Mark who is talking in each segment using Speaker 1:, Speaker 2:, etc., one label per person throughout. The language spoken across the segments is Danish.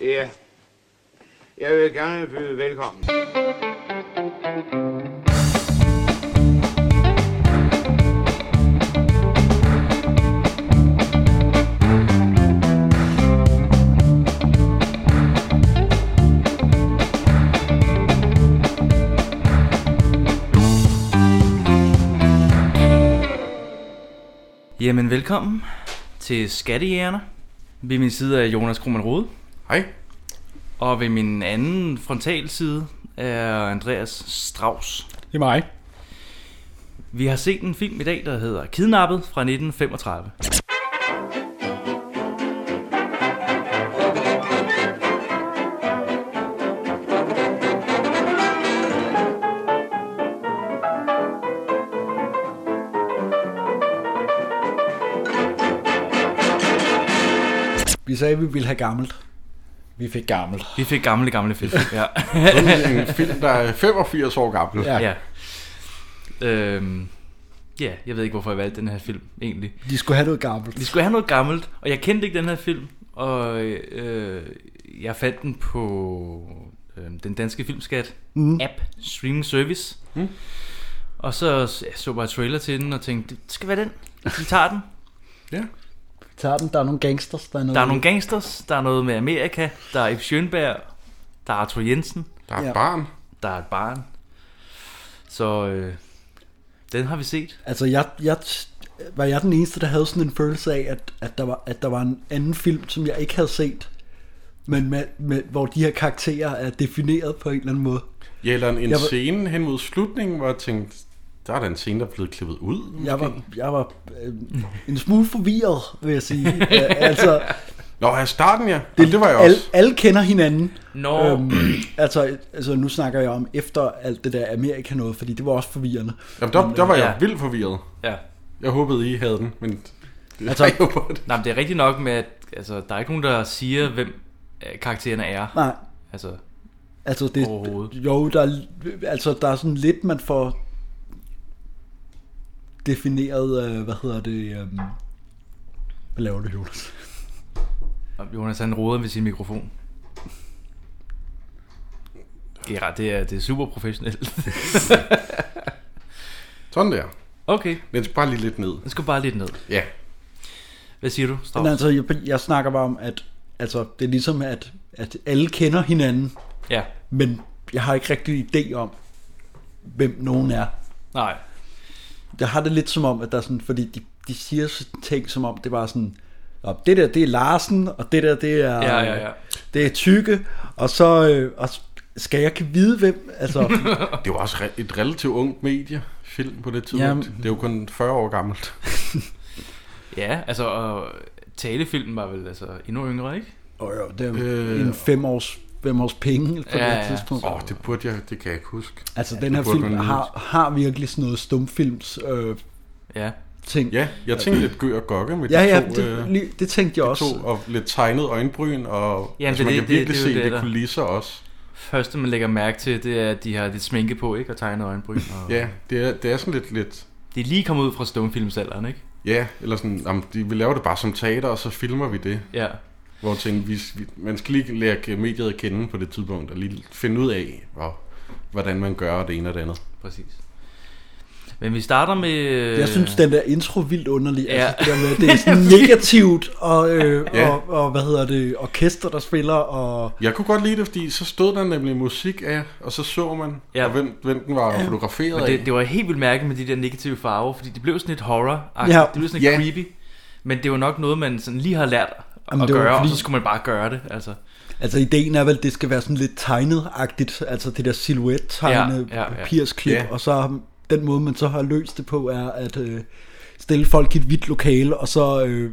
Speaker 1: Ja. Jeg vil gerne byde velkommen.
Speaker 2: Jamen velkommen til Skattejægerne. Ved min side er Jonas Krohmann Rode,
Speaker 3: Hej.
Speaker 2: og ved min anden frontal side er Andreas Strauss.
Speaker 3: Det er mig.
Speaker 2: Vi har set en film i dag, der hedder Kidnappet fra 1935.
Speaker 4: Vi sagde, at vi ville have gammelt.
Speaker 3: Vi fik gammelt.
Speaker 2: Vi fik gamle, gamle film. Ja.
Speaker 3: en film, der er 85 år gammel.
Speaker 4: Ja.
Speaker 2: ja. Øhm, ja, jeg ved ikke, hvorfor jeg valgte den her film egentlig.
Speaker 4: De skulle have noget gammelt.
Speaker 2: Vi skulle have noget gammelt, og jeg kendte ikke den her film, og øh, jeg fandt den på øh, den danske filmskat mm. app, streaming service. Mm. Og så jeg så bare trailer til den og tænkte, det skal være den. Vi tager den.
Speaker 3: ja.
Speaker 4: Vi tager den. Der er nogle gangsters. Der er, noget
Speaker 2: Der er nogle gangsters, der er noget med Amerika, der er Ip Schønberg, der er Arthur Jensen,
Speaker 3: Der er
Speaker 4: Ja.
Speaker 3: ja. barn.
Speaker 2: der er et barn. Så øh, den har vi set.
Speaker 4: Altså, jeg, jeg, var jeg den eneste, der havde sådan en følelse af, at, at, der, var, at der var en anden film, som jeg ikke havde set, men med, med, hvor de her karakterer er defineret på en eller anden måde.
Speaker 3: Ja, eller en, en
Speaker 4: Jeg var-
Speaker 3: scene hen mod slutningen, hvor jeg tænkte, der er da en scene, der er blevet klippet ud. Måske.
Speaker 4: Jeg var, jeg var øh, en smule forvirret, vil jeg sige. Øh, altså,
Speaker 3: Nå, her starten, ja. Det, det var jeg
Speaker 4: alle,
Speaker 3: også.
Speaker 4: alle kender hinanden.
Speaker 2: Nå.
Speaker 4: Øhm, altså, altså, nu snakker jeg om efter alt det der Amerika noget, fordi det var også forvirrende.
Speaker 3: Jamen, der, der var jeg
Speaker 2: Ja.
Speaker 3: vildt forvirret.
Speaker 2: Ja.
Speaker 3: Jeg håbede, I havde den, men... Det altså,
Speaker 4: Altså-
Speaker 3: jeg jo på det.
Speaker 2: Nej, men det er rigtigt nok med, at altså, der er ikke nogen, der siger, hvem øh, karaktererne er.
Speaker 4: Nej,
Speaker 2: Altså,
Speaker 4: Altså det,
Speaker 2: Overhovedet.
Speaker 4: jo, der, er- altså der er sådan lidt, man får defineret, øh, hvad hedder det, øh, hvad laver du, Jonas?
Speaker 2: Og Jonas han roder ved sin mikrofon. Det er, ret- det er, det er super professionelt.
Speaker 3: Sådan der.
Speaker 2: Okay,
Speaker 3: Den skal bare lige lidt ned.
Speaker 2: den skal bare lidt ned.
Speaker 3: Ja.
Speaker 2: Hvad siger du, Strauss?
Speaker 4: Men altså, jeg, jeg snakker bare om, at altså, det er ligesom, at, at alle kender hinanden,
Speaker 2: Ja,
Speaker 4: men jeg har ikke rigtig idé om, hvem nogen er.
Speaker 2: nej.
Speaker 4: Jeg har det lidt som om, at der er sådan, fordi de, de siger sådan ting som om, det var sådan, "Nå, det der, det er Larsen, og det der, det er...
Speaker 2: Ja, ja, ja.
Speaker 4: Det er Tykke, og så... Øh, og s- skal jeg kan vide, hvem... Altså,
Speaker 3: Det var også re- et relativt ungt medie film på det tidspunkt.
Speaker 4: Jamen.
Speaker 3: Det er jo kun 40 år gammelt.
Speaker 2: Ja, altså, og talefilmen var vel altså endnu yngre, ikke?
Speaker 4: Og jo, det er
Speaker 3: Øh,
Speaker 4: øh, en fem års, fem års penge
Speaker 2: Ja,
Speaker 4: på ja, det
Speaker 2: ja.
Speaker 4: her tidspunkt.
Speaker 3: Åh, oh, det burde jeg... Det kan jeg ikke huske.
Speaker 4: altså, den her
Speaker 3: burde
Speaker 4: film
Speaker 3: man lige
Speaker 4: har, har virkelig sådan noget stumfilms øh,
Speaker 2: Ja.
Speaker 4: ting.
Speaker 3: Ja, jeg tænkte lidt gø og gokke med
Speaker 4: ja,
Speaker 3: de
Speaker 4: ja
Speaker 3: to... øh,
Speaker 4: det, lige- det tænkte jeg
Speaker 3: to,
Speaker 4: også.
Speaker 3: og lidt tegnet øjenbryn, og
Speaker 2: Jamen,
Speaker 3: Jamen, altså,
Speaker 2: det-
Speaker 3: man
Speaker 2: det-
Speaker 3: kan
Speaker 2: det-
Speaker 3: virkelig
Speaker 2: det er
Speaker 3: se
Speaker 2: jo det,
Speaker 3: det,
Speaker 2: der-
Speaker 3: kulisser også.
Speaker 2: Første, man lægger mærke til, det er, at de har lidt sminke på, ikke? Og tegnet øjenbryn. Og...
Speaker 3: Ja, det er, det er sådan lidt, lidt
Speaker 2: De er lige kommet ud fra stumfilmsalderen, ikke?
Speaker 3: ja, eller sådan, jamen, de, vi laver det bare som teater, og så filmer vi det.
Speaker 2: Ja.
Speaker 3: Hvor tænker, vi, vi, man skal lige lære mediet at kende på det tidspunkt, og lige finde ud af, hvor, hvordan man gør det ene og det andet.
Speaker 2: Præcis. Men vi starter med...
Speaker 4: Jeg synes, den der intro er vildt underlig. Ja.
Speaker 2: øh, Ja.
Speaker 4: Altså, det, der med, det er sådan negativt, og, øh,
Speaker 3: Ja.
Speaker 4: ja. og, og, hvad hedder det, orkester, der spiller, og...
Speaker 3: Jeg kunne godt lide det, fordi så stod der nemlig musik af, og så så man,
Speaker 2: Ja.
Speaker 3: ja. og hvem, hvem den var fotograferet
Speaker 2: Men
Speaker 3: af.
Speaker 2: det, det var helt vildt mærkeligt med de der negative farver, fordi det blev sådan lidt horror ja.
Speaker 4: Ja.
Speaker 2: Det blev sådan lidt
Speaker 3: Ja.
Speaker 2: creepy. Men det var nok noget, man sådan lige har lært at
Speaker 4: Jamen, det var
Speaker 2: gøre, fordi... og
Speaker 4: fordi-
Speaker 2: så skulle man bare gøre det. Altså.
Speaker 4: Altså, ideen er vel, at det skal være sådan lidt tegnet-agtigt, altså det der silhouette-tegnede
Speaker 2: Ja, ja, ja.
Speaker 4: papirsklip,
Speaker 3: Ja.
Speaker 4: og så har- den måde, man så har løst det på, er at øh, stille folk i et hvidt lokale, og så øh,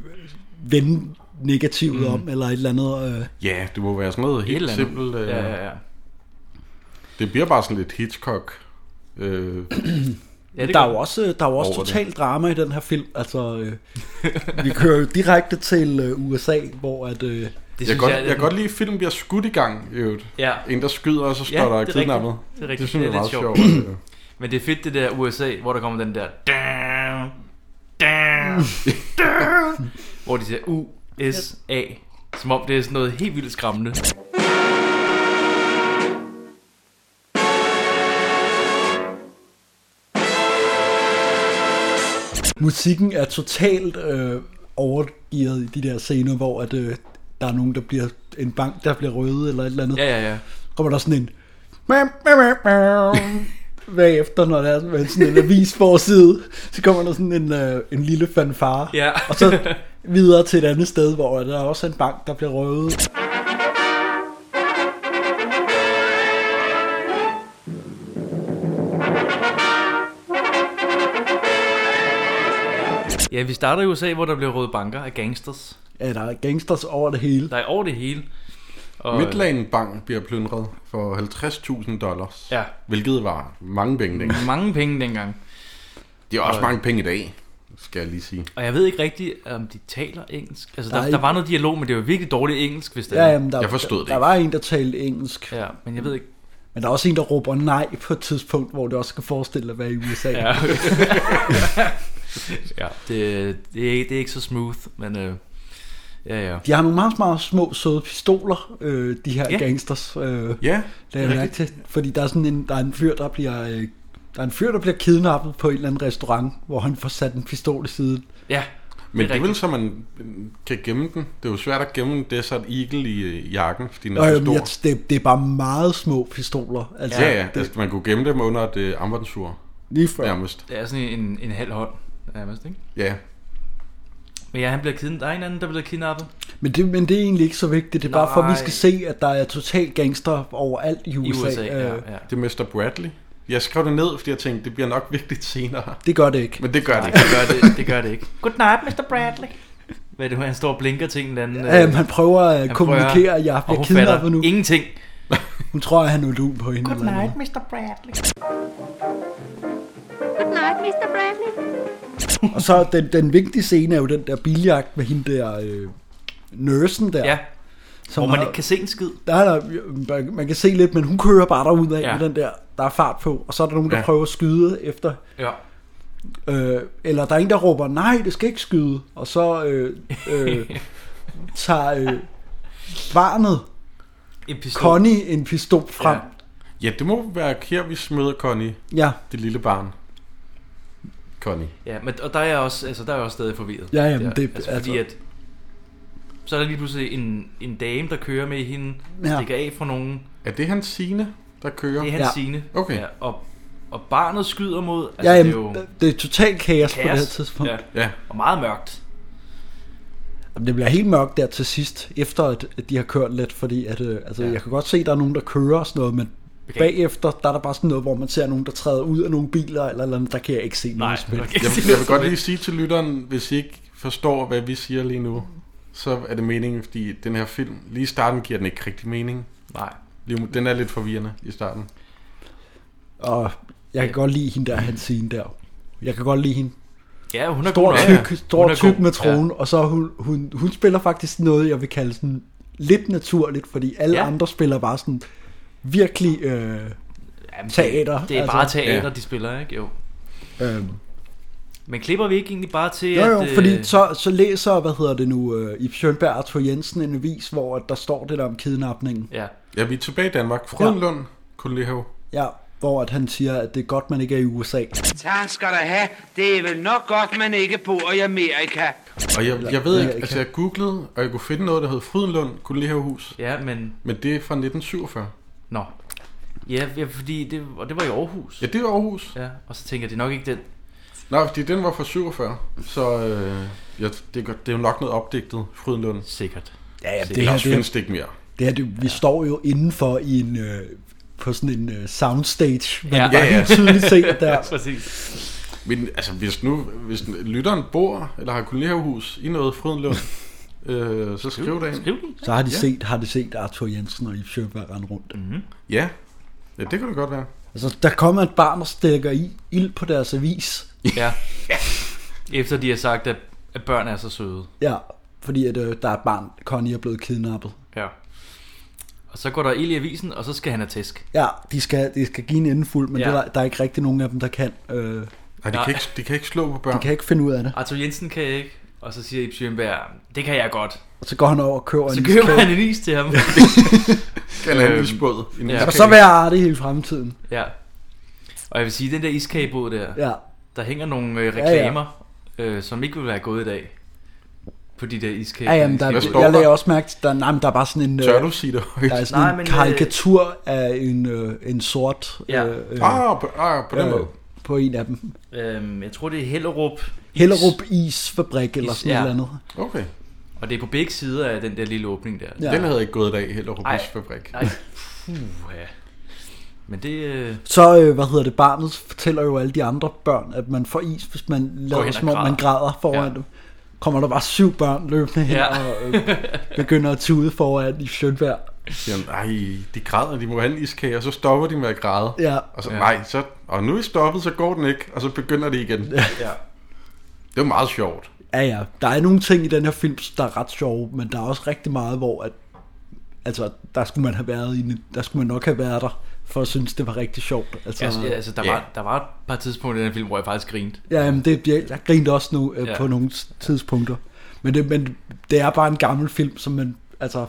Speaker 4: vende negativet mm. om, eller et eller andet. Øh.
Speaker 3: Ja, det må være sådan noget
Speaker 2: Et
Speaker 3: helt
Speaker 2: eller andet.
Speaker 3: simpelt. Øh,
Speaker 2: Ja, ja, ja.
Speaker 3: Det bliver bare sådan lidt Hitchcock. Øh,
Speaker 2: ja det
Speaker 4: Der
Speaker 2: er
Speaker 4: er jo
Speaker 2: godt.
Speaker 4: også, øh, der er jo også
Speaker 3: Over det.
Speaker 4: total drama i den her film. Altså, øh, vi kører jo direkte til øh, USA, hvor at... Øh,
Speaker 2: Det
Speaker 3: jeg,
Speaker 2: synes
Speaker 3: godt,
Speaker 2: er
Speaker 3: jeg,
Speaker 2: den-
Speaker 3: kan godt lide, at filmen bliver skudt i gang, i øvrigt.
Speaker 2: Ja.
Speaker 3: En, der skyder, og så står
Speaker 2: Ja,
Speaker 3: der
Speaker 2: det er
Speaker 3: kidnappet.
Speaker 2: rigtigt. Det er rigtigt.
Speaker 3: Det synes jeg
Speaker 2: Det er
Speaker 3: er meget
Speaker 2: lidt
Speaker 3: sjovt. øh.
Speaker 2: Men det er fedt det der USA, hvor der kommer den der... Damn, damn, damn, hvor de siger U-S-A. Som om det er sådan noget helt vildt skræmmende.
Speaker 4: Musikken er totalt øh, overgearet i de der scener, hvor at, øh, der er nogen, der bliver en bank, der bliver røde eller et eller andet.
Speaker 2: Ja, ja, ja.
Speaker 4: kommer der sådan en bagefter, når der er sådan- sådan en avis forside, så kommer der sådan en, øh, en lille fanfare.
Speaker 2: Ja.
Speaker 4: Og så videre til et andet sted, hvor der er også en bank, der bliver røvet.
Speaker 2: Ja, vi starter i USA, hvor der bliver røde banker af gangsters.
Speaker 4: Ja, der er gangsters over det hele.
Speaker 2: Der er over det hele. Og, øh,
Speaker 3: Midland Bank bliver plyndret for 50.000 dollars.
Speaker 2: Ja.
Speaker 3: Hvilket var mange penge dengang.
Speaker 2: Mange penge dengang.
Speaker 3: Det er også mange penge i dag, skal jeg lige sige.
Speaker 2: Og jeg ved ikke rigtigt, om de taler engelsk. Altså,
Speaker 4: Der er
Speaker 2: der, der
Speaker 4: ikke-
Speaker 2: var noget dialog, men det var virkelig dårligt engelsk, hvis det
Speaker 4: Ja,
Speaker 2: er.
Speaker 4: jamen, der,
Speaker 3: Jeg forstod det
Speaker 4: Der
Speaker 3: ikke.
Speaker 4: var en, der talte engelsk.
Speaker 2: ja, men jeg ved ikke.
Speaker 4: Men der er også en, der råber nej på et tidspunkt, hvor det også skal forestille at være i USA.
Speaker 2: Ja, okay. ja det, det, er, ikke- det er ikke så smooth, men øh, ja, ja.
Speaker 4: De har nogle meget, meget små, søde pistoler, øh, de her
Speaker 2: Ja.
Speaker 4: ja. gangsters. Øh,
Speaker 3: Ja,
Speaker 4: Det er mærke til, fordi der er sådan en, der er en fyr, der bliver, øh, der er en fyr, der bliver kidnappet på en eller anden restaurant, hvor han får sat en pistol i siden.
Speaker 2: Ja,
Speaker 3: men det,
Speaker 2: er
Speaker 3: det er vel
Speaker 2: rigtigt.
Speaker 3: så, man øh, kan gemme den. Det er jo svært at gemme en Desert Eagle i øh, jakken, fordi den
Speaker 4: Nå,
Speaker 3: er så
Speaker 4: jamen, jeg,
Speaker 3: stor.
Speaker 4: det, det er bare meget små pistoler. Altså,
Speaker 3: Ja, ja,
Speaker 4: Det,
Speaker 3: altså man kunne gemme dem under et øh, armbandsur,
Speaker 4: lige før. Ja.
Speaker 3: nærmest.
Speaker 2: det er sådan en, en halv hånd, nærmest, ikke?
Speaker 3: Ja,
Speaker 2: Men ja, han bliver kidnappet. Der er en anden, der bliver kidnappet.
Speaker 4: Men, det, men det er egentlig ikke så vigtigt. Det er bare for, at vi
Speaker 2: Nej.
Speaker 4: skal se, at der er total gangster overalt i
Speaker 2: I
Speaker 4: USA.
Speaker 2: USA, ja, ja.
Speaker 3: det er Mr. Bradley. Jeg skrev det ned, fordi jeg tænkte, det bliver nok vigtigt senere.
Speaker 4: Det gør det ikke.
Speaker 3: Men det gør det
Speaker 2: Nej,
Speaker 3: ikke.
Speaker 2: det gør det, det gør det ikke. Good night, Mr. Bradley. Hvad er det, hvor han står og blinker til en eller anden...
Speaker 4: Ja, man prøver at
Speaker 2: han
Speaker 4: kommunikere, at jeg
Speaker 2: og
Speaker 4: bliver
Speaker 2: hun fatter
Speaker 4: kidnappet nu.
Speaker 2: ingenting.
Speaker 4: Hun tror, at han er du på hende. eller noget.
Speaker 5: Mr. Bradley.
Speaker 6: Good night, Mr. Bradley.
Speaker 4: Og så den, den vigtige scene er jo den der biljagt med hende der øh, nursen der.
Speaker 2: Ja,
Speaker 4: som
Speaker 2: hvor man
Speaker 4: har-
Speaker 2: ikke kan se en skid.
Speaker 4: Der er der, man kan se lidt, men hun kører bare derud af
Speaker 2: Ja.
Speaker 4: ja. med den der, der er fart på, og så er der nogen, der
Speaker 3: Ja.
Speaker 4: ja. prøver at skyde efter.
Speaker 2: Ja.
Speaker 4: Øh, eller der er en, der råber, nej, det skal ikke skyde, og så øh, øh, tager øh, barnet,
Speaker 2: En pistol.
Speaker 4: Connie, en pistol frem.
Speaker 2: Ja.
Speaker 3: Ja, det må være her, vi smider Connie,
Speaker 4: Ja,
Speaker 2: Altså,
Speaker 3: det lille barn. Connie.
Speaker 2: Ja, men, og der er jeg også, altså, der er jeg også stadig forvirret.
Speaker 4: Ja, jamen,
Speaker 2: Der.
Speaker 4: det-
Speaker 2: altså, fordi at, så er der lige pludselig en, en dame, der kører med hende, ja.
Speaker 4: Ja.
Speaker 2: stikker af fra nogen.
Speaker 3: Er det hans sine, der kører?
Speaker 2: Det er hans
Speaker 4: Ja.
Speaker 2: ja. sine.
Speaker 3: Okay.
Speaker 2: Ja, og, og barnet skyder mod, altså
Speaker 4: ja
Speaker 2: ja,
Speaker 4: jamen,
Speaker 2: det er jo
Speaker 4: det, det er totalt kaos, på det her
Speaker 2: kaos.
Speaker 4: tidspunkt.
Speaker 2: Ja,
Speaker 4: Ja.
Speaker 3: Ja,
Speaker 2: og meget mørkt.
Speaker 4: Jamen, det bliver helt mørkt der til sidst, efter at, at de har kørt lidt, fordi at, øh, altså,
Speaker 2: Ja.
Speaker 4: ja. jeg kan godt se, at der er nogen, der kører og sådan noget, men
Speaker 2: Okay.
Speaker 4: okay. bagefter, der er der bare sådan noget, hvor man ser nogen, der træder ud af nogle biler, eller, et eller andet, der kan jeg ikke se
Speaker 2: Nej,
Speaker 4: nogen som helst.
Speaker 2: okay.
Speaker 3: Jeg, jeg vil godt lige sige til lytteren, hvis I ikke forstår, hvad vi siger lige nu, så er det meningen, fordi den her film, lige i starten giver den ikke rigtig mening.
Speaker 2: Nej.
Speaker 3: Lige nu- Den er lidt forvirrende i starten.
Speaker 4: Og jeg kan godt lide hende der, hans scene der. Jeg kan godt lide hende.
Speaker 2: Ja, hun er
Speaker 4: Stor
Speaker 2: god nok.
Speaker 4: tyk,
Speaker 2: Hun
Speaker 4: stor
Speaker 2: er
Speaker 4: tyk
Speaker 2: god.
Speaker 4: med tronen, ja. og så hun, hun, hun spiller faktisk noget, jeg vil kalde sådan lidt naturligt, fordi alle
Speaker 2: Ja.
Speaker 4: ja. andre spiller bare sådan virkelig... Øh,
Speaker 2: Ja. Jamen,
Speaker 4: teater,
Speaker 2: Det, det er
Speaker 4: altså.
Speaker 2: bare teater,
Speaker 3: Ja.
Speaker 2: de spiller, ikke? Jo.
Speaker 4: øh,
Speaker 2: Men klipper vi ikke egentlig bare til,
Speaker 4: jo, jo,
Speaker 2: at... øh,
Speaker 4: fordi så, så læser, hvad hedder det nu, øh, i Sjønberg og Arthur Jensen en avis, hvor at der står det der om kidnapningen.
Speaker 2: Ja,
Speaker 3: Ja, vi er tilbage i Danmark. Frødenlund, Kullehav.
Speaker 4: Ja, hvor at han siger, at det er godt, man ikke er i USA.
Speaker 7: Tak skal der have. Det er vel nok godt, man ikke bor i Amerika.
Speaker 3: Og jeg, jeg ved ikke,
Speaker 4: Ja, jeg
Speaker 3: altså
Speaker 4: kan-
Speaker 3: jeg googlede, og jeg kunne finde noget, der hed Frydenlund Kullehavhus,
Speaker 2: ja, men...
Speaker 3: men det er fra 1947.
Speaker 2: Nå. Ja, ja fordi det, og det var i Aarhus.
Speaker 3: Ja, det er Aarhus.
Speaker 2: Ja, og så tænker jeg, det er nok ikke den.
Speaker 3: Nej, fordi den var fra 47, så øh, ja, det, er godt- det er jo nok noget opdigtet, Frydenlund.
Speaker 2: Sikkert.
Speaker 4: Ja, ja,
Speaker 2: det
Speaker 4: det,
Speaker 3: Det
Speaker 4: her,
Speaker 3: Ellers
Speaker 4: det,
Speaker 3: findes det ikke mere.
Speaker 4: det her, det, vi står jo indenfor i en, øh, på sådan en øh, soundstage, man
Speaker 2: Ja.
Speaker 4: ja. kan
Speaker 3: Ja, ja.
Speaker 4: helt tydeligt se at der.
Speaker 2: Præcis.
Speaker 3: Men altså, hvis nu hvis lytteren bor eller har kolonihavehus i noget Frydenlund, øh, så skriv det ind.
Speaker 2: Skriv den.
Speaker 4: Så har de,
Speaker 3: Ja.
Speaker 4: ja. set, har de set Arthur Jensen og Ip Sjøberg rende rundt. Mm.
Speaker 3: Ja. ja, det kunne det godt være.
Speaker 4: Altså, der kommer et barn og stikker i, ild på deres avis.
Speaker 2: Ja. Efter de har sagt, at, at børn er så søde.
Speaker 4: Ja, fordi at, øh, der er et barn, Connie er blevet kidnappet.
Speaker 2: Ja. Og så går der ild i avisen, og så skal han have tæsk.
Speaker 4: Ja, de skal, de skal give en endefuld, men
Speaker 2: Ja.
Speaker 4: ja. det, er der, der er ikke rigtig nogen af dem, der kan. Øh,
Speaker 3: Nej, de,
Speaker 2: Nej.
Speaker 3: Kan ikke, de kan ikke slå på børn.
Speaker 4: de kan ikke finde ud af det.
Speaker 2: Arthur Jensen kan ikke. Og så siger Ib Sjøenberg, det kan jeg godt.
Speaker 4: Og så går han over og køber
Speaker 2: Så
Speaker 4: en
Speaker 2: køber
Speaker 4: iskage.
Speaker 2: han en is til ham.
Speaker 3: Kan han blive spået?
Speaker 2: ja.
Speaker 4: Øh, Og så være artig hele fremtiden.
Speaker 2: ja. Og jeg vil sige, den der iskagebåd der,
Speaker 4: Ja.
Speaker 2: der hænger nogle øh,
Speaker 4: ja.
Speaker 2: reklamer, øh, som ikke vil være gået i dag. På de der iskage.
Speaker 4: Ja, jamen, der,
Speaker 3: Hvad står
Speaker 4: jeg lagde
Speaker 3: der?
Speaker 4: også mærke til, der, nej, men der er bare sådan en... øh,
Speaker 3: Tør du sige det højt?
Speaker 4: Der er sådan
Speaker 2: Nej,
Speaker 4: en
Speaker 2: men, øh,
Speaker 4: karikatur af en, øh, en sort
Speaker 2: Ja.
Speaker 4: øh, øh,
Speaker 3: Ah, på, ah, på den
Speaker 4: øh,
Speaker 3: måde.
Speaker 4: på en af dem.
Speaker 2: Øhm, jeg tror, det er Hellerup. Is.
Speaker 4: Hellerup Isfabrik eller
Speaker 2: Is,
Speaker 4: sådan
Speaker 2: ja.
Speaker 4: ja. noget andet.
Speaker 3: Okay.
Speaker 2: Og det er på begge sider af den der lille åbning der.
Speaker 4: Ja.
Speaker 3: Den havde ikke gået i dag, heller
Speaker 2: Ej.
Speaker 3: Rubis fabrik.
Speaker 2: Nej, puh, ja. Men det... Øh,
Speaker 4: Så, øh, hvad hedder det, barnet fortæller jo alle de andre børn, at man får is, hvis man lader
Speaker 2: hen
Speaker 4: som
Speaker 2: og
Speaker 4: om man græder foran
Speaker 2: Ja.
Speaker 4: ja. dem. Kommer der bare syv børn løbende hen
Speaker 2: Ja.
Speaker 4: ja. og øh, begynder at tude foran i Sjønberg.
Speaker 3: Jamen, ej, de græder, de må have en iskage, og så stopper de med at græde.
Speaker 4: Ja.
Speaker 3: Og så,
Speaker 2: Ja.
Speaker 3: ja. nej, så, og nu er I stoppet, så går den ikke, og så begynder det igen.
Speaker 2: ja.
Speaker 3: Det var meget sjovt.
Speaker 4: ja, ja. Der er nogle ting i den her film, der er ret sjove, men der er også rigtig meget, hvor at, altså, der skulle man have været i, der skulle man nok have været der, for at synes, det var rigtig sjovt. Altså,
Speaker 2: Altså, ja, altså der,
Speaker 3: Ja.
Speaker 2: var, der var et par tidspunkter i den her film, hvor jeg faktisk grinte.
Speaker 4: Ja, jamen det, jeg, jeg grinte også nu øh,
Speaker 2: Ja.
Speaker 4: ja. på nogle s- tidspunkter. Men det, men det er bare en gammel film, som man, altså,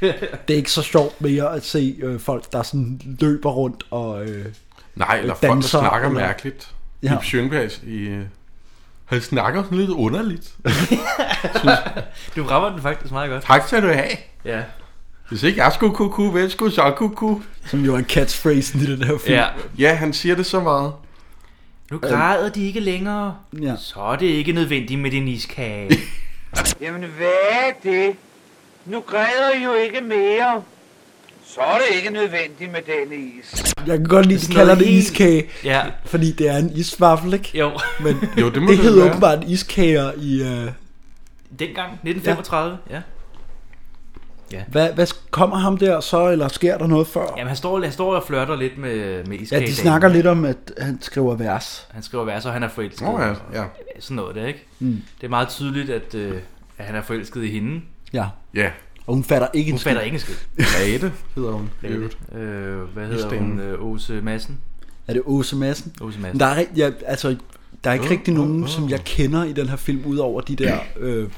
Speaker 4: det er ikke så sjovt mere at se øh, folk, der sådan løber rundt og... Øh,
Speaker 3: Nej, eller folk, der
Speaker 4: Danser,
Speaker 3: snakker
Speaker 4: eller-
Speaker 3: mærkeligt. Ja.
Speaker 4: Ja.
Speaker 3: Ip Schønbergs i... øh, Han snakker sådan lidt underligt.
Speaker 2: Du rammer den faktisk meget godt.
Speaker 3: Tak skal du have.
Speaker 2: Ja.
Speaker 3: Hvis ikke jeg skulle kuku, hvem skulle så kuku?
Speaker 4: som jo er catchphrasen i den her film.
Speaker 2: ja.
Speaker 3: Ja, han siger det så meget.
Speaker 2: Nu græder de ikke længere.
Speaker 4: Ja.
Speaker 2: Så er det ikke nødvendigt med din iskage.
Speaker 7: Jamen, hvad er det? Nu græder I jo ikke mere. Så er det ikke nødvendigt med denne is.
Speaker 4: Jeg kan godt lide, at de
Speaker 2: Sådan
Speaker 4: kalder
Speaker 2: noget
Speaker 4: det
Speaker 2: helt-
Speaker 4: iskage,
Speaker 2: ja.
Speaker 4: fordi det er en isvaffel, ikke?
Speaker 2: Jo.
Speaker 4: Men
Speaker 3: Jo, det må
Speaker 4: det
Speaker 3: det
Speaker 4: hedder
Speaker 3: være.
Speaker 4: åbenbart en iskager i... Øh,
Speaker 2: Dengang, 1935. Ja. ja.
Speaker 4: hvad, hvad kommer ham der så, eller sker der noget før?
Speaker 2: Jamen, han står, han står og flørter lidt med, med
Speaker 4: Ja,
Speaker 2: iskage.
Speaker 4: de snakker lidt om, at han skriver vers.
Speaker 2: Han skriver vers, og han er forelsket.
Speaker 3: Nå ja, ja.
Speaker 2: Sådan noget der, ikke? Mm. Det er meget tydeligt, at, øh, at han er forelsket i hende.
Speaker 4: Ja,
Speaker 3: Ja,
Speaker 4: og hun fatter ikke
Speaker 2: Hun
Speaker 4: en skid.
Speaker 2: fatter ikke en skid.
Speaker 3: Grete hedder hun. i øvrigt.
Speaker 2: Øh, hvad hedder
Speaker 3: Isdamen.
Speaker 2: hun? Øh, Åse Madsen?
Speaker 4: Er det Åse Madsen?
Speaker 2: Åse
Speaker 4: Men
Speaker 2: Madsen.
Speaker 4: Der er, rig- ja, altså, der er ikke
Speaker 3: Øh,
Speaker 4: rigtig nogen,
Speaker 3: øh, øh.
Speaker 4: som jeg kender i den her film, udover de der... Øh,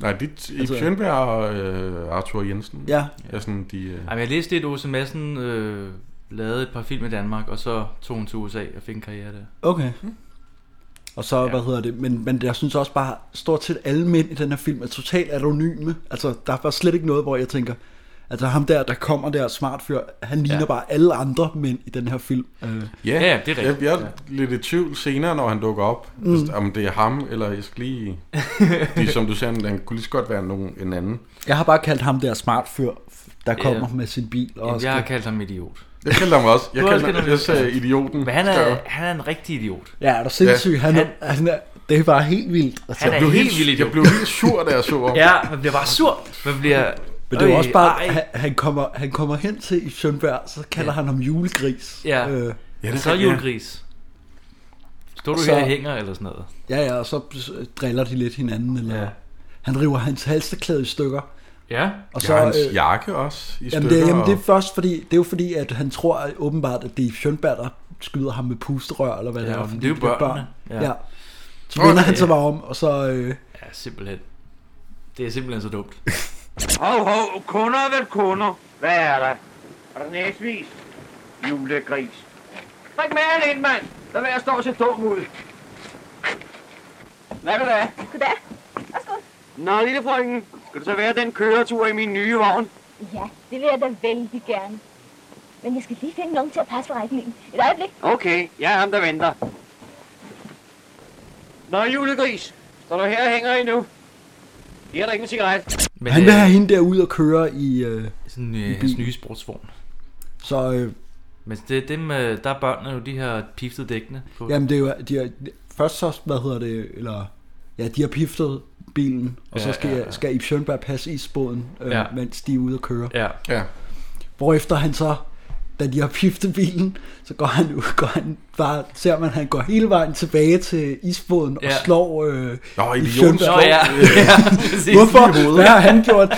Speaker 3: Nej, dit Ip
Speaker 4: Altså-
Speaker 3: Schønberg og øh, Arthur Jensen.
Speaker 4: ja,
Speaker 3: Er sådan de... Øh,
Speaker 2: Jamen, jeg læste lidt, Åse Madsen øh, lavede et par film i Danmark, og så tog hun til USA og fik en karriere der.
Speaker 4: okay. Og så,
Speaker 2: Mm. Ja.
Speaker 4: ja. hvad hedder det, men, men jeg synes også bare, stort set alle mænd i den her film er totalt anonyme. Altså, der er bare slet ikke noget, hvor jeg tænker, altså ham der, der kommer der, smart fyr, han ligner
Speaker 2: Ja.
Speaker 4: ja. bare alle andre mænd i den her film. Øh,
Speaker 3: Ja,
Speaker 2: Ja, det er rigtigt.
Speaker 3: Jeg, jeg er lidt i tvivl senere, når han dukker op, mm. altså, om det er ham, eller jeg skal lige... Fordi som du sagde, han kunne lige så godt være nogen, en anden.
Speaker 4: jeg har bare kaldt ham der smart fyr, der kommer
Speaker 2: Ja.
Speaker 4: med sin bil. Og
Speaker 2: Jamen,
Speaker 4: skal,
Speaker 2: jeg har kaldt ham idiot.
Speaker 3: Jeg kaldte ham også. Jeg
Speaker 2: Du har også
Speaker 3: kaldte
Speaker 2: kaldt
Speaker 3: ham,
Speaker 2: ham-
Speaker 3: jeg sagde idioten.
Speaker 2: Men han
Speaker 3: Skrev.
Speaker 2: er, han er en rigtig idiot.
Speaker 4: Ja, er du sindssyg? Ja. Han,
Speaker 2: Han-
Speaker 4: er, han er, det er bare helt vildt. Altså.
Speaker 2: Han er
Speaker 3: Jeg blev
Speaker 2: helt
Speaker 3: helt,
Speaker 2: vild
Speaker 3: vildt, jeg
Speaker 2: idiot.
Speaker 3: blev helt sur, da jeg så ham.
Speaker 2: Ja, man bliver bare sur. Man bliver...
Speaker 4: Men det er jo
Speaker 2: Øj,
Speaker 4: også bare,
Speaker 2: ej.
Speaker 4: han, han, kommer, han kommer hen til i Sjønberg, så kalder ja. han ham julegris.
Speaker 2: Ja.
Speaker 4: Øh,
Speaker 3: Ja,
Speaker 2: Ja,
Speaker 3: det er
Speaker 2: så er
Speaker 3: rigtigt, ja.
Speaker 2: julegris. Står du
Speaker 4: Så-
Speaker 2: her og hænger eller sådan noget?
Speaker 4: ja, ja, og så driller de lidt hinanden. Eller,
Speaker 2: Ja.
Speaker 4: ja. Han river hans halsteklæde i stykker.
Speaker 2: Ja.
Speaker 4: Og så,
Speaker 3: Så, ja, hans
Speaker 4: øh,
Speaker 3: jakke også i
Speaker 4: jamen, det,
Speaker 3: stykker.
Speaker 4: jamen, det er
Speaker 3: og-
Speaker 4: først fordi, det er jo fordi, at han tror at åbenbart, at det er Sjønberg, der skyder ham med pusterør, eller hvad det
Speaker 2: Ja,
Speaker 4: er.
Speaker 2: men
Speaker 4: fordi
Speaker 2: det er jo
Speaker 4: de bliver
Speaker 2: børnene.
Speaker 4: Ja.
Speaker 2: Ja.
Speaker 4: ja. Så vender
Speaker 3: Okay.
Speaker 4: han sig bare om, og så... Øh,
Speaker 2: Ja, simpelthen. Det er simpelthen så dumt.
Speaker 7: Hov, hov, kunder er vel kunder. Hvad er der? Er der næsvis? Julegris. Drik mere ind, mand. Lad være at stå og se dum ud. Hvad vil du have?
Speaker 6: Goddag. Værsgo.
Speaker 7: Nå, lille frøken. Skal du så være den køretur i min nye vogn?
Speaker 6: Ja, det vil jeg da vældig gerne. Men jeg skal lige finde nogen til at passe på regningen. Et øjeblik.
Speaker 7: Okay, jeg er ham, der venter. Nå, julegris. Står du her og hænger endnu? Giver der ikke en cigaret?
Speaker 2: Men
Speaker 4: han vil
Speaker 2: øh,
Speaker 4: have hende der ud og køre i... Øh,
Speaker 2: sådan øh, hans nye sportsvogn.
Speaker 4: så øh,
Speaker 2: Men det er dem, øh, der er børnene jo de her piftede dækkene på.
Speaker 4: Jamen det er jo, de har, først så, hvad hedder det, eller, ja, de har piftet bilen, og
Speaker 2: Ja,
Speaker 4: så skal,
Speaker 2: ja,
Speaker 4: ja,
Speaker 2: ja.
Speaker 4: skal Ip Schønberg passe isbåden, øh,
Speaker 2: Ja.
Speaker 4: ja. mens de er ude at køre. Ja.
Speaker 2: Ja.
Speaker 3: Ja.
Speaker 4: Hvorefter han så, da de har piftet bilen, så går han ud, går han bare, ser man, han går hele vejen tilbage til isbåden ja. og
Speaker 2: Ja.
Speaker 4: slår øh,
Speaker 3: Nå, øh,
Speaker 4: Ib
Speaker 3: idioten.
Speaker 4: Schønberg.
Speaker 2: Nå ja, ja præcis.
Speaker 4: Hvorfor? Hvad har han gjort?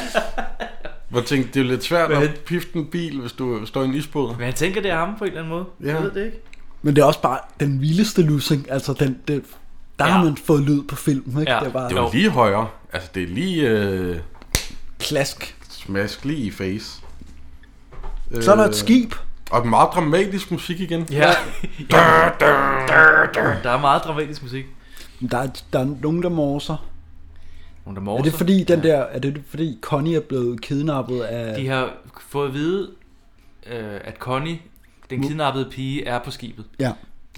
Speaker 3: Hvor jeg tænkte, det er jo lidt svært
Speaker 2: Men-
Speaker 3: at pifte en bil, hvis du står i en isbåd.
Speaker 2: Men han tænker, det er ham på en eller anden måde.
Speaker 3: Ja.
Speaker 2: Jeg ved det ikke.
Speaker 4: Men det er også bare den vildeste lussing, altså den, det, der ja. har
Speaker 2: Ja.
Speaker 4: man fået lyd på film, ikke?
Speaker 2: Ja.
Speaker 4: Det er bare
Speaker 3: Det
Speaker 4: det
Speaker 3: var
Speaker 2: Jo.
Speaker 3: lige højere. Altså, det er lige øh,
Speaker 4: klask.
Speaker 3: smask lige i face.
Speaker 4: Så er der
Speaker 3: Øh.
Speaker 4: et skib.
Speaker 3: Og meget dramatisk musik igen.
Speaker 2: Ja. Der er meget dramatisk musik.
Speaker 4: Der er, der er nogen, der morser.
Speaker 2: Nogle der
Speaker 4: Er
Speaker 2: morser.
Speaker 4: det fordi, den der, er det fordi Connie er blevet kidnappet af...
Speaker 2: De har fået at vide, øh, at Connie, den kidnappede pige, er på skibet.
Speaker 4: Ja.
Speaker 3: Ja.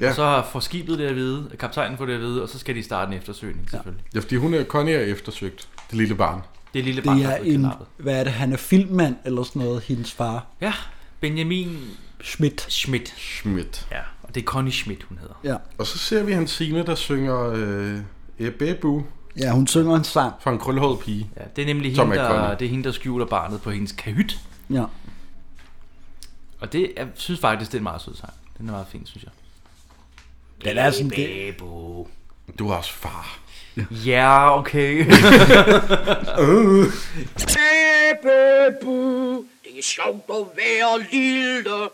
Speaker 2: Ja. Så har- får skibet det at vide, kaptajnen får det at vide, og så skal de starte en eftersøgning selvfølgelig.
Speaker 3: Ja, fordi hun er, Connie er eftersøgt. Det lille barn.
Speaker 2: Det er lille barn,
Speaker 4: Det
Speaker 2: der
Speaker 4: er
Speaker 2: er blevet
Speaker 4: en,
Speaker 2: kidnappet.
Speaker 4: hvad er det, han er filmmand eller sådan noget, hendes far,
Speaker 2: Ja, Benjamin
Speaker 4: Schmidt.
Speaker 2: Schmidt.
Speaker 3: Schmidt.
Speaker 2: Ja, og det er Connie Schmidt, hun hedder.
Speaker 4: Ja.
Speaker 3: Og så ser vi Hansine, der synger øh, Ebebu
Speaker 4: ja, hun synger en sang.
Speaker 3: fra en krølhåret pige.
Speaker 2: Ja, det er nemlig
Speaker 3: Som
Speaker 2: hende
Speaker 3: er
Speaker 2: der,
Speaker 3: Connie.
Speaker 2: det er hende, der skjuler barnet på hendes kahyt.
Speaker 4: Ja.
Speaker 2: Og det, jeg synes faktisk, det er en meget sød sang. Den er meget fin, synes jeg.
Speaker 4: Den er sådan det.
Speaker 2: Babo.
Speaker 3: Du er også far.
Speaker 2: Ja, okay.
Speaker 5: Æbebu, det er sjovt at være lille.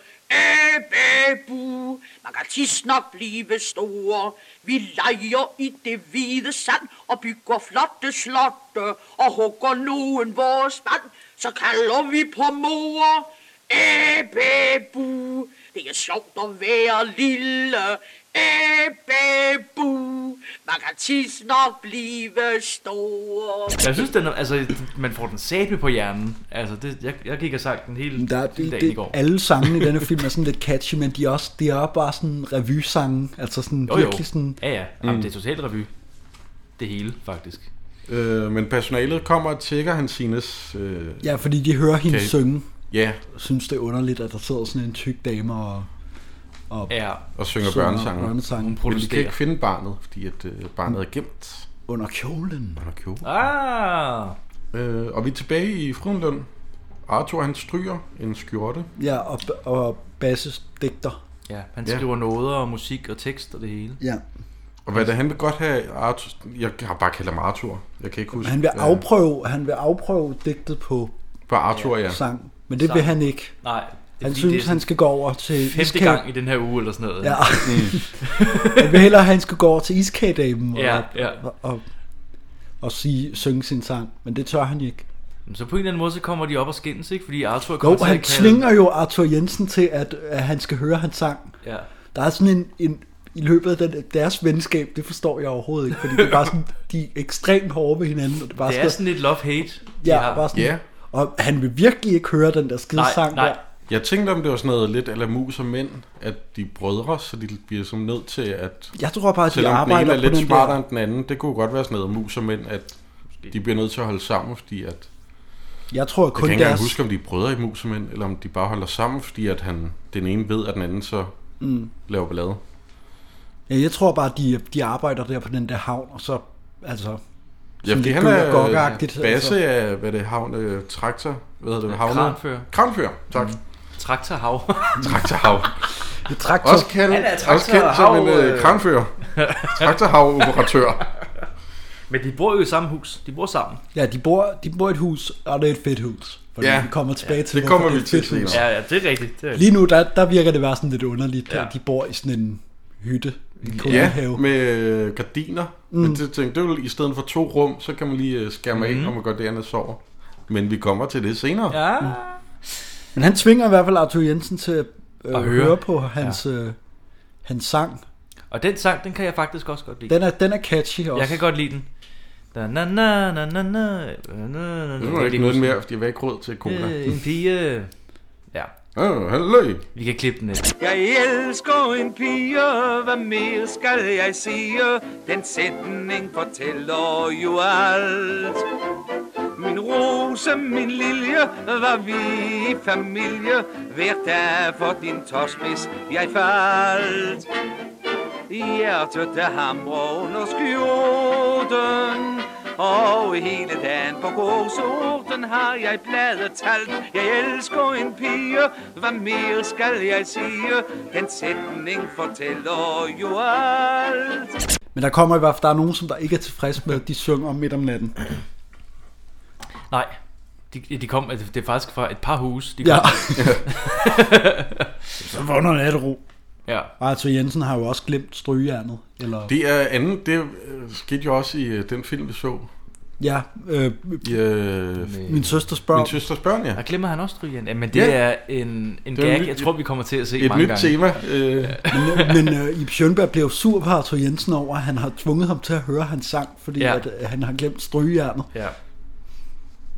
Speaker 5: Æbebu, man kan tidsnok blive stor. Vi leger i det hvide sand og bygger flotte slotte og hugger nogen vores mand, så kalder vi på mor. Æbebu, det er sjovt at være lille. Æbebu, man kan tidsnok blive stor.
Speaker 2: jeg synes, den er, altså, man får den sæbe på hjernen. Altså, det, jeg, jeg gik og sang den hele,
Speaker 4: Der,
Speaker 2: hele
Speaker 4: det,
Speaker 2: dagen i
Speaker 4: det,
Speaker 2: går.
Speaker 4: alle sangene i denne film er sådan lidt catchy, men de er, også, de er bare sådan revysange. Altså sådan
Speaker 2: Jo,
Speaker 4: virkelig
Speaker 2: jo.
Speaker 4: sådan... Mm.
Speaker 2: Ja, ja. Jamen, Det er totalt revy. Det hele, faktisk.
Speaker 3: Øh, men personalet kommer og tjekker Hansines... Øh,
Speaker 4: Ja, fordi de hører hende
Speaker 3: Okay.
Speaker 4: okay. synge,
Speaker 3: ja,
Speaker 4: og synes det er underligt, at der sidder sådan en tyk dame og
Speaker 2: Ja,
Speaker 3: og synger
Speaker 4: synger
Speaker 3: børnesange.
Speaker 2: hun
Speaker 4: børnesange
Speaker 3: Men de kan ikke
Speaker 2: protesterer.
Speaker 3: finde barnet, fordi at, øh, barnet er gemt
Speaker 4: under kjolen.
Speaker 3: under kjolen.
Speaker 2: Ah,
Speaker 3: Øh, og vi er tilbage i Fruenlund. Arthur han stryger en skjorte.
Speaker 4: Ja, og, og Basses digter.
Speaker 2: ja, han
Speaker 3: Ja.
Speaker 2: skriver noder og musik og tekst og det hele.
Speaker 4: Ja.
Speaker 3: Og hvad er det, han vil godt have Arthur... Jeg har bare kaldt ham Arthur. Jeg kan ikke huske.
Speaker 4: Han vil
Speaker 3: øh,
Speaker 4: afprøve, han vil afprøve digtet på
Speaker 3: På Arthur, ja.
Speaker 4: ja. sang, men det vil han ikke.
Speaker 2: Nej, det er,
Speaker 4: Han
Speaker 2: fordi,
Speaker 4: synes,
Speaker 2: det er
Speaker 4: han skal gå over til
Speaker 2: femte
Speaker 4: iskage-
Speaker 2: gang i den her uge eller sådan noget.
Speaker 4: Ja. han vil hellere, at han skal gå over til iskagedamen og,
Speaker 2: Ja, ja.
Speaker 4: og, og, og sige, synge sin sang, men det tør han ikke.
Speaker 2: Men Så på en eller anden måde, så kommer de op og skændes, ikke? Fordi Arthur
Speaker 4: Jo,
Speaker 2: kommer til
Speaker 4: han
Speaker 2: at kalde-
Speaker 4: tvinger jo Arthur Jensen til, at, at han skal høre hans sang.
Speaker 2: Ja.
Speaker 4: Der er sådan en, en i løbet af den, deres venskab, det forstår jeg overhovedet ikke, fordi det er bare sådan, de er ekstremt hårde ved hinanden, og det er bare
Speaker 2: Det er sådan lidt love-hate. de
Speaker 4: ja,
Speaker 2: har.
Speaker 4: bare sådan,
Speaker 3: Ja.
Speaker 4: og han vil virkelig ikke høre den der skide
Speaker 2: nej,
Speaker 4: sang
Speaker 2: nej.
Speaker 4: der.
Speaker 3: Jeg tænkte, om det var sådan noget lidt eller mus og mænd, at de er brødre, så de bliver som nødt til at...
Speaker 4: Jeg tror bare, at de
Speaker 3: Selvom den ene
Speaker 4: arbejder
Speaker 3: er
Speaker 4: på
Speaker 3: lidt
Speaker 4: den
Speaker 3: smartere
Speaker 4: der.
Speaker 3: end den anden, det kunne godt være sådan noget mus og mænd, at de bliver nødt til at holde sammen, fordi at...
Speaker 4: Jeg tror
Speaker 3: Jeg
Speaker 4: kun
Speaker 3: kan ikke engang
Speaker 4: deres...
Speaker 3: huske, om de er brødre i mus og mænd, eller om de bare holder sammen, fordi at han, den ene ved, at den anden så mm. laver ballade.
Speaker 4: Ja, jeg tror bare, de, de arbejder der på den der havn, og så... Altså,
Speaker 3: Ja, fordi
Speaker 4: lidt
Speaker 3: han
Speaker 4: Gunnar
Speaker 3: er
Speaker 4: Gok-agtigt,
Speaker 3: Basse
Speaker 4: altså.
Speaker 3: er, hvad er det, havn, øh, traktor, hvad hedder det, havne?
Speaker 2: Kranfører.
Speaker 3: Kranfører, tak. Mm.
Speaker 2: Traktorhav.
Speaker 3: Traktorhav.
Speaker 4: det traktor...
Speaker 3: Også kendt,
Speaker 2: Han er
Speaker 3: også kendt som en
Speaker 2: traktorhav,
Speaker 3: øh,
Speaker 2: øh.
Speaker 3: kranfører. Traktorhav-operatør.
Speaker 2: Men de bor jo i samme hus. De bor sammen.
Speaker 4: Ja, de bor, de bor i et hus, og det er et fedt hus. Fordi
Speaker 3: Ja,
Speaker 4: vi kommer tilbage til,
Speaker 3: det
Speaker 4: hvorfor
Speaker 3: kommer
Speaker 4: er
Speaker 3: vi
Speaker 4: et
Speaker 3: til
Speaker 4: fedt hus.
Speaker 3: senere.
Speaker 2: Ja, ja, det er rigtigt. Det er rigtigt.
Speaker 4: Lige nu, der, der virker det bare sådan lidt underligt, ja.
Speaker 2: Ja.
Speaker 4: at de bor i sådan en hytte. En
Speaker 3: Ja,
Speaker 4: kolonihave.
Speaker 3: med øh, gardiner. Mm. Men det tænkte, det er jo i stedet for to rum, så kan man lige øh, skærme af, når man går dernede og sover. Men vi kommer til det senere.
Speaker 2: Mm-hmm. Ja.
Speaker 4: Men han tvinger i hvert fald Arthur Jensen til at øh,
Speaker 2: At
Speaker 4: høre.
Speaker 2: høre.
Speaker 4: høre på hans, ja. øh, hans sang.
Speaker 2: Og den sang, den kan jeg faktisk også godt lide.
Speaker 4: Den er, den er catchy også.
Speaker 2: Jeg kan godt lide den. Da, na, na, na, na, na, na, na, na,
Speaker 3: Nu er der ikke noget mere, fordi jeg har ikke råd til cola.
Speaker 2: Øh, en pige. Ja,
Speaker 3: Åh, hallo.
Speaker 2: vi kan klippe den lidt.
Speaker 7: Jeg elsker en pige, hvad mere skal jeg sige? Den sætning fortæller jo alt. Min rose, min lilje, var vi i familie. Hver dag for din tosmis, jeg faldt. Hjertet, der hamrer under skjorten. Og hele dagen på gåsorten har jeg bladet talt. Jeg elsker en pige, hvad mere skal jeg sige? Den sætning fortæller jo alt.
Speaker 4: Men der kommer i hvert fald, der er nogen, som der ikke er tilfreds med, at de synger midt om natten.
Speaker 2: Nej, de, de kom, altså, det er faktisk fra et par hus. De
Speaker 4: Ja.
Speaker 2: kom,
Speaker 4: så vågner nattero.
Speaker 2: Ja.
Speaker 4: Og Arthur Jensen har jo også glemt strygejernet. Eller,
Speaker 3: Det er anden, det øh, skete jo også i øh, den film, vi så.
Speaker 4: ja, øh,
Speaker 3: I, øh,
Speaker 4: min søster spørger,
Speaker 3: min søsters børn, ja.
Speaker 2: Og glemmer han også strygen? Ja, men det
Speaker 3: Ja.
Speaker 2: er en, en
Speaker 3: Det er
Speaker 2: gag,
Speaker 3: en ny-
Speaker 2: jeg tror, vi kommer til at se
Speaker 3: Et
Speaker 2: mange
Speaker 3: nyt
Speaker 2: gange.
Speaker 3: tema. Øh,
Speaker 4: men, men øh, Ib Schønberg blev sur på Arthur Jensen over, at han har tvunget ham til at høre hans sang, fordi
Speaker 2: Ja.
Speaker 4: ja. at, øh, han har glemt strygejernet.
Speaker 2: Ja.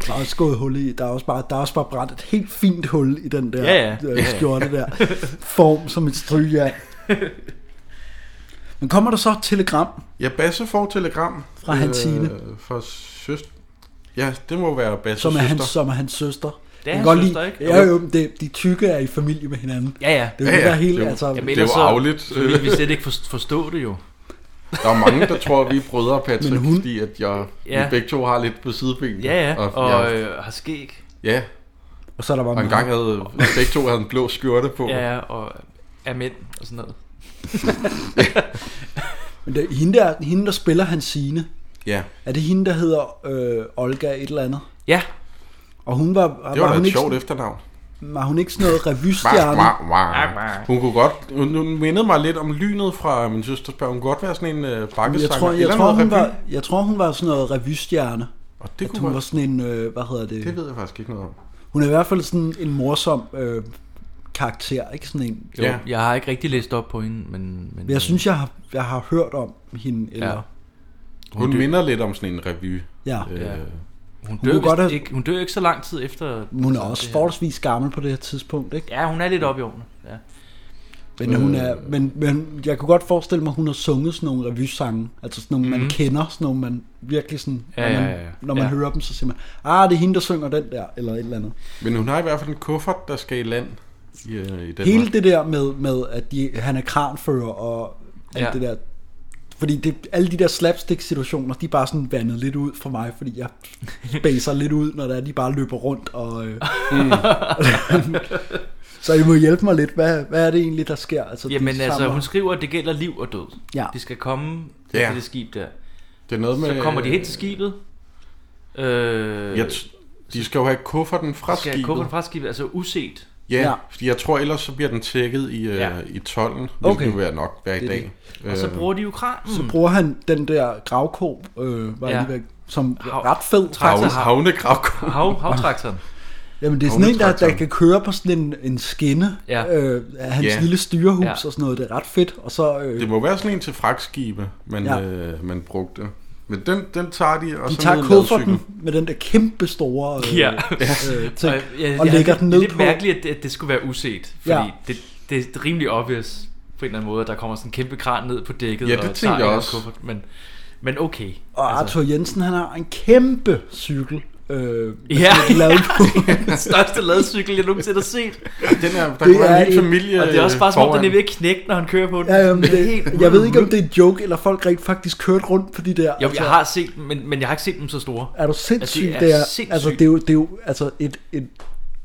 Speaker 4: Der er også gået hul i, der er også bare, der er også bare brændt et helt fint hul i den der
Speaker 2: Ja, ja.
Speaker 4: øh, skjorte der, form som et strygjern. Men kommer der så et telegram?
Speaker 3: ja, Basse får et telegram. øh,
Speaker 4: Fra hans Signe.
Speaker 3: Fra søster. Ja, det må være Basses
Speaker 4: Som er,
Speaker 3: søster.
Speaker 4: hans, som er hans søster.
Speaker 2: Det er
Speaker 4: Jeg
Speaker 2: hans
Speaker 4: kan godt
Speaker 2: søster,
Speaker 4: lide-
Speaker 2: ikke?
Speaker 4: Ja, jo, men det, de tykke er i familie med hinanden.
Speaker 2: Ja, ja.
Speaker 4: Det er jo
Speaker 3: Ja,
Speaker 4: det, der
Speaker 3: ja,
Speaker 4: er helt,
Speaker 3: det er jo-
Speaker 4: altså...
Speaker 2: Jamen,
Speaker 3: Det er
Speaker 2: ellers
Speaker 3: jo
Speaker 2: så-
Speaker 3: arveligt.
Speaker 2: Så vil vi slet ikke forst- forstå det jo.
Speaker 3: Der er mange, der tror, at vi er brødre, Patrick,
Speaker 4: Men hun-
Speaker 3: fordi at jeg, ja.
Speaker 2: Ja.
Speaker 3: vi begge to har lidt på sidebenene.
Speaker 2: Ja, ja.
Speaker 3: Og,
Speaker 2: Og
Speaker 3: jeg,
Speaker 2: øh, har skæg.
Speaker 3: ja,
Speaker 4: Og så er der bare
Speaker 3: og en gang havde begge to havde en blå skjorte på.
Speaker 2: Ja, ja, og er mænd og sådan noget.
Speaker 4: Men det, hende, der, hende, der spiller hans sine,
Speaker 3: ja.
Speaker 4: er det hende, der hedder øh, Olga et eller andet?
Speaker 2: Ja,
Speaker 4: Og hun var,
Speaker 3: Det
Speaker 4: var,
Speaker 3: var da
Speaker 4: hun
Speaker 3: et
Speaker 4: ikke,
Speaker 3: sjovt efternavn.
Speaker 4: var hun ikke sådan noget
Speaker 3: Mwah,
Speaker 4: revystjerne?
Speaker 3: mwah, mwah. Hun kunne godt, hun, hun mindede mig lidt om lynet fra øh, min søsters børn. Hun kunne godt være sådan en øh, bakkesanger.
Speaker 4: Jeg tror, jeg,
Speaker 3: eller
Speaker 4: tror,
Speaker 3: noget
Speaker 4: hun
Speaker 3: revy.
Speaker 4: var, jeg tror, hun var sådan noget revystjerne.
Speaker 3: Og det
Speaker 4: At
Speaker 3: kunne
Speaker 4: hun var
Speaker 3: godt,
Speaker 4: sådan en, øh, hvad hedder det?
Speaker 3: det ved jeg faktisk ikke noget om.
Speaker 4: Hun er i hvert fald sådan en morsom øh, karakter, ikke sådan en.
Speaker 2: jo,
Speaker 3: Ja.
Speaker 2: ja. jeg har ikke rigtig læst op på hende, men... men
Speaker 4: Men jeg synes, jeg har, jeg har hørt om hende, eller... Ja.
Speaker 2: Ja.
Speaker 3: Hun, hun minder lidt om sådan en revy.
Speaker 4: Ja.
Speaker 3: Øh,
Speaker 2: Ja. hun
Speaker 4: kunne
Speaker 2: dør, hun,
Speaker 4: godt have-
Speaker 2: ikke, hun dør ikke så lang tid efter...
Speaker 4: Hun er
Speaker 2: altså,
Speaker 4: også
Speaker 2: det her.
Speaker 4: forholdsvis gammel på det her tidspunkt, ikke?
Speaker 2: Ja, hun er lidt oppe i årene. Ja.
Speaker 4: Men, hun
Speaker 2: Øh.
Speaker 4: er, men, men jeg kunne godt forestille mig, at hun har sunget sådan nogle revysange. Altså sådan nogle, mm. man kender, sådan nogle, man virkelig sådan...
Speaker 2: Mhm. Ja,
Speaker 4: når man,
Speaker 2: ja, ja, ja.
Speaker 4: Når man
Speaker 2: Ja.
Speaker 4: hører dem, så siger man, ah, det er hende, der synger den der, eller et eller andet.
Speaker 3: Men hun har i hvert fald en kuffert, der skal i land i, øh, i Danmark.
Speaker 4: Hele det der med, med at de, han er kranfører og alt ja.
Speaker 2: Ja.
Speaker 4: det der... Fordi det, alle de der slapstick-situationer, de er bare sådan vandet lidt ud for mig, fordi jeg baser lidt ud, når der de bare løber rundt og... Øh,
Speaker 2: Mm.
Speaker 4: så I må hjælpe mig lidt. Hvad, hvad er det egentlig, der sker? Altså, de
Speaker 2: Jamen altså,
Speaker 4: samler-
Speaker 2: hun skriver, at det gælder liv og død.
Speaker 4: Ja. Øh.
Speaker 2: De skal komme
Speaker 3: Ja.
Speaker 2: ja. til det skib der.
Speaker 3: Det er noget med,
Speaker 2: Så kommer de hen til skibet. Øh,
Speaker 3: Jeg t- de skal jo have kufferten fra
Speaker 2: skal
Speaker 3: skibet.
Speaker 2: skibet. fra skibet, altså uset.
Speaker 3: Ja,
Speaker 4: Ja.
Speaker 3: ja, fordi jeg tror ellers, så bliver den tækket i, øh,
Speaker 2: Ja.
Speaker 3: ja. i tollen, hvilket
Speaker 4: Okay.
Speaker 3: okay. vil være nok hver i
Speaker 4: Det er
Speaker 3: dag. Øh,
Speaker 2: Og så bruger de jo kranen.
Speaker 4: Så bruger han den der gravko, øh, var
Speaker 2: Ja.
Speaker 4: ja. væk, som er
Speaker 2: Hav-
Speaker 4: ret fed.
Speaker 2: Trak-
Speaker 3: Havne,
Speaker 2: Altså, har-
Speaker 3: havnegravko.
Speaker 2: Hav, havtraktoren.
Speaker 4: Jamen, det er sådan en, der, der
Speaker 3: Havnetraktoren.
Speaker 4: kan køre på sådan en, en skinne
Speaker 2: Ja.
Speaker 4: øh, af hans
Speaker 3: Ja.
Speaker 4: lille styrehus
Speaker 2: Ja.
Speaker 4: og sådan noget. Det er ret fedt. Og så, øh,
Speaker 3: Det må være sådan en til fragtskibe, man,
Speaker 4: Ja.
Speaker 3: ja. øh, man brugte. Men den, den tager de, og
Speaker 4: de
Speaker 3: så
Speaker 4: tager
Speaker 3: ned i en
Speaker 4: kufferten
Speaker 3: ladcykel.
Speaker 4: med den der kæmpe store øh,
Speaker 2: Ja.
Speaker 4: øh, ting,
Speaker 2: Og, ja,
Speaker 4: og
Speaker 2: ja,
Speaker 4: lægger
Speaker 2: det-
Speaker 4: den
Speaker 2: Det
Speaker 4: ned
Speaker 2: er lidt
Speaker 4: på.
Speaker 2: mærkeligt, at det, at det skulle være uset. Fordi
Speaker 4: Ja.
Speaker 2: ja. det, det er rimelig obvious på en eller anden måde, at der kommer sådan en kæmpe kran ned på dækket.
Speaker 3: Ja, det
Speaker 2: og
Speaker 3: tænkte
Speaker 2: tager
Speaker 3: jeg
Speaker 2: en
Speaker 3: også.
Speaker 2: kuffert, Men, men okay.
Speaker 4: Og
Speaker 2: Altså.
Speaker 4: Arthur Jensen, han har en kæmpe cykel. Øh,
Speaker 2: Ja.
Speaker 4: som er lavet på.
Speaker 2: Den største ladcykel, jeg nogensinde har set.
Speaker 3: Den er, der det kunne
Speaker 4: er
Speaker 3: være en lille
Speaker 4: en-
Speaker 3: familie
Speaker 2: Og det er også bare som om,
Speaker 3: foran.
Speaker 2: den er ved at knække, når han kører på den.
Speaker 4: ja, jamen,
Speaker 2: Det er
Speaker 4: det,
Speaker 2: helt-
Speaker 4: jeg ved ikke, om det er en joke, eller folk rent faktisk kørte rundt på de der.
Speaker 2: Jo,
Speaker 4: altså.
Speaker 2: jeg har set dem, men, men jeg har ikke set dem så store.
Speaker 4: Er du sindssyg?
Speaker 2: Altså, det er
Speaker 4: det er,
Speaker 2: sindssygt.
Speaker 4: altså, det er jo, det er jo altså et, et,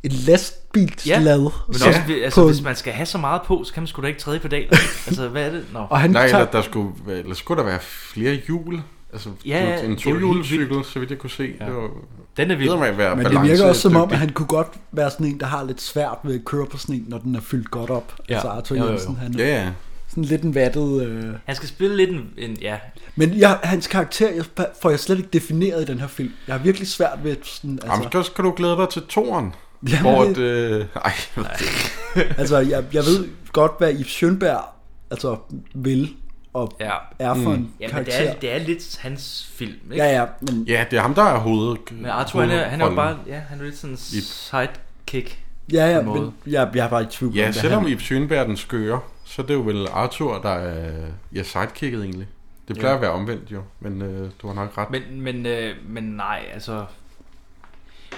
Speaker 4: et lastbilslad.
Speaker 2: Ja,
Speaker 4: Ja,
Speaker 2: Men også, ved- altså, hvis man skal have så meget på, så kan man sgu da ikke træde på dagen. altså, hvad er det? Nå.
Speaker 4: Og han
Speaker 3: Nej,
Speaker 4: tager,
Speaker 3: eller der skulle, være- eller skulle der være flere hjul. Altså
Speaker 2: Ja,
Speaker 3: ja, en
Speaker 2: det er jo helt
Speaker 3: tohjulcykel, så vidt jeg kunne se. Ja. Det var
Speaker 2: Den er vild.
Speaker 3: bedre med at være
Speaker 4: men det virker også som om, at han kunne godt være sådan en, der har lidt svært ved at køre på sådan en, når den er fyldt godt op. Ja.
Speaker 2: Ja.
Speaker 4: Altså Arthur
Speaker 2: Jo, jo, jo.
Speaker 4: Jensen, han er
Speaker 3: Ja, ja.
Speaker 4: sådan lidt en vattet... Øh...
Speaker 2: Han skal spille lidt en, en ja.
Speaker 4: Men jeg, hans karakter jeg, får jeg slet ikke defineret i den her film. Jeg har virkelig svært ved sådan...
Speaker 3: Jamen,
Speaker 4: Altså,
Speaker 3: så skal du glæde dig til toren.
Speaker 4: Jamen,
Speaker 3: hvor
Speaker 4: det-
Speaker 3: at, øh, ej,
Speaker 4: altså jeg, jeg ved godt, hvad Yves Schønberg altså, vil og
Speaker 2: Ja.
Speaker 4: er for en
Speaker 2: Ja, men det
Speaker 4: karakter.
Speaker 2: er, det er lidt hans film, ikke?
Speaker 4: Ja, ja, men
Speaker 3: ja, det er ham, der er hovedet.
Speaker 2: Men Arthur, han er, han er jo bare, ja, han er lidt sådan en sidekick.
Speaker 4: Ja, ja,
Speaker 2: en måde.
Speaker 4: men jeg, jeg er bare i tvivl
Speaker 3: Ja,
Speaker 4: om, hvad
Speaker 3: selvom
Speaker 4: han...
Speaker 3: Ibs Sjønberg er den skøre, så er det jo vel Arthur, der er ja, sidekicket egentlig. Det plejer ja. at være omvendt jo, men øh, du har nok ret. Men,
Speaker 2: Men, men, øh, men nej, altså...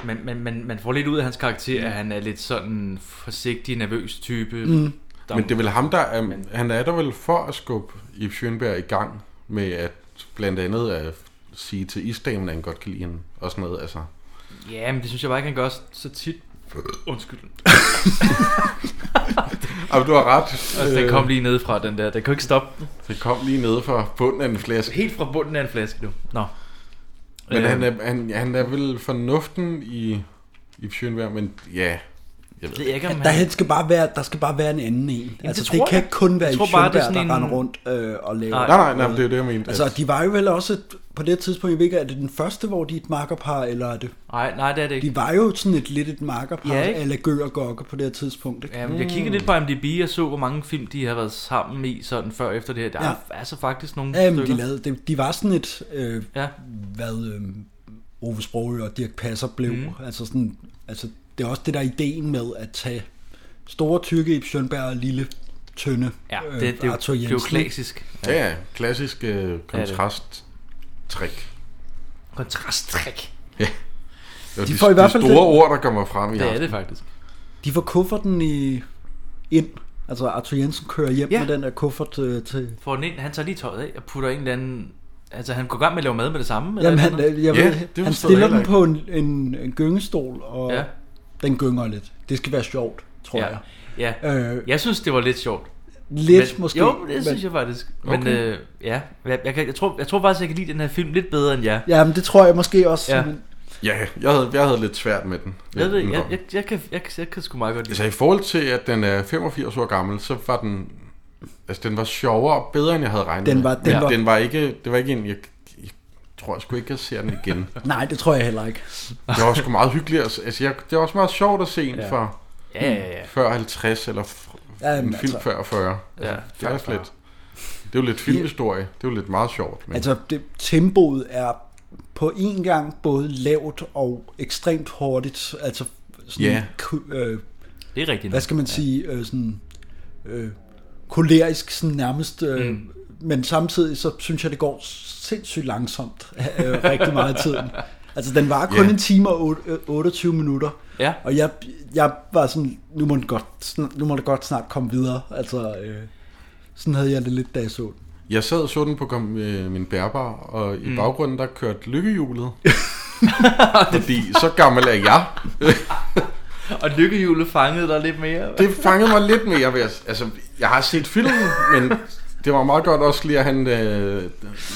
Speaker 2: Man, man, man, man får lidt ud af hans karakter, at han er lidt sådan forsigtig, nervøs type. Mm. Der,
Speaker 3: men det er vel ham, der er, han er der vel for at skubbe Ibs Sjønberg i gang med at blandt andet at sige til isdamen, at han godt kan lide hende og sådan noget. Altså,
Speaker 2: Ja, men det synes jeg bare ikke, han gør så- så tit. Undskyld.
Speaker 3: Jamen, du har ret. Øh,
Speaker 2: Altså, den
Speaker 4: Øh.
Speaker 2: kom lige ned fra den der. Den kunne ikke stoppe den.
Speaker 3: Det kom lige nede fra bunden af en flaske.
Speaker 2: Helt fra bunden af en flaske nu. Nå.
Speaker 3: Men
Speaker 2: Øh,
Speaker 3: han er, han, han er vel fornuften i, i Sjønberg, men ja, Jeg ved
Speaker 2: ved jeg ikke, om han...
Speaker 4: Der skal, bare være, der skal bare være en anden en. Jamen, altså,
Speaker 2: det
Speaker 4: det,
Speaker 2: tror
Speaker 4: det kan
Speaker 2: jeg.
Speaker 4: ikke kun være
Speaker 2: Jeg
Speaker 4: i
Speaker 2: tror bare, det er
Speaker 4: Sjøberg, der
Speaker 2: sådan
Speaker 4: en...
Speaker 2: en-
Speaker 4: render rundt øh, og laver...
Speaker 2: Nej.
Speaker 3: Nej, nej, nej, men det er jo det, jeg mente.
Speaker 4: Altså,
Speaker 3: at-
Speaker 4: de var jo vel også på det tidspunkt, jeg ved ikke, er det den første, hvor de er et makkerpar, eller er det...
Speaker 2: Nej, nej, det er det ikke.
Speaker 4: De var jo sådan et lidt et makkerpar,
Speaker 2: Ja,
Speaker 4: ja,
Speaker 2: ikke?
Speaker 4: eller Gø og Gokke på det her tidspunkt. Ikke?
Speaker 2: Ja, men jeg kiggede lidt på IMDb og så, hvor mange film de har været sammen i sådan før og efter det her. Der ja. er altså faktisk nogle
Speaker 4: Ja, men
Speaker 2: stykker.
Speaker 4: de, lavede, de, de var sådan et, øh,
Speaker 2: Ja.
Speaker 4: hvad øh, Ove Sprogø og Dirk Passer blev. Mm. Altså sådan, altså, det er også det der ideen med at tage store tykke i Sjønberg og lille tynde øh,
Speaker 2: ja, det, det, er jo-
Speaker 4: Arthur
Speaker 2: det er jo
Speaker 4: Jensen, ikke?
Speaker 2: klassisk.
Speaker 3: Ja, ja, klassisk øh, kontrast-trick.
Speaker 2: Kontrasttræk.
Speaker 3: Det er
Speaker 4: De får i hvert fald
Speaker 3: de store
Speaker 4: det-
Speaker 3: ord, der kommer frem i
Speaker 2: Det er
Speaker 3: aften.
Speaker 2: det faktisk.
Speaker 4: De får kufferten i, ind. Altså Arthur Jensen kører hjem
Speaker 2: Ja.
Speaker 4: ja. med den der kuffert øh, til...
Speaker 2: For den ene, han tager lige tøjet af og putter en eller anden... Altså, han går i gang med at lave mad med det samme. Eller
Speaker 4: Jamen,
Speaker 2: et
Speaker 4: han,
Speaker 2: eller andet.
Speaker 4: øh, jeg
Speaker 3: Ja,
Speaker 4: ja,
Speaker 3: det
Speaker 4: ved, han
Speaker 3: forstår
Speaker 4: stiller
Speaker 3: jeg
Speaker 4: den
Speaker 3: heller
Speaker 4: på en, en, en gyngestol, og
Speaker 2: Ja.
Speaker 4: ja. den gynger lidt. Det skal være sjovt, tror
Speaker 2: Ja.
Speaker 4: jeg.
Speaker 2: ja.
Speaker 4: Øh,
Speaker 2: Jeg synes, det var lidt sjovt.
Speaker 4: Lidt men, måske.
Speaker 2: Jo, det synes
Speaker 4: men,
Speaker 2: jeg faktisk. Men
Speaker 3: Okay.
Speaker 2: øh, ja, jeg, jeg, kan, jeg, tror, jeg tror faktisk, jeg kan lide den her film lidt bedre end jer.
Speaker 4: Ja, men det tror jeg måske også.
Speaker 2: Ja.
Speaker 4: Ja. Men,
Speaker 3: Ja, jeg havde, jeg havde lidt svært med den.
Speaker 2: Jeg, ved,
Speaker 3: Den
Speaker 2: jeg,
Speaker 3: kom.
Speaker 2: jeg, jeg, kan, jeg, jeg, jeg kan sgu meget godt lide
Speaker 3: Altså i forhold til, at den er 85 år gammel, så var den... Altså den var sjovere og bedre, end jeg havde regnet
Speaker 4: Den
Speaker 3: med.
Speaker 4: var- den
Speaker 3: Men
Speaker 4: var-
Speaker 3: den var ikke... Det var ikke en... Jeg, jeg tror jeg sgu ikke, jeg ser den igen.
Speaker 4: nej, det tror jeg heller ikke.
Speaker 3: Det var sgu meget hyggeligt. at- Altså jeg, det var også meget sjovt at se en ja. for
Speaker 2: Ja, ja, ja.
Speaker 3: før 50, eller f-
Speaker 4: Ja,
Speaker 3: en
Speaker 4: men
Speaker 3: film
Speaker 4: altså-
Speaker 3: før 40.
Speaker 2: ja.
Speaker 3: Det er også lidt... Det er jo lidt filmhistorie. Det er jo lidt meget sjovt. Men...
Speaker 4: Altså, det, tempoet er på en gang både lavt og ekstremt hurtigt. Altså, sådan,
Speaker 3: Ja.
Speaker 4: ku- øh,
Speaker 2: Det er rigtigt.
Speaker 4: hvad skal man sige, øh, sådan, øh, kolerisk sådan nærmest, øh, mm. men samtidig så synes jeg, det går sindssygt langsomt øh, rigtig meget af tiden. Altså, den var kun
Speaker 3: Ja.
Speaker 4: en time og otte- øh, 28 minutter.
Speaker 2: Ja.
Speaker 4: Og jeg, jeg var sådan, nu må, den godt, sn- nu må det godt snart komme videre. Altså, øh, sådan havde jeg det lidt, da jeg så den.
Speaker 3: Jeg sad og så den på kom, øh, min bærbar, og i mm. baggrunden der kørte lykkehjulet. Fordi så gammel er jeg.
Speaker 2: Og lykkehjulet fangede dig lidt mere.
Speaker 3: Det fangede mig lidt mere. Ved at, altså, jeg har set filmen, men det var meget godt også lige at han... Øh,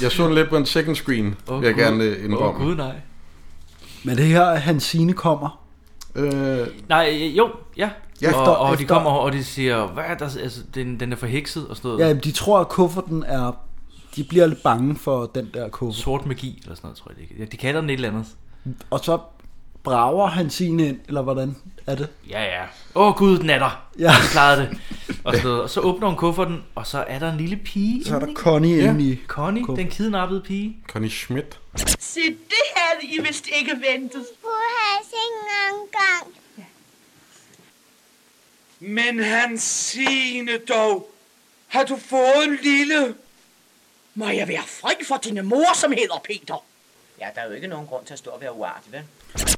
Speaker 3: jeg så den lidt på en second screen, oh, vil jeg gerne øh,
Speaker 2: Åh,
Speaker 3: indrømme.
Speaker 2: gud nej.
Speaker 4: Men det her, hans sine kommer.
Speaker 3: øh,
Speaker 2: Nej, øh, jo, ja.
Speaker 3: Ja,
Speaker 2: og,
Speaker 4: efter-
Speaker 2: og de
Speaker 4: efter-
Speaker 2: kommer over, og de siger, hvad er der, altså, den, den er forhekset og sådan noget.
Speaker 4: Ja, jamen, de tror, at kufferten er... De bliver lidt bange for den der kuffert.
Speaker 2: Sort magi eller sådan noget, tror jeg det ikke. Ja, de kalder den et eller andet.
Speaker 4: Og så brager han sine ind, eller hvordan er det?
Speaker 2: Ja, ja. Åh oh, gud, den er der.
Speaker 4: Ja.
Speaker 2: Vi klarede det. Og, sådan noget. og så åbner hun kufferten, og så er der en lille pige.
Speaker 4: Så er der
Speaker 2: inde i-
Speaker 4: Connie ja. inde i...
Speaker 2: Connie, den kidnappede pige.
Speaker 3: Connie Schmidt.
Speaker 5: Se, det havde I vist ikke ventet.
Speaker 8: Hun havde sengen engang.
Speaker 7: Men han sine dog. Har du fået en lille?
Speaker 5: Må jeg være fri for dine mor, som hedder Peter?
Speaker 9: Ja, der er jo ikke nogen grund til at stå og være uartig, vel?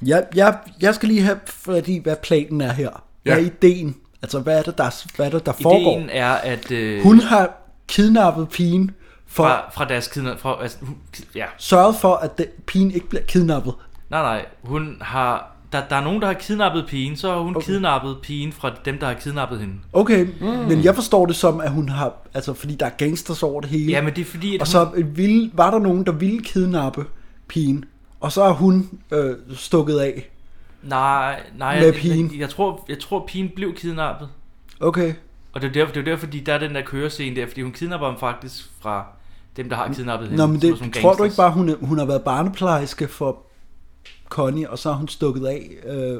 Speaker 4: Jeg, jeg, jeg skal lige have, fordi, hvad planen er her. Hvad
Speaker 3: Ja.
Speaker 4: er ideen? Altså, hvad er det, der, hvad er det, der foregår?
Speaker 2: Ideen er, at... Øh,
Speaker 4: Hun har kidnappet pigen for...
Speaker 2: Fra, fra deres kidnap... Fra, altså, hun, ja,
Speaker 4: sørget for, at den, pigen ikke bliver kidnappet.
Speaker 2: Nej, nej. Hun har... Der, der er nogen, der har kidnappet pigen, så har hun okay. kidnappet pigen fra dem, der har kidnappet hende.
Speaker 4: Okay, mm. men jeg forstår det som, at hun har... Altså, fordi der er gangsters over det hele.
Speaker 2: Ja, men det er fordi, at
Speaker 4: Og
Speaker 2: hun,
Speaker 4: så ville, var der nogen, der ville kidnappe pigen, og så er hun øh, stukket af.
Speaker 2: Nej, nej.
Speaker 4: Med
Speaker 2: jeg,
Speaker 4: pigen.
Speaker 2: Jeg, jeg, tror, jeg tror, pigen blev kidnappet.
Speaker 4: Okay.
Speaker 2: Og det er derfor, det er derfor fordi der er den der kørescene der, fordi hun kidnapper ham faktisk fra dem, der har kidnappet hende.
Speaker 4: Nå, men
Speaker 2: som er sådan
Speaker 4: det,
Speaker 2: nogle
Speaker 4: tror du
Speaker 2: gangsters.
Speaker 4: ikke bare, hun, er- hun har været barneplejerske for Connie, og så er hun stukket af, øh,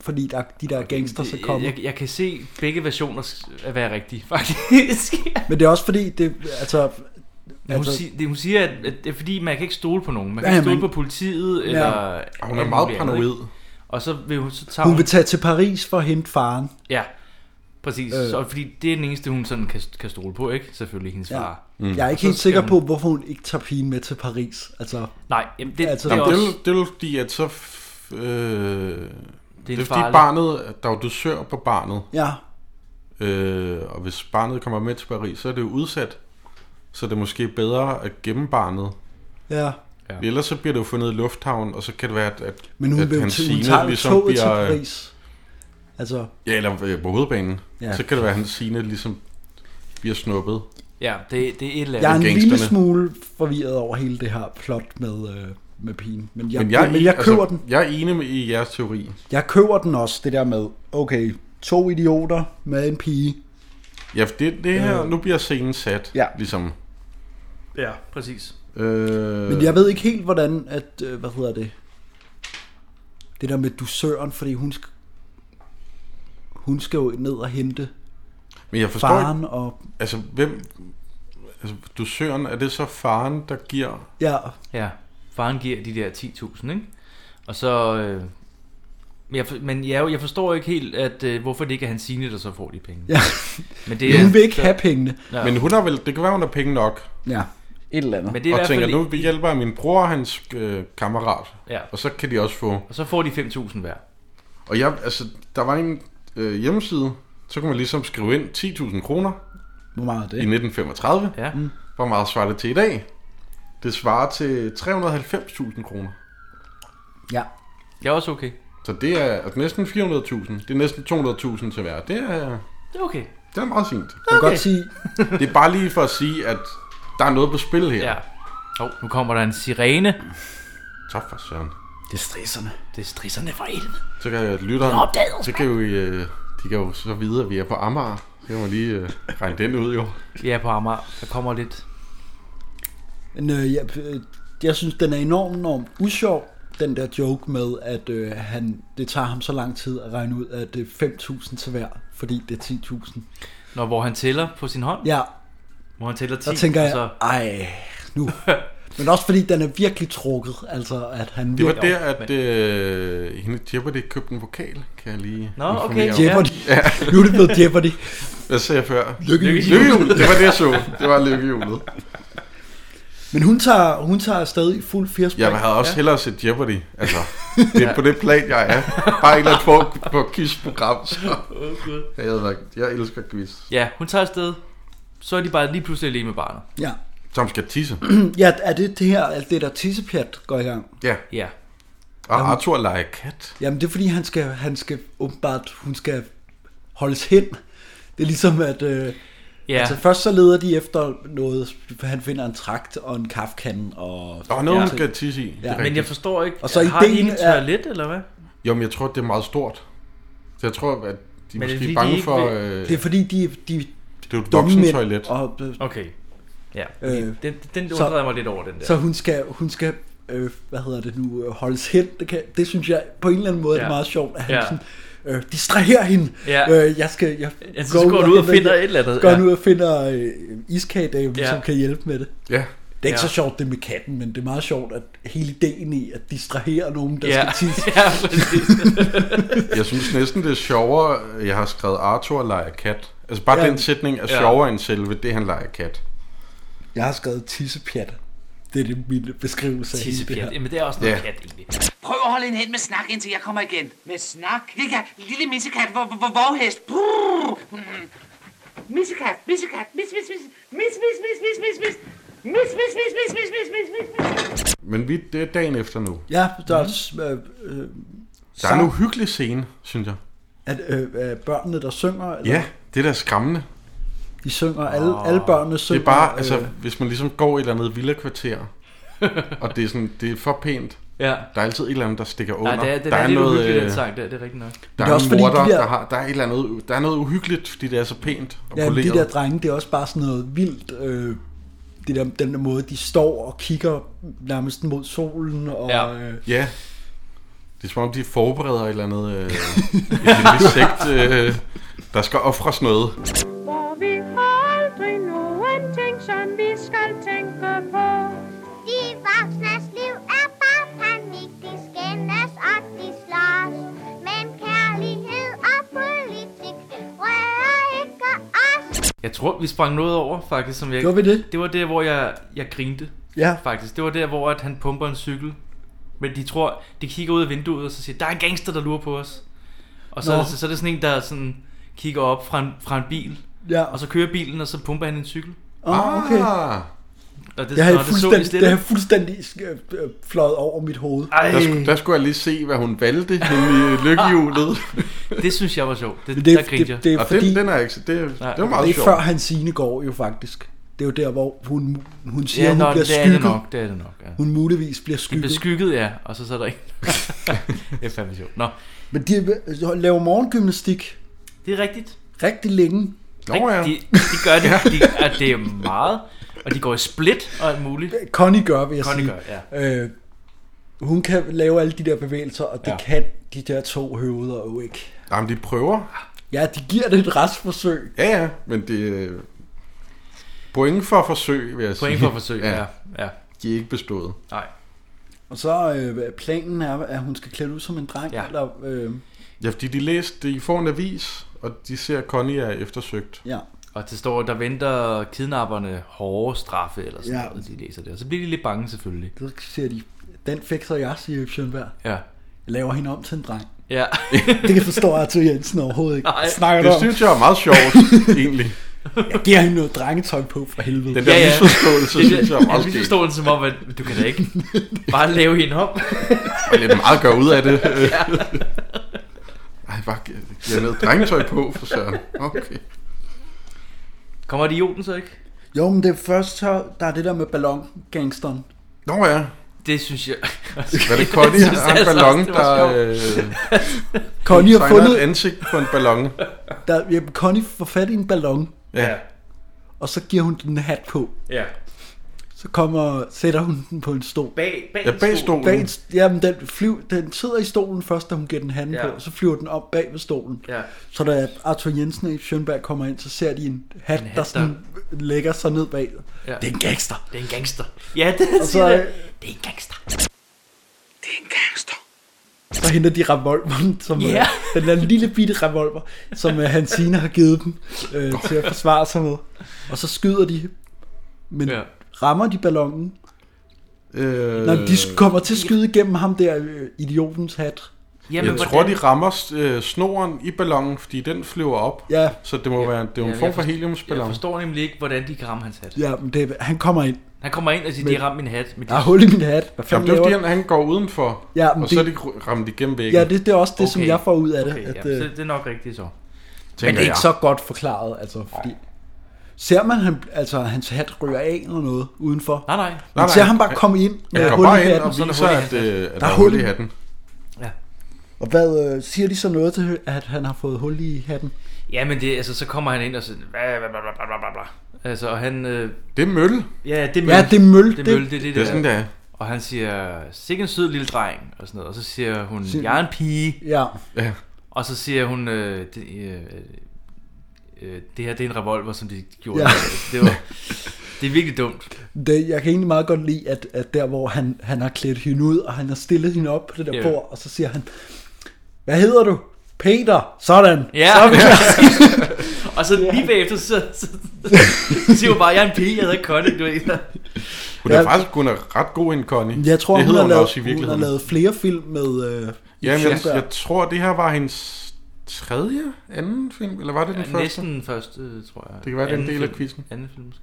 Speaker 4: fordi der, de der okay, gangster så kommer.
Speaker 2: Jeg, jeg kan se begge versioner at være rigtige, faktisk.
Speaker 4: Men det er også fordi, det, altså,
Speaker 2: Men hun,
Speaker 4: Altså-
Speaker 2: sig, det, hun siger, at, at det er fordi, man kan ikke stole på nogen. Man kan
Speaker 4: Ja,
Speaker 2: ikke stole
Speaker 4: men-
Speaker 2: på politiet, eller...
Speaker 3: Og hun er
Speaker 2: alt
Speaker 3: meget
Speaker 2: muligt andet, ikke?
Speaker 3: paranoid.
Speaker 2: Og så vil hun så tage
Speaker 4: hun vil tage til Paris for at hente faren.
Speaker 2: Ja, præcis. Øh.
Speaker 4: Øh.
Speaker 2: Så, fordi det er den eneste, hun sådan kan, kan stole på, ikke? Selvfølgelig hendes ja.
Speaker 4: Ja.
Speaker 2: far.
Speaker 4: Mm. Jeg er ikke
Speaker 2: så
Speaker 4: helt
Speaker 2: skal
Speaker 4: sikker
Speaker 2: hun-
Speaker 4: på, hvorfor hun ikke tager pigen med til Paris. Altså,
Speaker 2: Nej, jamen det,
Speaker 4: Altså-
Speaker 2: det er
Speaker 3: Jamen, det, er,
Speaker 2: også...
Speaker 3: jo- det er jo fordi, at så... f- Øh, det
Speaker 2: Det
Speaker 3: er,
Speaker 2: er
Speaker 3: det er
Speaker 2: en
Speaker 3: fordi
Speaker 2: farlig-
Speaker 3: barnet, der er jo dusør på barnet,
Speaker 4: ja,
Speaker 3: øh, og hvis barnet kommer med til Paris, så er det jo udsat. Så det er måske bedre at gemme barnet
Speaker 4: ja.
Speaker 2: Ja.
Speaker 3: Ellers så bliver det jo fundet i lufthavnen, og så kan det være, at, at,
Speaker 4: Men hun,
Speaker 3: at
Speaker 4: vil, jo
Speaker 3: hans
Speaker 4: til- hun
Speaker 3: sine
Speaker 4: tager jo toget til
Speaker 3: øh,
Speaker 4: Paris. Altså,
Speaker 3: Ja, eller øh, på hovedbanen. Ja.
Speaker 4: Ja.
Speaker 3: Så kan det være, at hans sine ligesom bliver snuppet.
Speaker 2: Ja, det, det er et eller
Speaker 4: Jeg er en
Speaker 2: andet.
Speaker 3: Ja.
Speaker 4: lille
Speaker 3: gangsterne.
Speaker 4: smule forvirret over hele det her plot med, øh, med pigen. Men jeg,
Speaker 3: Men jeg,
Speaker 4: men jeg køber
Speaker 3: altså,
Speaker 4: den.
Speaker 3: Jeg er enig med, i jeres teori.
Speaker 4: Jeg køber den også, det der med, Okay, to idioter med en pige.
Speaker 3: Ja, for det, det her, nu bliver scenen sat,
Speaker 4: Øh. Ja.
Speaker 3: ligesom.
Speaker 2: Ja, præcis.
Speaker 3: Øh,
Speaker 4: Men jeg ved ikke helt, hvordan, at, øh, hvad hedder det, det der med dusøren, fordi hun, sk- hun skal jo ned og hente
Speaker 3: men jeg forstår ikke,
Speaker 4: faren, og
Speaker 3: altså hvem, altså dusøren, er det så faren, der giver,
Speaker 4: ja,
Speaker 2: Ja, faren giver de der 10.000, ikke? Og så... Øh, men jeg, for- men jeg, jeg forstår ikke helt, at øh, hvorfor det ikke er hans sine, der så får de penge.
Speaker 4: ja.
Speaker 2: Men
Speaker 4: Yeah, hun vil ikke have pengene.
Speaker 2: Ja.
Speaker 3: men hun har vel, det kan være, hun har penge nok,
Speaker 4: Ja, et eller andet.
Speaker 2: Men det er i
Speaker 3: og
Speaker 2: hvert fald
Speaker 3: tænker, nu
Speaker 2: ikke-
Speaker 3: vi hjælper jeg min bror og hans øh, kammerat,
Speaker 2: Ja.
Speaker 3: og så kan de også få,
Speaker 2: Og så får de 5.000 hver.
Speaker 3: og jeg, altså, der var en øh, hjemmeside, så kunne man ligesom skrive ind 10.000 kroner
Speaker 4: Hvor meget er
Speaker 3: i
Speaker 4: det?
Speaker 3: 1935,
Speaker 2: Ja. Mm.
Speaker 3: hvor meget svarer det til i dag? Det svarer til 390.000 kroner.
Speaker 4: Ja.
Speaker 2: Jeg er også okay.
Speaker 3: Så det er altså næsten 400.000. Det er næsten 200.000 til hver. Det er,
Speaker 2: Det er okay.
Speaker 3: det er meget fint.
Speaker 4: Jeg kan godt sige,
Speaker 3: Det er bare lige for at sige, at der er noget på spil her.
Speaker 2: Ja. Hov, nu kommer der en sirene.
Speaker 3: Tak for søren.
Speaker 4: det er stresserne.
Speaker 2: Det er strisserne for helvede.
Speaker 3: Så kan lytteren... Så kan jo, øh, de kan jo så vide, at vi er på Amager. Så kan man lige øh, regne den ud, jo.
Speaker 2: Vi er på Amager. Der kommer lidt.
Speaker 4: Men øh, jeg, øh, jeg synes, den er enormt, enormt usjov, den der joke med, at øh, han, det tager ham så lang tid at regne ud, at det er 5.000 til hver, fordi det er 10.000.
Speaker 2: Når hvor han tæller på sin hånd.
Speaker 4: Ja,
Speaker 2: Hvor han tæller Altså, 10.
Speaker 4: der tænker
Speaker 2: og
Speaker 4: jeg, ej, nu. Men også fordi den er virkelig trukket, altså at han
Speaker 3: Det var
Speaker 4: virkelig...
Speaker 3: der, at øh, hende Jeopardy købte en vokal, kan jeg lige
Speaker 2: Nå, okay.
Speaker 3: informere om.
Speaker 2: Jep-
Speaker 4: Jeopardy. nu er det blevet Jeopardy.
Speaker 3: Hvad sagde jeg før?
Speaker 4: Lykke.
Speaker 3: Lykkehjulet. Det var det, jeg så. Det var lykkehjulet.
Speaker 4: Men hun tager, hun tager stadig i fuld firspring.
Speaker 3: Jeg havde også ja. hellere set Jeopardy. Altså, det er ja. på det plan, jeg er. Bare en eller anden form for quiz-program. Så. Jeg, havde været, jeg elsker quiz.
Speaker 2: Ja, hun tager afsted. Så er de bare lige pludselig alene med barnet.
Speaker 4: Ja.
Speaker 3: Som skal tisse.
Speaker 4: ja, er det det her, alt det der tissepjat går i gang?
Speaker 3: Ja.
Speaker 2: Ja.
Speaker 3: Og Arthur leger kat.
Speaker 4: Jamen det er fordi, han skal, han skal åbenbart, hun skal holdes hen. Det er ligesom, at øh,
Speaker 2: Ja.
Speaker 4: ja. altså, først så leder de efter noget, han finder en trakt og en kaffekande. Og,
Speaker 3: Der er noget,
Speaker 2: Ja.
Speaker 3: hun skal tisse i. Ja.
Speaker 2: Men jeg forstår ikke,
Speaker 4: Og så
Speaker 2: har
Speaker 4: ideen
Speaker 2: de ikke
Speaker 4: er-
Speaker 2: toilet, eller hvad?
Speaker 3: Jo, men jeg tror, det er meget stort. Så jeg tror, at de er
Speaker 2: Men er det
Speaker 3: måske
Speaker 2: fordi,
Speaker 3: er
Speaker 2: de
Speaker 3: bange
Speaker 2: ikke
Speaker 3: for...
Speaker 2: vil-
Speaker 3: Øh,
Speaker 4: Det er fordi, de, de er
Speaker 3: det er jo et
Speaker 4: dumme mænd.
Speaker 3: voksentoilet.
Speaker 4: Og, øh,
Speaker 2: Okay. Ja,
Speaker 4: Øh,
Speaker 2: øh, den, den
Speaker 4: så-
Speaker 2: undrede jeg mig lidt over, den der.
Speaker 4: Så hun skal, hun skal øh, hvad hedder det nu, øh, holdes hen. Det, kan, det synes jeg på en eller anden måde ja. er
Speaker 2: Ja.
Speaker 4: meget sjovt, at han
Speaker 2: Ja.
Speaker 4: ja. sådan, øh, distraherer hende.
Speaker 2: Ja.
Speaker 4: Øh, jeg skal, jeg
Speaker 2: Ja, så går du ud og finder et eller andet,
Speaker 4: Går
Speaker 2: ja.
Speaker 4: ja. ud og finder øh, iskagedame,
Speaker 2: Ja.
Speaker 4: ja. som kan hjælpe med det.
Speaker 3: Ja.
Speaker 4: Det er ikke
Speaker 2: Ja.
Speaker 4: ja. så sjovt det med katten, men det er meget sjovt, at hele ideen i at distrahere nogen, der
Speaker 2: ja.
Speaker 4: ja. skal tisse.
Speaker 2: ja, præcis.
Speaker 3: Jeg synes næsten, det er sjovere, at jeg har skrevet Arthur leger kat. Altså bare ja.
Speaker 4: Ja.
Speaker 3: den sætning er
Speaker 2: Ja.
Speaker 3: sjovere end selve det, han leger kat.
Speaker 4: Jeg har skrevet tissepjat. Det er det, min beskrivelse af hele det
Speaker 2: Tissepjat.
Speaker 4: her.
Speaker 2: Jamen, det er også noget
Speaker 3: Ja.
Speaker 2: kat, egentlig.
Speaker 9: Prøv at holde en hen med snak, indtil jeg kommer igen.
Speaker 5: Med snak.
Speaker 9: Ligga, lille missekat, hvor, hvor, hvor, vorhest. Brrr. Mm.
Speaker 5: Missekat, missekat, mis, mis, mis, mis, mis, mis, mis, mis, mis, mis, mis, mis, mis, mis, mis, mis, mis, mis.
Speaker 3: Men vi, det er dagen efter nu.
Speaker 4: Ja, der er
Speaker 2: Mm.
Speaker 4: også øh, øh,
Speaker 3: Der er en
Speaker 4: Sang.
Speaker 3: uhyggelig scene, synes jeg.
Speaker 4: at, øh, øh, børnene, der synger. Eller,
Speaker 3: Ja, det der er skræmmende.
Speaker 4: De synger, alle, alle børnene
Speaker 3: Det
Speaker 4: synger.
Speaker 3: er bare,
Speaker 4: øh,
Speaker 3: altså, hvis man ligesom går i et eller andet villakvarter, og det er sådan, det er for pænt.
Speaker 2: Ja.
Speaker 3: Der er altid et eller andet, der øh, stikker under.
Speaker 2: Nej, det er, det, der er, lidt uhyggeligt, altså. den sang der. Det er rigtigt nok.
Speaker 3: der
Speaker 4: er
Speaker 3: er,
Speaker 4: også
Speaker 3: en
Speaker 4: fordi,
Speaker 3: morder,
Speaker 4: de der-
Speaker 3: der, har, der, er et eller andet, der er noget uhyggeligt, fordi det er så pænt og
Speaker 4: Ja, men
Speaker 3: poleret.
Speaker 4: de der drenge, det er også bare sådan noget vildt. Øh, det der, den der måde, de står og kigger nærmest mod solen. Og,
Speaker 2: Ja.
Speaker 4: ja. øh,
Speaker 3: Ja. Det er som om, de forbereder et eller andet... Øh, et lille sekt, øh, der skal ofres noget.
Speaker 10: Hvor vi har aldrig nogen ting, som vi skal tænke på.
Speaker 8: De voksnes liv er bare panik, de skændes og de slås. Men kærlighed og politik rører ikke os.
Speaker 2: Jeg tror, vi sprang noget over, faktisk. Som jeg,
Speaker 4: Gjorde vi det?
Speaker 2: Det var der, hvor jeg, jeg grinte,
Speaker 4: ja.
Speaker 2: faktisk. Det var der, hvor at han pumper en cykel. Men de tror, de kigger ud af vinduet, og så siger, der er en gangster, der lurer på os. Og så,
Speaker 4: Nå.
Speaker 2: er det, så, så er det sådan en, der sådan kigger op fra en, fra en bil,
Speaker 4: ja.
Speaker 2: og så kører bilen, og så pumper han en cykel.
Speaker 4: Ah, okay.
Speaker 3: Ah,
Speaker 2: Og det,
Speaker 4: Jeg
Speaker 2: og
Speaker 4: havde
Speaker 2: det så i
Speaker 4: fuldstændig,
Speaker 2: stille.
Speaker 4: det havde fuldstændig øh, øh, fløjet over mit hoved.
Speaker 2: Ej,
Speaker 3: der,
Speaker 4: Øh.
Speaker 3: skulle, der skulle jeg lige se, hvad hun valgte hende i lykkehjulet.
Speaker 2: det synes jeg var sjovt. Det,
Speaker 4: Men
Speaker 2: det, der grinte
Speaker 4: det,
Speaker 2: jeg.
Speaker 4: det, det er
Speaker 3: Og den,
Speaker 4: fordi,
Speaker 3: den er ikke... Det, det var meget
Speaker 4: det er
Speaker 3: sjovt.
Speaker 4: før hans sine går jo faktisk. Det er jo der, hvor hun, hun siger,
Speaker 2: ja,
Speaker 4: hun
Speaker 2: nå,
Speaker 4: bliver
Speaker 2: det er det
Speaker 4: skygget.
Speaker 2: nok, det er det nok. Ja.
Speaker 4: Hun muligvis bliver
Speaker 2: De blev
Speaker 4: skygget.
Speaker 2: skygget, ja, og så så er der en. det er fandme sjovt. Nå,
Speaker 4: Men de laver morgengymnastik.
Speaker 2: Det er rigtigt.
Speaker 4: Rigtig længe.
Speaker 2: Nå, ja. de, de gør det, de, og det er meget, og de går i split og alt muligt.
Speaker 4: Connie gør, vil jeg
Speaker 2: Connie
Speaker 4: sige.
Speaker 2: gør,
Speaker 4: ja. øh, hun kan lave alle de der bevægelser, og det
Speaker 2: Ja.
Speaker 4: ja. kan de der to høveder jo ikke.
Speaker 3: Jamen, de prøver.
Speaker 4: Ja, de giver det et restforsøg.
Speaker 3: Ja, ja, men det er point for forsøg, vil jeg sige.
Speaker 2: Point for forsøg, ja, ja.
Speaker 3: De er ikke bestået.
Speaker 2: Nej.
Speaker 4: Og så øh, planen er, at hun skal klæde ud som en dreng. Ja. Eller, øh,
Speaker 3: Ja, fordi de læste, de får en avis, og de ser, at Connie er eftersøgt.
Speaker 4: Ja.
Speaker 2: Og det står, der venter kidnapperne hårde straffe, eller sådan
Speaker 4: Ja.
Speaker 2: ja. noget, de læser det. Og så bliver de lidt bange selvfølgelig.
Speaker 4: så siger de, den fikser jeg, siger Sjønberg.
Speaker 2: Ja.
Speaker 4: Jeg laver hende om til en dreng.
Speaker 2: Ja.
Speaker 4: det kan forstå Arthur Jensen overhovedet ikke.
Speaker 2: Nej,
Speaker 4: Snakker
Speaker 3: det
Speaker 4: du om?
Speaker 3: synes jeg er meget sjovt, egentlig.
Speaker 4: Jeg giver hende noget drengetøj på for helvede.
Speaker 3: Den der misforståelse,
Speaker 2: Det er-
Speaker 3: synes jeg er meget
Speaker 2: det er misforståelsen som om, at du kan da ikke bare lave hende om.
Speaker 3: Og lidt meget at gøre ud af det. Ej, bare giver noget drengetøj på, for søren. Okay.
Speaker 2: Kommer idioten så ikke?
Speaker 4: Jo, men det er først, så der er det der med ballongangsteren.
Speaker 3: Nå ja.
Speaker 2: Det synes jeg...
Speaker 3: Hvad er det, Connie
Speaker 2: Jeg synes
Speaker 3: har en
Speaker 2: altså
Speaker 3: ballon,
Speaker 2: også, det var
Speaker 3: der,
Speaker 2: sjovt.
Speaker 3: øh,
Speaker 4: Connie har
Speaker 3: tegner
Speaker 4: fundet-
Speaker 3: et ansigt på en ballon.
Speaker 4: Der, ja, Connie får fat i en ballon,
Speaker 3: Ja.
Speaker 4: og så giver hun den en hat på.
Speaker 2: Ja.
Speaker 4: Så kommer, sætter hun den på en stol.
Speaker 2: Bag,
Speaker 3: bag Ja, bag stolen. stolen.
Speaker 4: Bag, jamen, den, flyv, den sidder i stolen først, da hun giver den handen
Speaker 2: Ja.
Speaker 4: ja. på, så flyver den op bag ved stolen.
Speaker 2: Ja.
Speaker 4: Så da Arthur Jensen og Ib Schønberg kommer ind, så ser de en hat,
Speaker 2: En hat,
Speaker 4: der sådan lægger sig ned bag. Ja. Det er en gangster.
Speaker 2: Det er en gangster. Ja, det
Speaker 4: Og
Speaker 2: siger
Speaker 4: så,
Speaker 2: jeg.
Speaker 4: øh,
Speaker 2: Det er en gangster.
Speaker 4: Så henter de revolveren, som øh,
Speaker 2: Ja.
Speaker 4: den der lille bitte revolver, som øh, Hansine har givet dem øh, til at forsvare sig med. Og så skyder de, men ja. rammer de ballonen?
Speaker 3: Øh,
Speaker 4: Når de kommer til at skyde igennem ham der øh, idiotens hat.
Speaker 3: Jamen, jeg tror, de rammer øh, snoren i ballonen, fordi den flyver op.
Speaker 4: Ja.
Speaker 3: Så det må være det er jo en
Speaker 2: Ja,
Speaker 3: form
Speaker 2: jeg
Speaker 3: for
Speaker 2: forst- Jeg
Speaker 3: heliumsballon.
Speaker 2: forstår nemlig ikke, hvordan de kan ramme hans hat.
Speaker 4: Ja, men det, han kommer ind.
Speaker 2: Han kommer ind og siger,
Speaker 4: Men-
Speaker 2: de har ramt min hat. Men de...
Speaker 4: Der er hul i min hat.
Speaker 3: Jamen,
Speaker 4: Hvad fanden
Speaker 3: det er jo fordi,
Speaker 4: laver
Speaker 3: han, han går udenfor,
Speaker 4: Ja, men
Speaker 3: og så er de
Speaker 4: det-
Speaker 3: gr- ramt igennem væggen.
Speaker 4: Ja, det, det er også det, okay. som
Speaker 2: Okay.
Speaker 4: jeg får ud af det.
Speaker 2: Okay,
Speaker 4: Okay, at,
Speaker 2: ja,
Speaker 4: øh,
Speaker 2: så det er nok rigtigt så.
Speaker 4: men det er ikke så godt forklaret, altså, fordi... Ser man han, altså, hans hat ryger af eller noget udenfor?
Speaker 2: Nej, nej. Nej,
Speaker 4: Man ser ham bare komme ind med
Speaker 3: Han går
Speaker 4: hul i
Speaker 3: bare ind
Speaker 4: hatten.
Speaker 3: og viser, at, øh, at der er
Speaker 4: hul
Speaker 3: hul i hatten.
Speaker 4: Og hvad øh, siger de så noget til, at han har fået hul i hatten?
Speaker 2: Ja, men det, altså, så kommer han ind og sådan... Bla, bla, bla, bla, bla, bla, bla. Altså, og han... Øh...
Speaker 3: Det er Mølle.
Speaker 2: Ja, det er Mølle.
Speaker 4: Ja, det er Mølle.
Speaker 2: Det er
Speaker 4: Det-
Speaker 2: Mølle, det er det,
Speaker 3: Det er sådan, det er.
Speaker 2: Og han siger, sikke en sød lille dreng, og sådan noget. Og så siger hun, jeg er en pige.
Speaker 4: Ja.
Speaker 3: ja.
Speaker 2: Og så siger hun, øh, det, øh, øh, det her det er en revolver, som de gjorde.
Speaker 4: Ja.
Speaker 2: Ja. Det, var, det er virkelig dumt.
Speaker 4: Det, jeg kan egentlig meget godt lide, at, at der hvor han, han har klædt hende ud, og han har stillet hende op på det der
Speaker 2: Ja.
Speaker 4: yeah. bord, og så siger han, hvad hedder du? Peter. Sådan.
Speaker 2: Ja,
Speaker 4: Så er vi klar."
Speaker 2: præcis. og så lige bagefter, så, så, så siger hun bare, jeg er en pige, jeg hedder Connie, du ved.
Speaker 3: Hun er faktisk hun er ret god en Connie.
Speaker 4: Jeg tror,
Speaker 3: det
Speaker 4: hun
Speaker 3: hedder
Speaker 4: har,
Speaker 3: hun
Speaker 4: lavet,
Speaker 3: også i
Speaker 4: hun har
Speaker 3: virkeligheden.
Speaker 4: lavet flere film med
Speaker 3: Ja,
Speaker 4: øh,
Speaker 3: men jeg,
Speaker 4: Schønberg.
Speaker 3: jeg tror, det her var hendes tredje, anden film, eller var det den
Speaker 2: Ja,
Speaker 3: første?
Speaker 2: Næsten den første, øh, tror jeg.
Speaker 3: Det kan være, det er en
Speaker 2: Anden
Speaker 3: del af
Speaker 2: film.
Speaker 3: quizzen.
Speaker 2: Anden film måske.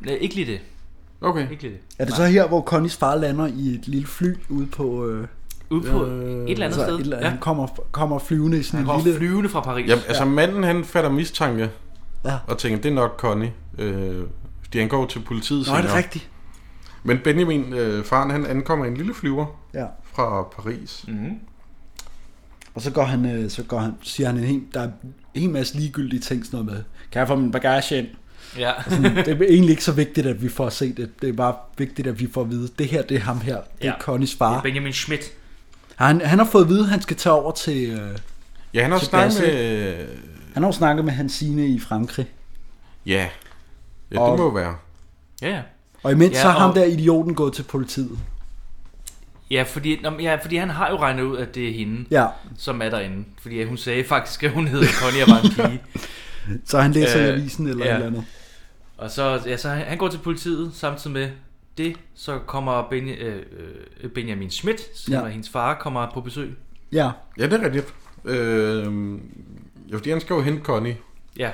Speaker 2: Nej, ikke lige det.
Speaker 3: Okay.
Speaker 2: Ikke lige det.
Speaker 4: Er det så her, hvor Connys far lander i et lille fly ude på... Øh, altså
Speaker 2: Ude på
Speaker 3: øh,
Speaker 2: et eller
Speaker 3: altså,
Speaker 2: andet sted,
Speaker 4: eller,
Speaker 2: ja.
Speaker 4: Han kommer, kommer flyvende i sådan
Speaker 2: Han
Speaker 4: en
Speaker 2: kommer
Speaker 4: lille...
Speaker 2: flyvende fra Paris.
Speaker 3: Jamen, altså manden, han fatter mistanke,
Speaker 4: Ja.
Speaker 3: og tænker, det er nok Connie, øh, fordi han går til politiet
Speaker 4: Nå, er det
Speaker 3: senere.
Speaker 4: rigtigt?
Speaker 3: Men Benjamin, øh, faren, han ankommer i en lille flyver
Speaker 4: Ja.
Speaker 3: fra Paris.
Speaker 2: Mm.
Speaker 4: Og så går han, øh, så går han, siger han en hel, der er en hel masse ligegyldige ting, sådan noget med, kan jeg få min bagage ind?
Speaker 2: Ja.
Speaker 4: Og Sådan, det er egentlig ikke så vigtigt, at vi får set det. Det er bare vigtigt, at vi får at vide, det her, det er ham her. Det er
Speaker 2: Ja.
Speaker 4: Connys
Speaker 2: Det
Speaker 4: far.
Speaker 2: er Benjamin Schmidt.
Speaker 4: Han, han har fået at vide, at han skal tage over til... Øh,
Speaker 3: Ja, han har
Speaker 4: til
Speaker 3: snakket
Speaker 4: Basse.
Speaker 3: med... øh,
Speaker 4: Han har jo snakket med Hansine i Frankrig.
Speaker 3: Ja, ja
Speaker 4: Og-
Speaker 3: det må jo være.
Speaker 2: Ja, ja.
Speaker 4: Og imens
Speaker 2: Ja,
Speaker 4: ja, så er ham
Speaker 2: og-
Speaker 4: der idioten gået til politiet.
Speaker 2: Ja fordi, nå, men ja, fordi han har jo regnet ud, at det er hende,
Speaker 4: Ja.
Speaker 2: som er derinde. Fordi hun sagde faktisk, at hun hedder Connie og var en pige.
Speaker 4: Så han læser
Speaker 2: Øh,
Speaker 4: i avisen eller et eller andet.
Speaker 2: Og så, ja, så han, han går til politiet samtidig med det, så kommer Benja, øh, øh, Benjamin Schmidt, som
Speaker 4: Ja.
Speaker 2: ja. er hendes far, kommer på besøg.
Speaker 4: Ja.
Speaker 3: Ja, det er rigtigt. Øh, ja, fordi han skal jo hente Connie.
Speaker 2: Ja.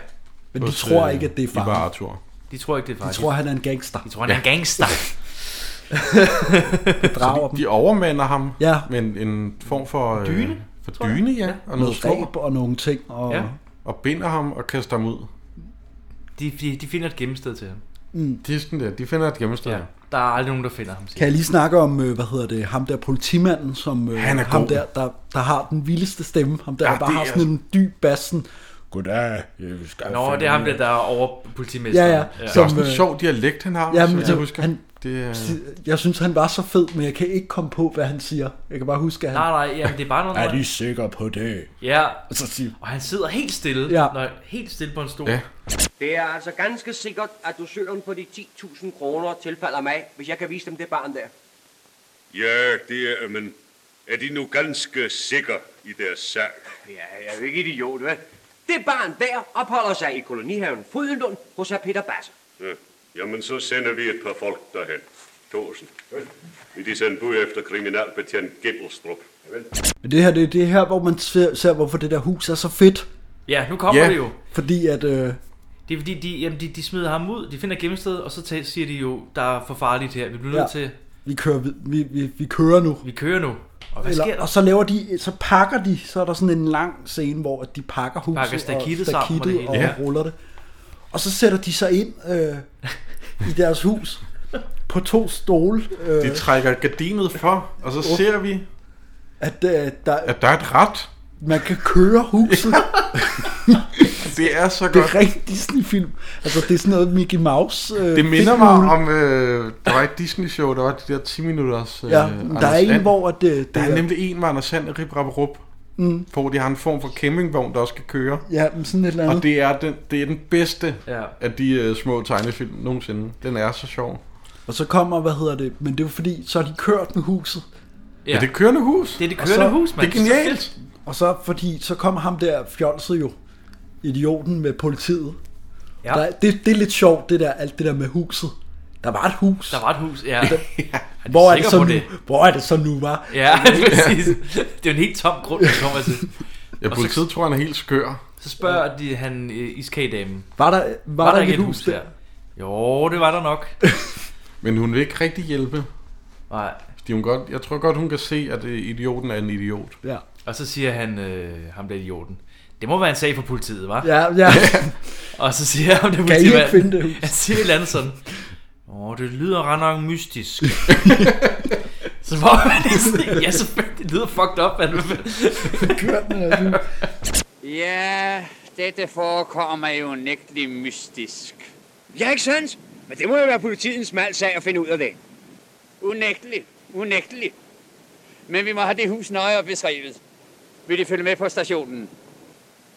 Speaker 4: Men de
Speaker 3: Hos,
Speaker 4: tror
Speaker 3: øh,
Speaker 4: ikke, at det er
Speaker 3: Ivar
Speaker 4: faren.
Speaker 3: Arthur.
Speaker 2: De tror ikke, det er far.
Speaker 4: De tror, han er en gangster.
Speaker 2: De tror, han er en gangster.
Speaker 4: Bedrager
Speaker 3: så de, de overmander ham
Speaker 4: Ja.
Speaker 3: med en, en form for... øh,
Speaker 4: Dyne,
Speaker 3: For dyne, ja. Og noget snor.
Speaker 4: ræb og nogle ting. Og...
Speaker 2: Ja.
Speaker 3: Og binder ham og kaster ham ud.
Speaker 2: De, de, de finder et gemmested til ham.
Speaker 4: Mm.
Speaker 3: Disken der, de finder et gemmested. Ja.
Speaker 2: Der er aldrig nogen, der finder ham.
Speaker 4: Kan jeg lige snakke om, øh, hvad hedder det, ham der politimanden, som øh,
Speaker 3: Han er
Speaker 4: ham
Speaker 3: god.
Speaker 4: der, der, der har den vildeste stemme, ham der,
Speaker 3: Ja,
Speaker 4: ja, der bare
Speaker 3: det
Speaker 4: har
Speaker 3: er-
Speaker 4: sådan en dyb bassen. Goddag, jeg skal
Speaker 2: Nå, det er ham der, der er over politimesteren.
Speaker 4: Ja, ja.
Speaker 3: Det er også en sjov dialekt, han har,
Speaker 4: øh, Ja,
Speaker 3: som
Speaker 4: men,
Speaker 3: jeg
Speaker 4: så,
Speaker 3: husker.
Speaker 4: Han,
Speaker 3: Det er-
Speaker 4: Jeg synes, han var så fed, men jeg kan ikke komme på, hvad han siger. Jeg kan bare huske, at han...
Speaker 2: Nej, nej, jamen, det er bare noget...
Speaker 4: Er de sikre på det?
Speaker 2: Ja,
Speaker 4: Og så siger
Speaker 2: og han sidder helt stille.
Speaker 4: Ja.
Speaker 2: Nå, helt stille på en stol.
Speaker 4: Øh.
Speaker 3: Ja.
Speaker 11: Det er altså ganske sikkert, at dusøren på de 10.000 kroner tilfalder mig, hvis jeg kan vise dem det barn der.
Speaker 12: Ja, det er, men er de nu ganske sikre i deres sag?
Speaker 11: Ja, jeg er jo ikke idiot, vel? Det barn der opholder sig i kolonihaven Frydenlund hos hr. Peter Basse.
Speaker 12: Ja. Jamen, så sender vi et par folk derhen. Thorsen. Vil de sende bud efter kriminalbetjent Gibbelstrup?
Speaker 4: Men det her, det, det er her, hvor man ser, ser, hvorfor det der hus er så fedt.
Speaker 2: Ja, nu kommer det jo.
Speaker 4: Fordi at... Øh,
Speaker 2: Det er fordi, de, jamen, de, de smider ham ud, de finder gemmestedet, og så tager, siger de jo, der er for farligt her, vi bliver nødt
Speaker 4: Ja.
Speaker 2: ja. til...
Speaker 4: vi, kører, vid- vi, vi, vi kører nu.
Speaker 2: Vi kører nu. Og hvad sker der?
Speaker 4: og så laver de, så pakker de, så er der sådan en lang scene, hvor at de pakker huset
Speaker 2: Pakker stakittet
Speaker 4: og,
Speaker 2: sammen og det
Speaker 4: stakittet
Speaker 2: hele.
Speaker 4: og,
Speaker 2: Ja.
Speaker 4: ruller det. Og så sætter de sig ind øh, i deres hus på to stole. Øh,
Speaker 3: De trækker gardinet for, og så
Speaker 4: Åh.
Speaker 3: ser vi,
Speaker 4: at, øh, der,
Speaker 3: at der er et ret.
Speaker 4: man kan køre huset.
Speaker 3: Det er så
Speaker 4: det er
Speaker 3: godt.
Speaker 4: rigtig Disney-film. Altså, det er sådan noget Mickey Mouse. Øh,
Speaker 3: Det minder
Speaker 4: fedtmugle.
Speaker 3: mig om, øh, der var et Disney-show, der var de der 10 minutters øh,
Speaker 4: Ja, men der er
Speaker 3: Anders
Speaker 4: en,
Speaker 3: And.
Speaker 4: hvor at, øh, det
Speaker 3: Der er
Speaker 4: er-
Speaker 3: nemlig en, hvor Anders Sand rip, rap, rup,
Speaker 4: Mm.
Speaker 3: hvor de har en form for campingvogn, der også skal køre.
Speaker 4: Ja, men sådan et eller andet.
Speaker 3: Og det er den, det er den bedste
Speaker 2: Ja.
Speaker 3: af de øh, små tegnefilm nogensinde. Den er så sjov.
Speaker 4: Og så kommer, hvad hedder det, men det er jo fordi, så har de kørt med huset.
Speaker 3: Ja. Er det kørende hus?
Speaker 2: Det er det
Speaker 4: Og
Speaker 2: kørende hus, mand.
Speaker 3: Det er genialt.
Speaker 4: Og så fordi, så kom ham der fjolset jo, idioten med politiet.
Speaker 2: Ja.
Speaker 4: Ja. Der, det, det er lidt sjovt, det der, alt det der med huset. Der var et hus.
Speaker 2: Der var et hus, ja. Er de
Speaker 4: Hvor er, det
Speaker 2: sikre
Speaker 4: så
Speaker 2: på
Speaker 4: nu, hvor er det så nu, var?
Speaker 2: Ja, præcis. Det er jo en helt tom grund, der kommer til.
Speaker 3: Ja,
Speaker 2: Og
Speaker 3: politiet tror, han er helt skør.
Speaker 2: Så spørger de han øh, iskagedamen.
Speaker 4: Var der, var der ikke et hus der?
Speaker 2: Jo, det var der nok.
Speaker 3: Men hun vil ikke rigtig hjælpe.
Speaker 2: Nej.
Speaker 3: Fordi hun godt, jeg tror godt, hun kan se, at øh, idioten er en idiot.
Speaker 4: Ja.
Speaker 2: Og så siger han, øh, ham der idioten, det må være en sag for politiet, var?
Speaker 4: Ja, ja.
Speaker 2: og så siger han, det
Speaker 4: Kan I
Speaker 2: politimanden-
Speaker 4: ikke finde det hus?
Speaker 2: Han siger et eller andet sådan, åh, det lyder ret nok mystisk. så var man lige sådan, ja, selvfølgelig, det lyder fucked up, mand.
Speaker 13: Ja, dette forekommer jo nægtelig mystisk.
Speaker 11: Ja, ikke sandt? Men det må jo være politiets smal sag at finde ud af det.
Speaker 13: Unægtelig, unægtelig. Men vi må have det hus nøje beskrevet. Vil de følge med på stationen?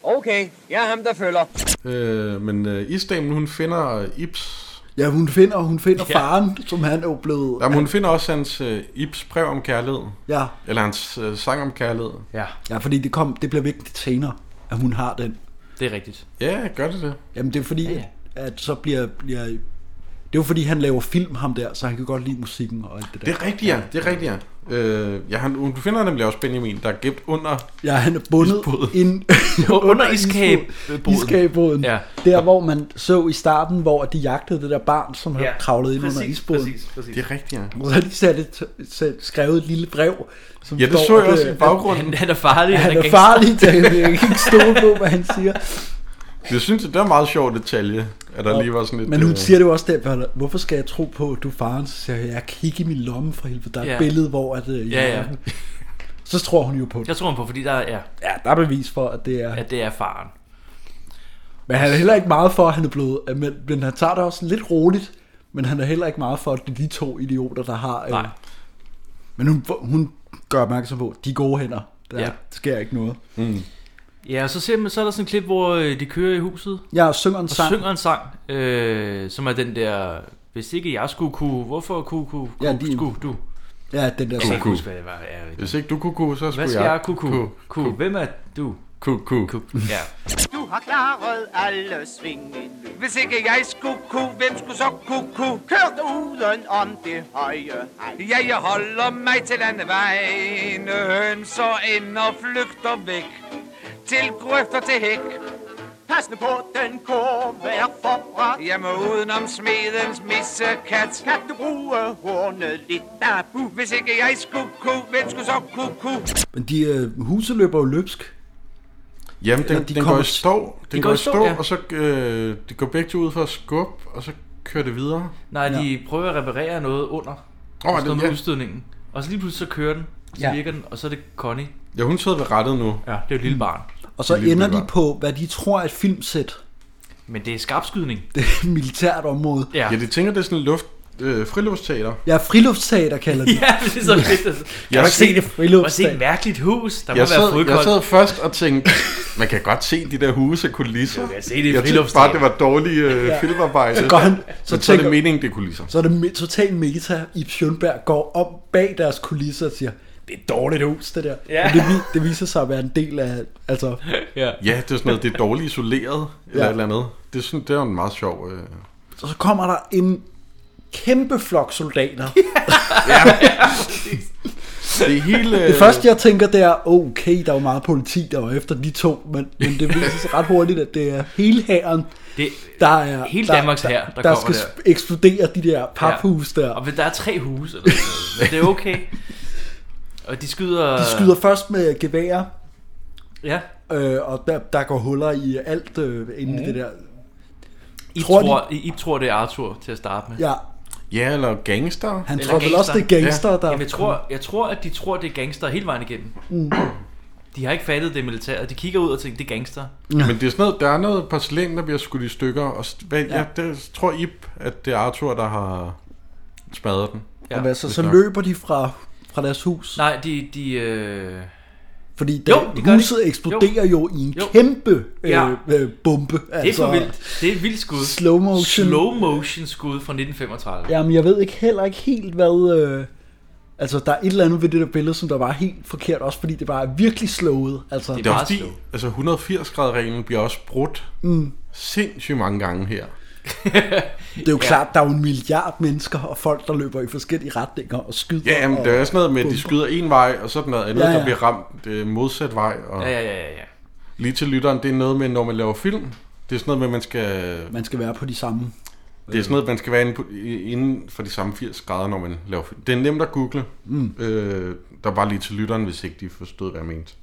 Speaker 11: Okay, jeg er ham, der følger.
Speaker 3: Øh, men øh, isdamen, hun finder øh, Ibs...
Speaker 4: Ja, hun finder, hun finder
Speaker 3: Ja.
Speaker 4: ja. faren, som han er jo blevet...
Speaker 3: Jamen, hun finder også hans øh, Ibs brev om kærlighed.
Speaker 4: Ja.
Speaker 3: Eller hans øh, sang om kærlighed.
Speaker 2: Ja.
Speaker 4: Ja, fordi det, kom, det bliver vigtigt senere, at hun har den.
Speaker 2: Det er rigtigt.
Speaker 3: Ja, gør det det?
Speaker 4: Jamen det er fordi, ja, ja. At, at så bliver, bliver... Det er jo fordi, han laver film, ham der, så han kan godt lide musikken og alt det der.
Speaker 3: Det er rigtigt, ja. Det er rigtigt, ja. Øh, ja han, hun finder nemlig også Benjamin, der er gemt under...
Speaker 4: Ja, han er bundet ind
Speaker 2: under
Speaker 3: iskabeboden.
Speaker 4: iskabeboden.
Speaker 2: Ja.
Speaker 4: Der, hvor man så i starten, hvor de jagtede det der barn, som havde
Speaker 2: Ja,
Speaker 4: ja, kravlet ind
Speaker 2: præcis,
Speaker 4: under isboden.
Speaker 2: præcis, præcis.
Speaker 3: Det er rigtigt, ja.
Speaker 4: Og så har de sat et, sat, skrevet et lille brev. Som
Speaker 3: Ja, det
Speaker 4: står,
Speaker 3: så jeg
Speaker 4: at,
Speaker 3: også i
Speaker 4: øh,
Speaker 3: baggrunden.
Speaker 4: at-
Speaker 3: Han er farlig, han
Speaker 4: Han,
Speaker 3: er
Speaker 4: er
Speaker 3: gangster.
Speaker 4: farlig, der jeg kan ikke stole på, hvad han siger.
Speaker 3: Jeg synes, det er en meget sjov detalje, at der lige var sådan lidt...
Speaker 4: Men hun
Speaker 3: øh,
Speaker 4: siger det jo også der, hvorfor skal jeg tro på, at du er faren? Så siger jeg, jeg kan ikke i min lomme for helvede. Der er et
Speaker 2: Ja.
Speaker 4: billede, hvor at, øh, jeg
Speaker 2: Ja, ja.
Speaker 4: er den. Så tror hun jo på det.
Speaker 2: Jeg tror han på, fordi der er,
Speaker 4: ja, der er bevis for, at det er...
Speaker 2: at det er faren.
Speaker 4: Men han er heller ikke meget for, at han er blevet... øh, Men, men han tager det også lidt roligt. Men han er heller ikke meget for, at det er de to idioter, der har... Øh, Nej. Men hun, hun gør opmærksom på, de er gode hænder. Der
Speaker 2: Ja.
Speaker 4: ja. sker ikke noget.
Speaker 3: Mm.
Speaker 2: Ja, og så, ser man, så er der sådan en klip, hvor øh, de kører i huset.
Speaker 4: Ja, og synger en
Speaker 2: og
Speaker 4: sang.
Speaker 2: synger en sang, øh, som er den der, hvis ikke jeg skulle kunne, hvorfor kunne, kunne, kunne ja, de, skulle du?
Speaker 4: Ja, den der
Speaker 2: Jeg kan
Speaker 4: sang.
Speaker 2: ikke huske, hvad det var. Ja,
Speaker 3: Hvis ikke du kunne kunne, så skulle
Speaker 2: Hvad skal jeg,
Speaker 3: jeg
Speaker 2: kunne, kunne, kunne? Hvem er du?
Speaker 3: Kunne, kunne.
Speaker 2: Ja.
Speaker 7: Du har klaret alle svingene. Hvis ikke jeg skulle kunne, hvem skulle så kunne kunne? Kørt uden om det høje hej. Ja, jeg holder mig til landevejen. Hønser ind og flygter væk. Til grøfter til hæk. Passende på den kurve er forbræt. Jamen udenom smedens missekat. Kan du bruge hornet lidt dabu? Hvis ikke jeg skulle kunne, hvem skulle så kunne kunne?
Speaker 4: Men de øh, huse løber jo løbsk.
Speaker 3: Jamen, den,
Speaker 4: Eller
Speaker 3: de
Speaker 4: de
Speaker 3: den går
Speaker 4: kommer-
Speaker 3: i stå. Den går i stå,
Speaker 4: ja.
Speaker 3: og så øh, de går begge to ud for at skubbe, og så Kører det videre?
Speaker 2: Nej, de ja. prøver at reparere noget under.
Speaker 3: Åh,
Speaker 2: Oh,
Speaker 3: er
Speaker 2: sådan
Speaker 3: det-
Speaker 2: noget med
Speaker 3: ja.
Speaker 2: udstødningen. Og så lige pludselig så kører den, så
Speaker 4: Ja.
Speaker 2: ja. virker den, og så er det Connie.
Speaker 3: Ja, hun sidder ved rettet nu.
Speaker 2: Ja, det er jo et lille barn.
Speaker 4: Og så ender de på, hvad de tror er et filmsæt.
Speaker 2: Men det er skarpskydning.
Speaker 4: Det er et militært område.
Speaker 2: Ja.
Speaker 3: ja de tænker, det er sådan luft, øh, friluftsteater.
Speaker 4: Ja, friluftsteater kalder de.
Speaker 2: Ja, det er så fedt. Jeg
Speaker 3: Jeg
Speaker 2: har
Speaker 3: har
Speaker 2: set
Speaker 3: set
Speaker 2: det
Speaker 3: et
Speaker 2: friluft. Jeg har
Speaker 3: friluftssted.
Speaker 2: set et mærkeligt hus, der må
Speaker 3: jeg,
Speaker 2: være
Speaker 3: sad, jeg sad
Speaker 2: fodkold.
Speaker 3: først og tænkte, man kan godt se de der huse og kulisser. Jeg kan
Speaker 2: se det i
Speaker 3: jeg tænkte bare,
Speaker 2: friluftsteater.
Speaker 3: det var dårlige øh,
Speaker 4: Ja.
Speaker 3: filmarbejde.
Speaker 4: Så går han- så
Speaker 3: så, så er det
Speaker 4: tænker-
Speaker 3: meningen, det er kulisser.
Speaker 4: Så er det me- totalt meta, i Sjønberg går om bag deres kulisser og siger, det er et dårligt hus, det der.
Speaker 2: Ja.
Speaker 4: Men det, vi- det, viser sig at være en del af, altså,
Speaker 2: Ja.
Speaker 3: ja, det er sådan noget, det er dårligt isoleret, eller
Speaker 4: Ja.
Speaker 3: et eller andet. Det er, sådan, det er jo en meget sjov... Øh...
Speaker 4: Og så kommer der en kæmpe flok soldater.
Speaker 3: Det er hele...
Speaker 2: Øh.
Speaker 4: Det første, jeg tænker, det er, okay, der er jo meget politi, der var efter de to, men, men det viser sig ret hurtigt, at det er hele hæren,
Speaker 2: Det,
Speaker 4: der er,
Speaker 2: hele
Speaker 4: der,
Speaker 2: Danmarks
Speaker 4: der,
Speaker 2: hær, der
Speaker 4: der, der
Speaker 2: kommer
Speaker 4: skal der. eksplodere de der paphus der.
Speaker 2: Og der er tre huse, eller sådan noget. men det er okay. Og de skyder...
Speaker 4: De skyder først med geværer,
Speaker 2: Ja.
Speaker 4: øh, og der, der går huller i alt øh, inden mm.
Speaker 2: Mhm.
Speaker 4: det der.
Speaker 2: I
Speaker 4: Tror
Speaker 2: tror,
Speaker 4: de-
Speaker 2: tror, I, I tror, det er Arthur til at starte med.
Speaker 4: Ja,
Speaker 3: Ja, eller gangster.
Speaker 4: Han tror vel også, det er gangster, der-
Speaker 2: Jamen, jeg, tror, jeg tror, at de tror, det er gangster hele vejen igennem.
Speaker 4: Mm.
Speaker 2: De har ikke fattet det militære. De kigger ud og tænker, det er gangster.
Speaker 3: Ja. Men det er sådan noget, der er noget porcelæn, der bliver skudt i stykker, og s- hvad,
Speaker 2: Ja.
Speaker 3: ja. Ja, det tror I, at det er Arthur, der har smadret den.
Speaker 4: Ja. Og hvad, så,
Speaker 3: Hvis
Speaker 4: så
Speaker 3: nok.
Speaker 4: løber de fra, fra deres hus,
Speaker 2: Nej, de... de øh...
Speaker 4: fordi
Speaker 2: Jo,
Speaker 4: der,
Speaker 2: det gør de.
Speaker 4: huset eksploderer jo. jo i en jo. kæmpe øh,
Speaker 2: Ja.
Speaker 4: øh, bombe.
Speaker 2: Det er for vildt. Det er et vildt skud.
Speaker 4: Slow motion.
Speaker 2: Slow motion skud fra 1935.
Speaker 4: Jamen, jeg ved ikke heller ikke helt, hvad... Øh, altså, der er et eller andet ved det der billede, som der var helt forkert, også fordi det bare er virkelig slået. Altså,
Speaker 3: Det er også fordi, altså 180 grader reglen bliver også brudt
Speaker 4: Mm.
Speaker 3: sindssygt mange gange her.
Speaker 4: det er jo ja. klart, der er jo en milliard mennesker og folk, der løber i forskellige retninger og skyder.
Speaker 3: Ja, jamen,
Speaker 4: og,
Speaker 3: det er også noget med, at de
Speaker 4: bomber.
Speaker 3: skyder en vej, og så er der noget andet,
Speaker 4: Ja,
Speaker 3: ja,
Speaker 4: ja.
Speaker 3: ja. der bliver ramt øh, modsat vej. Og
Speaker 2: Ja, ja, ja, ja, ja.
Speaker 3: Lige til lytteren, det er noget med, når man laver film, det er sådan noget med, at man skal...
Speaker 4: Man skal være på de samme.
Speaker 3: Det er sådan noget, man skal være inde, på, i- inden for de samme 80 grader, når man laver film. Det er nemt at google.
Speaker 4: Mm.
Speaker 3: Øh, der var lige til lytteren, hvis ikke de forstod, hvad jeg mente.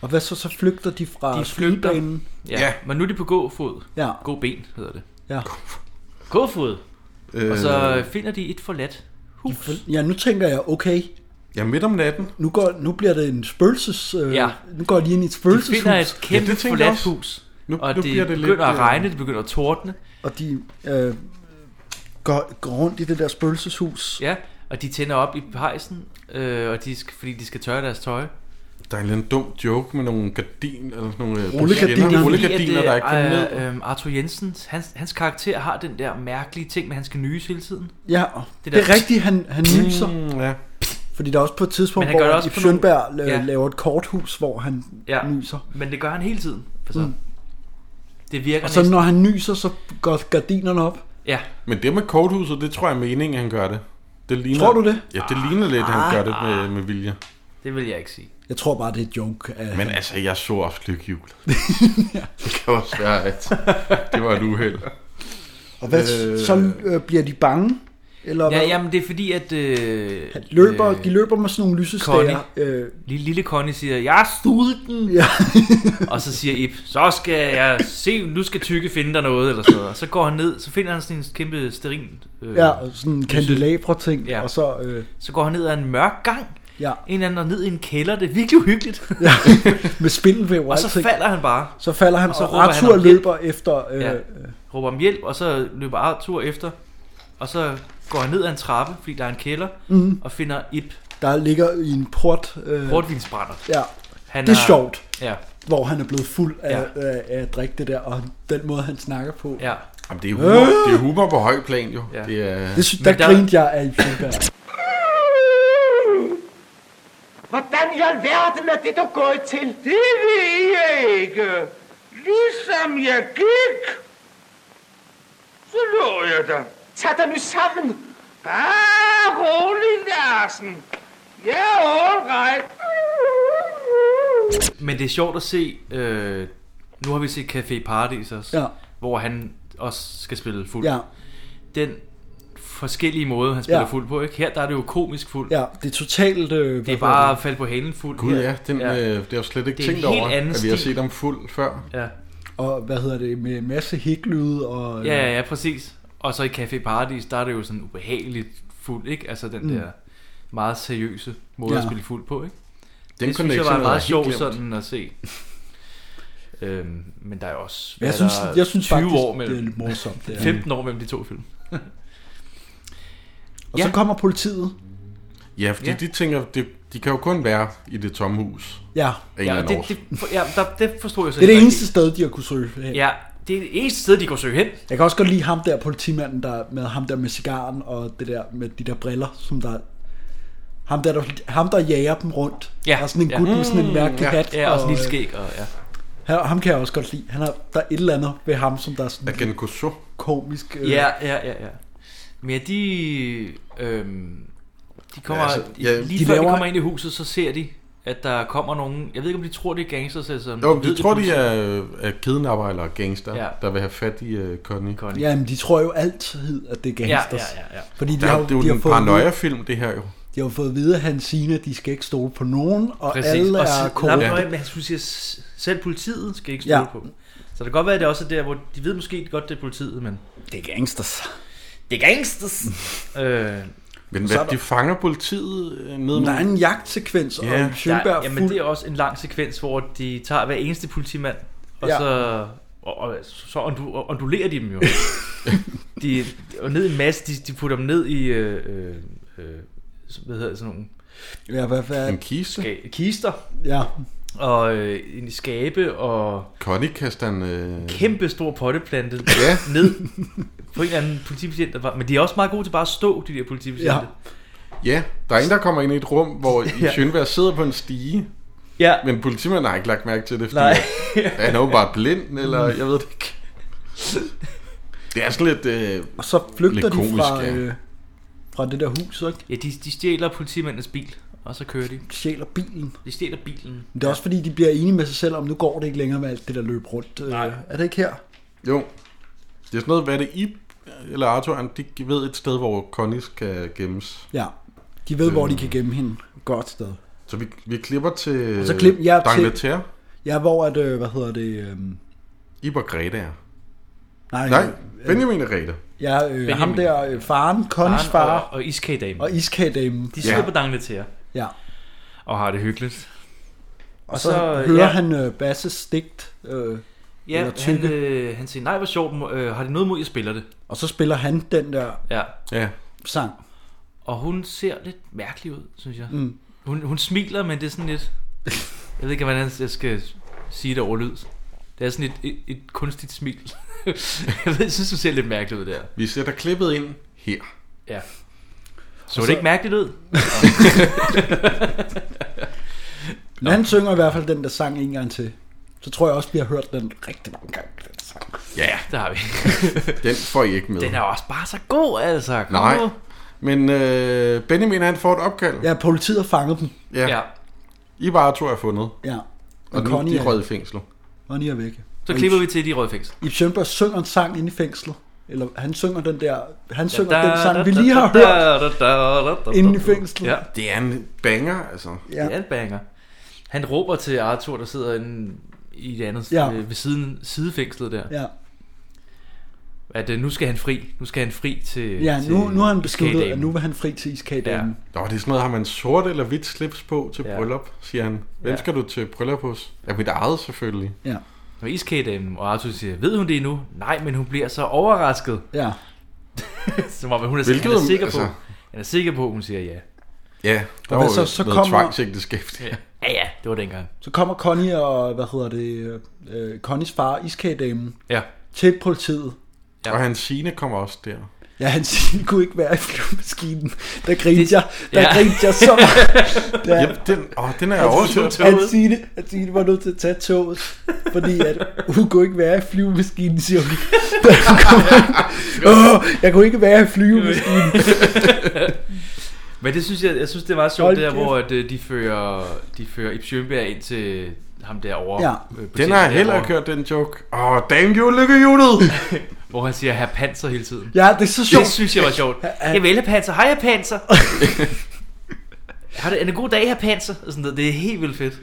Speaker 4: Og hvad så, så flygter de fra
Speaker 2: De flygter.
Speaker 4: flybanen?
Speaker 2: Ja. ja. Men nu er de på gåfod.
Speaker 4: Ja.
Speaker 2: Gåben hedder det.
Speaker 4: Ja.
Speaker 2: Gåfod. Øh... Og så
Speaker 4: Øh.
Speaker 2: finder de et forladt hus.
Speaker 4: ja, nu tænker jeg, okay.
Speaker 3: Ja, midt om natten.
Speaker 4: Nu, går, nu bliver det en spøgelses... Øh,
Speaker 2: Ja.
Speaker 4: Nu går de ind i et
Speaker 2: De
Speaker 4: spøgelseshus.
Speaker 2: finder et kæmpe ja,
Speaker 3: tænkte jeg
Speaker 2: forladt
Speaker 3: også.
Speaker 2: hus.
Speaker 3: Nu-
Speaker 2: og det
Speaker 3: nu bliver det
Speaker 2: begynder
Speaker 3: lidt,
Speaker 2: at
Speaker 3: øh,
Speaker 2: regne, det begynder at tordne.
Speaker 4: Og de øh, går, går rundt i det der spøgelseshus.
Speaker 2: Ja, og de tænder op i pejsen, øh, og de skal, fordi de skal tørre deres tøj.
Speaker 3: Der er en eller anden dum joke med nogle gardiner, eller sådan nogle øh,
Speaker 2: Det er fordi,
Speaker 3: persienner.
Speaker 2: at,
Speaker 3: Rullegardiner,
Speaker 2: øh,
Speaker 3: der ikke kommer ned.
Speaker 2: øh, øh, Arthur Jensen, hans, hans karakter har den der mærkelige ting, med at han skal nyse hele tiden.
Speaker 4: Ja, det, det er rigtigt, han, han nyser.
Speaker 3: Mm, ja.
Speaker 4: Fordi der er også på et tidspunkt,
Speaker 2: Men han gør det
Speaker 4: hvor
Speaker 2: også
Speaker 4: Ip
Speaker 2: på nogle-
Speaker 4: Schønberg nogle...
Speaker 2: Ja.
Speaker 4: laver et korthus, hvor han
Speaker 2: Ja.
Speaker 4: nyser.
Speaker 2: Men det gør han hele tiden. Altså,
Speaker 4: Mm.
Speaker 2: mm. Det virker
Speaker 4: Og så
Speaker 2: næsten.
Speaker 4: når han nyser, så går gardinerne op.
Speaker 2: Ja.
Speaker 3: Men det med korthuset, det tror jeg er meningen, han gør det. det ligner,
Speaker 4: Tror du det?
Speaker 3: Ja, det ligner lidt, at
Speaker 4: Ah.
Speaker 3: han gør det med, med vilje.
Speaker 2: Det vil jeg ikke sige.
Speaker 4: Jeg tror bare, det er et joke. Af...
Speaker 3: Men altså, jeg så også lykkehjul. Det kan også være, at det var et uheld.
Speaker 4: Og hvad, øh... så øh, bliver de bange? Eller
Speaker 2: Ja,
Speaker 4: hvad?
Speaker 2: jamen det er fordi, at... Øh, han
Speaker 4: Løber, øh... De løber med sådan nogle lysestager. Øh...
Speaker 2: Lille, lille Connie siger, jeg er sulten.
Speaker 4: Ja.
Speaker 2: og så siger Ip, så skal jeg se, nu skal tykke finde dig noget, eller sådan noget. Og så går han ned, så finder han sådan en kæmpe sterin. Øh,
Speaker 4: Ja, og sådan en
Speaker 2: lyse-
Speaker 4: kandelabre-ting, ja. og så... Øh,
Speaker 2: Så går han ned ad en mørk gang,
Speaker 4: ja.
Speaker 2: en eller anden og ned i en kælder, det er virkelig uhyggeligt.
Speaker 4: ja. med spindelvæv
Speaker 2: og så
Speaker 4: alting.
Speaker 2: falder han bare.
Speaker 4: Så falder han,
Speaker 2: Og
Speaker 4: så
Speaker 2: råber han
Speaker 4: Arthur
Speaker 2: om hjælp.
Speaker 4: løber efter... Øh,
Speaker 2: Ja,
Speaker 4: ja.
Speaker 2: råber om hjælp, og så løber Arthur efter. Og så går han ned ad en trappe, fordi der er en kælder,
Speaker 4: Mhm.
Speaker 2: og finder Ip.
Speaker 4: Der ligger i en port... Øh,
Speaker 2: Portvinsbrænder.
Speaker 4: Ja.
Speaker 2: Han
Speaker 4: det er,
Speaker 2: er-
Speaker 4: sjovt.
Speaker 2: Ja.
Speaker 4: Hvor han er blevet fuld af, ja. af, af at drikke det der, og den måde, han snakker på.
Speaker 2: Ja.
Speaker 3: Jamen, det er humor, det er humor på høj plan, jo. Ja. Det er...
Speaker 4: Øh! Det, sy- der, der grinte jeg af i Fjellberg.
Speaker 9: Hvordan i alverden er det, du er gået til?
Speaker 7: Det ved jeg ikke. Ligesom jeg gik, så lå jeg der.
Speaker 9: Tag dig nu sammen.
Speaker 7: Bare rolig, Larsen. Jeg er all right.
Speaker 2: Men det er sjovt at se, øh, nu har vi set Café Paradis også,
Speaker 4: Ja.
Speaker 2: hvor han også skal spille fuld.
Speaker 4: Ja.
Speaker 2: Den forskellige måde, han spiller
Speaker 4: Ja.
Speaker 2: fuld på. Ikke? Her der er det jo komisk fuld.
Speaker 4: Ja, det er totalt... Øh, hvad
Speaker 2: Det er
Speaker 4: hedder
Speaker 2: bare at falde på halen fuld.
Speaker 3: Gud
Speaker 2: her.
Speaker 3: ja, den, ja. Øh, det er jo slet ikke
Speaker 2: Det er en
Speaker 3: tænkt
Speaker 2: helt
Speaker 3: over,
Speaker 2: anden
Speaker 3: at vi har
Speaker 2: stil.
Speaker 3: set ham fuld før.
Speaker 2: Ja.
Speaker 4: Og øh, hvad hedder det, med en masse hæklyde og...
Speaker 2: Ja, ja, ja, præcis. Og så i Café Paradis, der er det jo sådan ubehageligt fuld, ikke? Altså den
Speaker 4: Mm.
Speaker 2: mm. der meget seriøse måde ja.
Speaker 4: Ja.
Speaker 2: at spille fuld på, ikke?
Speaker 3: Den
Speaker 2: det synes jeg
Speaker 3: connection
Speaker 2: var
Speaker 3: havde jeg
Speaker 2: meget
Speaker 3: helt
Speaker 2: sjovt
Speaker 3: glemt.
Speaker 2: sådan at se. øhm, men der er jo også
Speaker 4: Jeg
Speaker 2: hvad er
Speaker 4: synes-
Speaker 2: der,
Speaker 4: jeg synes
Speaker 2: 20
Speaker 4: faktisk,
Speaker 2: år mellem,
Speaker 4: det er lidt morsomt, det er.
Speaker 2: 15 år mellem de to film.
Speaker 4: Og ja. så kommer politiet.
Speaker 3: Ja, fordi ja.
Speaker 4: Ja.
Speaker 3: de tænker, de, de kan jo kun være i det tomme hus.
Speaker 4: Ja.
Speaker 3: Af
Speaker 2: Ja,
Speaker 3: en ja,
Speaker 2: og
Speaker 3: anden
Speaker 2: det,
Speaker 3: årsag.
Speaker 2: det, ja, der, det forstod jeg så
Speaker 4: Det er det
Speaker 2: heller
Speaker 4: eneste
Speaker 2: ikke.
Speaker 4: sted, de har kunne søge hen.
Speaker 2: Ja, det er det eneste sted, de kunne søge hen.
Speaker 4: Jeg kan også godt lide ham der politimanden der med ham der med cigaren og det der med de der briller, som der ham der, der ham der jager dem rundt.
Speaker 2: Ja,
Speaker 4: og sådan en
Speaker 2: ja.
Speaker 4: gut med sådan en
Speaker 2: Mm,
Speaker 4: mærkelig
Speaker 2: ja.
Speaker 4: hat.
Speaker 2: Ja, og sådan lidt
Speaker 4: øh,
Speaker 2: skæg, og ja.
Speaker 4: Ham, ham kan jeg også godt lide. Han har, der er et eller andet ved ham, som der er sådan
Speaker 3: Agent Clouseau.
Speaker 4: komisk.
Speaker 3: Øh.
Speaker 4: øh,
Speaker 2: Ja, ja, ja, ja. Men ja, de... Øhm, de kommer...
Speaker 3: Ja,
Speaker 2: Ja,
Speaker 3: altså,
Speaker 2: altså,
Speaker 3: ja,
Speaker 2: ja, lige
Speaker 3: de
Speaker 2: de før
Speaker 3: laver-
Speaker 2: de kommer ind i huset, så ser de, at der kommer nogen... Jeg ved ikke, om de tror, det er gangsters, altså...
Speaker 3: Jo, de
Speaker 2: ved
Speaker 3: tror, de
Speaker 2: pludselig.
Speaker 3: er, er kidnapper eller gangster, ja.
Speaker 2: Ja.
Speaker 3: der vil have fat i uh, Connie.
Speaker 2: Connie.
Speaker 4: Jamen, de tror jo altid, at det er gangsters.
Speaker 3: Ja, ja, ja, ja.
Speaker 4: Fordi de
Speaker 3: Der-
Speaker 4: har,
Speaker 3: det er jo
Speaker 4: de har
Speaker 3: en
Speaker 4: fået at vide-
Speaker 3: paranoia-film, det her jo.
Speaker 4: De har jo fået at vide, at han siger, at de skal ikke stole på nogen, og
Speaker 2: Præcis.
Speaker 4: alle
Speaker 2: og
Speaker 4: er
Speaker 2: korrekt. Nej,
Speaker 4: korrupte.
Speaker 2: men han skulle sige, at s- selv politiet skal ikke
Speaker 4: Ja.
Speaker 2: stole ja. på dem. Så det kan godt være, at det også er der, hvor de ved måske godt, det er politiet, men...
Speaker 4: Det er gangsters.
Speaker 2: Det er gangsters! øh,
Speaker 3: Men
Speaker 2: Så
Speaker 3: hvad,
Speaker 2: er der-
Speaker 3: de fanger politiet øh, ned
Speaker 4: Der er en jagtsekvens, og
Speaker 3: Ja.
Speaker 4: Schønberg
Speaker 2: der,
Speaker 4: er
Speaker 2: jamen,
Speaker 4: fuld.
Speaker 2: det er også en lang sekvens, hvor de tager hver eneste politimand, og
Speaker 4: Ja.
Speaker 2: ja. så, og, og, så ondu, og- ondulerer de dem jo. de, og ned i en masse, de, de putter dem ned i, øh, øh, hvad hedder det, sådan nogle...
Speaker 4: Ja, hvad, hvad,
Speaker 3: kiste.
Speaker 2: Ska, kister.
Speaker 4: Ja.
Speaker 2: Og øh, ind i skabe, og
Speaker 3: Connie kaster en... Øh,
Speaker 2: kæmpe stor potteplante ja. ned på en eller anden politibetjent. Der var, men de er også meget gode til bare at stå, de der politibetjente.
Speaker 3: Ja. ja, der er en, der kommer ind i et rum, hvor ja.
Speaker 2: Ja.
Speaker 3: Sjønberg sidder på en stige.
Speaker 2: Ja.
Speaker 3: Men politimanden har ikke lagt mærke til det, fordi
Speaker 2: Nej.
Speaker 3: at han er jo bare blind, eller jeg ved det ikke. Det er sådan lidt... Øh,
Speaker 4: og så flygter
Speaker 3: lidt
Speaker 4: de
Speaker 3: komisk,
Speaker 4: fra,
Speaker 3: ja.
Speaker 4: øh, fra det der hus, ikke?
Speaker 2: Ja, de, de stjæler politimandens bil, og så kører de.
Speaker 4: Stjæler bilen?
Speaker 2: De stjæler bilen.
Speaker 4: Men det er også fordi, de bliver enige med sig selv om, nu går det ikke længere med alt det der løb rundt. Nej. Er det ikke her?
Speaker 3: Jo. Det er sådan noget, hvad det I eller Arthur, han- de ved et sted, hvor Connie skal gemmes.
Speaker 4: Ja. De ved, hvor
Speaker 3: Øh.
Speaker 4: de kan gemme hende. Godt sted.
Speaker 3: Så vi, vi klipper til
Speaker 4: Og så klip, ja,
Speaker 3: Dangleterre.
Speaker 4: til, ja, hvor er det, øh, hvad hedder det? Øhm,
Speaker 3: Ib og Grete er.
Speaker 4: nej,
Speaker 3: Nej, Benjamin og Grete.
Speaker 4: Ja, øh,
Speaker 3: Benjamin.
Speaker 4: ham der, øh, faren, Connys
Speaker 2: Faren
Speaker 4: far.
Speaker 2: Og, og iskagedamen.
Speaker 4: Og iskagedamen.
Speaker 2: De sidder ja. på Dangleterre.
Speaker 4: Ja.
Speaker 2: Og har det hyggeligt.
Speaker 4: Og så, så hører ja.
Speaker 2: ja,
Speaker 4: han øh, Basses stigt. Øh,
Speaker 2: ja,
Speaker 4: eller tykke.
Speaker 2: han, øh, han siger, nej, hvor sjovt, øh, har det noget mod, jeg spiller det?
Speaker 4: Og så spiller han den der
Speaker 2: Ja.
Speaker 3: ja.
Speaker 4: sang.
Speaker 2: Og hun ser lidt mærkelig ud, synes jeg.
Speaker 4: Mm.
Speaker 2: Mm. Hun, hun smiler, men det er sådan lidt... Jeg ved ikke, hvordan jeg skal sige det over lyd. Det er sådan et, et, et kunstigt smil. jeg ved, jeg synes, hun ser lidt mærkelig ud der.
Speaker 3: Vi sætter klippet ind her.
Speaker 2: Ja. Så
Speaker 4: Og
Speaker 2: det
Speaker 4: så-
Speaker 2: ikke mærkeligt ud?
Speaker 4: Men han synger i hvert fald den der sang en gang til. Så tror jeg også, vi har hørt den rigtig mange gange. Den sang.
Speaker 3: Ja,
Speaker 2: det har vi.
Speaker 3: Den får I ikke med.
Speaker 2: Den er også bare så god, altså. Kom
Speaker 3: Nej.
Speaker 2: nu.
Speaker 3: Men øh, Benjamin, han får et opkald.
Speaker 4: Ja, politiet har fanget dem.
Speaker 3: Ja. ja.
Speaker 2: Ja.
Speaker 3: Ib og Arthur er fundet.
Speaker 4: Ja.
Speaker 3: Og, og nu,
Speaker 4: Connie
Speaker 3: de er
Speaker 4: er-
Speaker 3: røget i fængsel.
Speaker 4: Og han er væk.
Speaker 2: Så klipper vi til de røde fængsel.
Speaker 4: Ib Schønberg synger en sang inde i fængslet. Eller han synger den der, han
Speaker 2: Ja,
Speaker 4: synger
Speaker 2: da,
Speaker 4: den sang,
Speaker 2: da,
Speaker 4: vi
Speaker 2: da,
Speaker 4: lige
Speaker 2: da,
Speaker 4: har
Speaker 2: da,
Speaker 4: hørt.
Speaker 2: da, da, da, da, da,
Speaker 4: inde i
Speaker 2: da.
Speaker 4: fængslet.
Speaker 2: Ja.
Speaker 3: Det er en banger, altså.
Speaker 4: Ja.
Speaker 2: Det er en banger. Han råber til Arthur, der sidder inde i det andet
Speaker 4: Ja.
Speaker 2: ja. ved siden sidefængslet der.
Speaker 4: Ja.
Speaker 2: At øh, nu skal han fri. Nu skal han fri til
Speaker 4: Ja, nu,
Speaker 2: Øh, til
Speaker 4: nu har han besluttet,
Speaker 2: kagedamen.
Speaker 4: at nu vil han fri til iskagedamen.
Speaker 3: Nå, det er sådan noget, har man sort eller hvidt slips på til ja. bryllup, siger han. Hvem ja.
Speaker 4: Ja.
Speaker 3: skal du til bryllup hos? Ja, mit eget selvfølgelig.
Speaker 4: Ja.
Speaker 2: Og iskagedamen, og Arthur siger, ved hun det nu? Nej, men hun bliver så overrasket.
Speaker 4: Ja.
Speaker 2: Som om hun er,
Speaker 3: Hvilket,
Speaker 2: han er sikker
Speaker 3: altså-
Speaker 2: på. Han er sikker på, at hun siger ja.
Speaker 3: Ja, der
Speaker 4: Og
Speaker 3: var
Speaker 4: hvad
Speaker 3: jo
Speaker 4: så? Så
Speaker 3: noget
Speaker 4: kommer-
Speaker 3: tvangsægteskab der.
Speaker 2: Ja, ja, det var dengang.
Speaker 4: Så kommer Connie og, hvad hedder det, øh, øh, Connies far, iskagedamen,
Speaker 2: Ja.
Speaker 4: til politiet.
Speaker 3: Ja. Og hans sine kommer også der.
Speaker 4: Ja, han siger, "I kunne ikke være i flyvemaskinen. Der grinte jeg, der ja.
Speaker 3: ja.
Speaker 4: grinte jeg så meget.
Speaker 3: Ja. Yep, den, åh, den er jeg oversøgt.
Speaker 4: Han siger, at Signe var nødt til at tage toget, fordi at hun kunne ikke være i flyvemaskinen, siger hun. Da hun kommer ind. Åh, jeg kunne ikke være i flyvemaskinen.
Speaker 2: Men det synes jeg, jeg synes det er meget sjovt
Speaker 4: Hold
Speaker 2: der,
Speaker 4: kæft.
Speaker 2: hvor at, øh, de fører, de fører Ib Schønberg ind til ham derovre.
Speaker 4: Ja.
Speaker 2: øh, betjenten
Speaker 3: Den har jeg heller
Speaker 2: derovre,
Speaker 3: ikke hørt, den joke. Åh, damn you, lykkehjulet!
Speaker 2: Hvor han siger, her panser hele tiden.
Speaker 4: Ja, det er så sjovt.
Speaker 2: Det synes jeg var sjovt. Jeg vil have panser. Hej, herr panser. Har det en god dag, her panser? Og Sådan noget. Det er helt vildt fedt.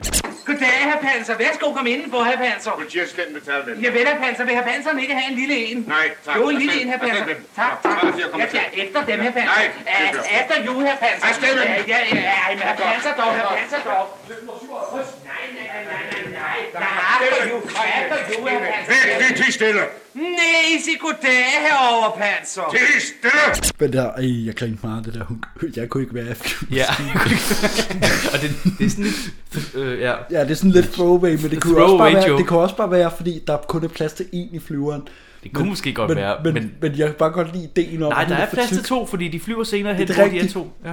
Speaker 9: Goddag, herr Panser. Værsgo, kom indenfor, herr Panser.
Speaker 12: Politiassistenten betaler den.
Speaker 9: Ja, vel, herr Panser. Vil herr Panseren ikke have en lille en?
Speaker 12: Nej, tak.
Speaker 9: Jo, en lille
Speaker 12: Afsted.
Speaker 9: en, herr
Speaker 12: Afsted
Speaker 9: Panser.
Speaker 12: med dem.
Speaker 9: Tak, tak. Jeg tager efter dem, herr Panser.
Speaker 12: Nej, det
Speaker 9: Ja,
Speaker 12: gør.
Speaker 9: Efter jul, herr Panser.
Speaker 12: Afsted med dem.
Speaker 9: Ja, ja, ja. Ej, men herr
Speaker 12: Godt.
Speaker 9: Panser dog, herr
Speaker 12: Godt.
Speaker 9: Panser dog. Nej, nej, nej, nej, nej, nej. Der er efter jul. Der er efter jul, herr Panser.
Speaker 12: Væk, det er stille.
Speaker 9: Nej, sig goddag, herovre, Panser.
Speaker 12: Tis stille.
Speaker 4: Men der, ej, jeg grinte meget af det der hund. Jeg kunne ikke være
Speaker 2: Ja. og det, det er sådan lidt... Øh, ja.
Speaker 4: Ja, det er sådan lidt throwaway, men det kunne, også
Speaker 2: Throwaway
Speaker 4: bare være,
Speaker 2: joke.
Speaker 4: det kunne også bare være, fordi der kun er plads til én i flyveren.
Speaker 2: Det kunne måske godt
Speaker 4: men,
Speaker 2: være,
Speaker 4: Men, men,
Speaker 2: men-
Speaker 4: men jeg kan bare godt lide ideen om,
Speaker 2: Nej,
Speaker 4: at
Speaker 2: der
Speaker 4: hun
Speaker 2: er
Speaker 4: for
Speaker 2: plads til
Speaker 4: tyk.
Speaker 2: to, fordi de flyver senere hen,
Speaker 4: Det er
Speaker 2: hvor de er
Speaker 4: rigtigt.
Speaker 2: to. Ja.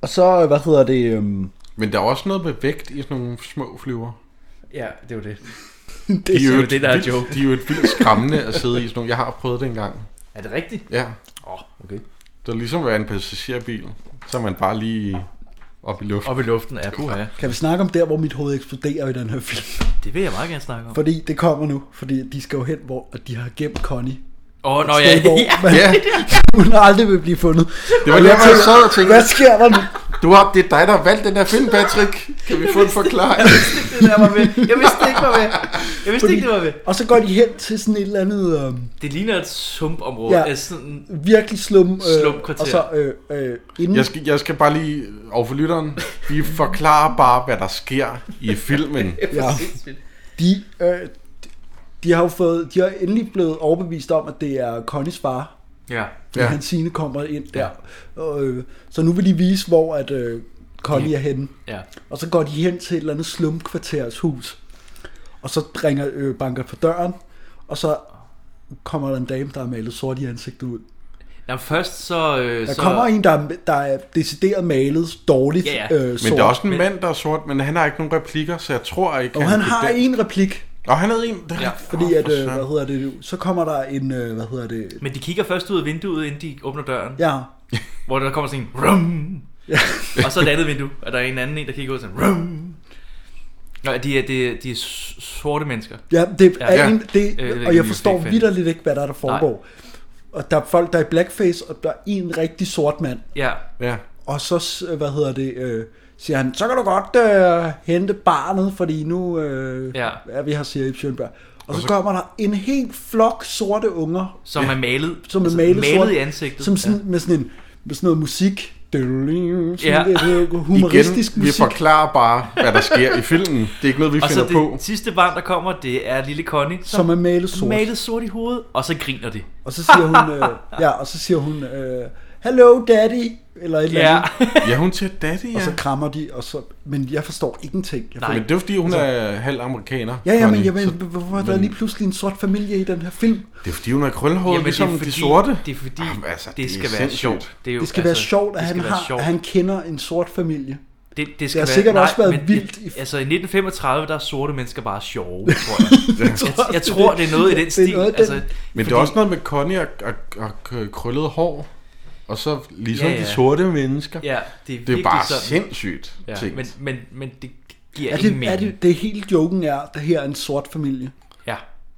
Speaker 4: Og så, hvad hedder det? Øhm,
Speaker 3: Men der er også noget med vægt i sådan nogle små flyver.
Speaker 2: Ja, det er jo det.
Speaker 3: De
Speaker 2: Det er
Speaker 3: jo
Speaker 2: jo
Speaker 3: et
Speaker 2: det, der er
Speaker 3: vildt-
Speaker 2: joke.
Speaker 3: De er jo et vildt skræmmende at sidde i sådan nogle. Jeg har prøvet det engang.
Speaker 2: Er det rigtigt?
Speaker 3: Ja.
Speaker 2: Åh, oh, okay.
Speaker 3: Det er ligesom at være en passagerbil. Så er man bare lige op i luften.
Speaker 2: Op i luften, ja, puha.
Speaker 4: Kan vi snakke om der, hvor mit hoved eksploderer i den her film?
Speaker 2: Det vil jeg meget gerne snakke om.
Speaker 4: Fordi det kommer nu, fordi de skal jo hen, hvor og de har gemt Connie.
Speaker 2: Åh, nå
Speaker 4: Et
Speaker 2: ja,
Speaker 4: sted, hvor
Speaker 2: ja,
Speaker 4: man-
Speaker 2: ja.
Speaker 4: Hun aldrig vil blive fundet.
Speaker 3: Det var
Speaker 4: Og
Speaker 3: der,
Speaker 4: jeg
Speaker 3: hvor jeg
Speaker 4: tænker,
Speaker 3: sad og tænkte,
Speaker 4: Hvad sker der nu?
Speaker 3: Du har, det er dig, der har valgt den her film, Patrick. Kan vi få en forklaring?
Speaker 2: det der var med. Jeg vidste det ikke var med. Jeg vidste ikke, det var med.
Speaker 4: Og så går de hen til sådan et eller andet... Øhm,
Speaker 2: Det ligner et sumpområde.
Speaker 4: ja,
Speaker 2: Ja. Sådan,
Speaker 4: virkelig slum.
Speaker 2: Slumkvarter.
Speaker 4: og så øh, øh, inden...
Speaker 3: Jeg skal, jeg skal bare lige over for lytteren. Vi forklarer bare, hvad der sker i filmen.
Speaker 4: Ja. De, øh, de har jo fået, de har endelig blevet overbevist om, at det er Connys far.
Speaker 2: Ja.
Speaker 4: Ja.
Speaker 3: Ja.
Speaker 4: Han sine kommer ind der. Og, øh, så nu vil de vise, hvor at, øh, Connie
Speaker 2: Ja.
Speaker 4: er henne.
Speaker 2: Ja.
Speaker 4: Og så går de hen til et eller andet slumkvarters hus. Og så ringer, øh, banker på døren, og så kommer der en dame, der er malet sort i ansigtet ud.
Speaker 2: Jamen først så... Øh,
Speaker 4: Der
Speaker 2: så
Speaker 4: kommer en, der er, der er decideret malet dårligt
Speaker 2: Ja, ja.
Speaker 4: Øh,
Speaker 2: Men
Speaker 4: sort.
Speaker 3: Men der er også en mand, der er sort, men han har ikke nogen replikker, så jeg tror ikke,
Speaker 4: Og han har
Speaker 3: det.
Speaker 4: en replik.
Speaker 3: Og han havde en. Der... Ja.
Speaker 4: Fordi at, øh, hvad hedder det, så kommer der en, øh, hvad hedder det,
Speaker 2: Men de kigger først ud af vinduet, inden de åbner døren.
Speaker 4: Ja.
Speaker 2: Hvor der kommer sådan en... Rum! Ja. og så et andet vindue, og der er en anden en, der kigger ud sådan... Rum! Nå, de er, de, er, de er s- sorte mennesker.
Speaker 4: Ja, det er ja. En,
Speaker 2: Øh,
Speaker 4: det,
Speaker 2: ved ikke,
Speaker 4: og jeg
Speaker 2: om I
Speaker 4: forstår
Speaker 2: fik fat i-
Speaker 4: vidderligt ikke, hvad der er, der foregår. Og der er folk, der er i blackface, og der er en rigtig sort mand.
Speaker 2: Ja.
Speaker 3: Ja.
Speaker 4: Og så, s- hvad hedder det, øh, siger han, så kan du godt øh, hente barnet, fordi nu øh,
Speaker 2: Ja.
Speaker 4: er vi her, siger Ip Schønberg. Og så, kommer der en helt flok sorte unger.
Speaker 2: Som er malet-
Speaker 4: Som er
Speaker 2: altså
Speaker 4: malet,
Speaker 2: malet
Speaker 4: sort,
Speaker 2: i ansigtet.
Speaker 4: Som sådan, ja. med, sådan en, med sådan noget musik. Sådan
Speaker 2: Ja.
Speaker 4: lidt, øh, humoristisk
Speaker 3: Igen, vi
Speaker 4: musik.
Speaker 3: forklarer bare, hvad der sker i filmen. Det er ikke noget, vi
Speaker 2: og så
Speaker 3: finder
Speaker 2: det
Speaker 3: på.
Speaker 2: sidste barn, der kommer, det er lille Connie,
Speaker 4: Som er malet sort.
Speaker 2: malet sort i hovedet, og så griner de.
Speaker 4: Og så siger hun, øh, ja, og så siger hun, øh, hello daddy, eller et eller
Speaker 2: Ja.
Speaker 4: andet.
Speaker 3: Ja, hun siger daddy, ja.
Speaker 4: Og så krammer de, og så, men jeg forstår ingenting. Jeg
Speaker 3: Nej. Men det er jo, fordi, hun er halv amerikaner.
Speaker 4: Ja, ja, men,
Speaker 3: Connie.
Speaker 4: jeg men,
Speaker 3: Så
Speaker 4: hvorfor er der lige pludselig en sort familie i den her film?
Speaker 3: Det er, fordi hun er krølhåret,
Speaker 2: Jamen, det er
Speaker 3: ligesom
Speaker 2: fordi-
Speaker 3: de sorte.
Speaker 2: det er fordi,
Speaker 3: Jamen, altså,
Speaker 2: det
Speaker 3: er
Speaker 2: skal være
Speaker 3: sindssygt.
Speaker 2: sjovt. Det er jo-
Speaker 4: Det skal
Speaker 2: altså,
Speaker 4: være sjovt, at
Speaker 2: det
Speaker 4: han,
Speaker 2: skal være
Speaker 4: har,
Speaker 2: sjovt.
Speaker 4: at han kender en sort familie.
Speaker 2: Det, det, skal
Speaker 4: har
Speaker 2: være,
Speaker 4: sikkert også været
Speaker 2: men
Speaker 4: vildt
Speaker 2: I, altså i 1935, der er sorte mennesker bare sjove, tror jeg. jeg, jeg tror, det er noget i den stil. altså,
Speaker 3: Men det er også noget med Connie og, og, og krøllet hår. Og så ligesom
Speaker 2: Ja,
Speaker 3: ja,
Speaker 2: ja.
Speaker 3: ja. de sorte mennesker.
Speaker 2: Ja, det er,
Speaker 3: det er
Speaker 2: virkelig
Speaker 3: bare
Speaker 2: sådan.
Speaker 3: sindssygt
Speaker 2: ja,
Speaker 3: ting.
Speaker 2: Men, men, men det giver
Speaker 4: Er
Speaker 2: ingen
Speaker 4: det, er
Speaker 2: mening.
Speaker 4: det, det er helt joken er, at det her er en sort familie.
Speaker 2: Ja.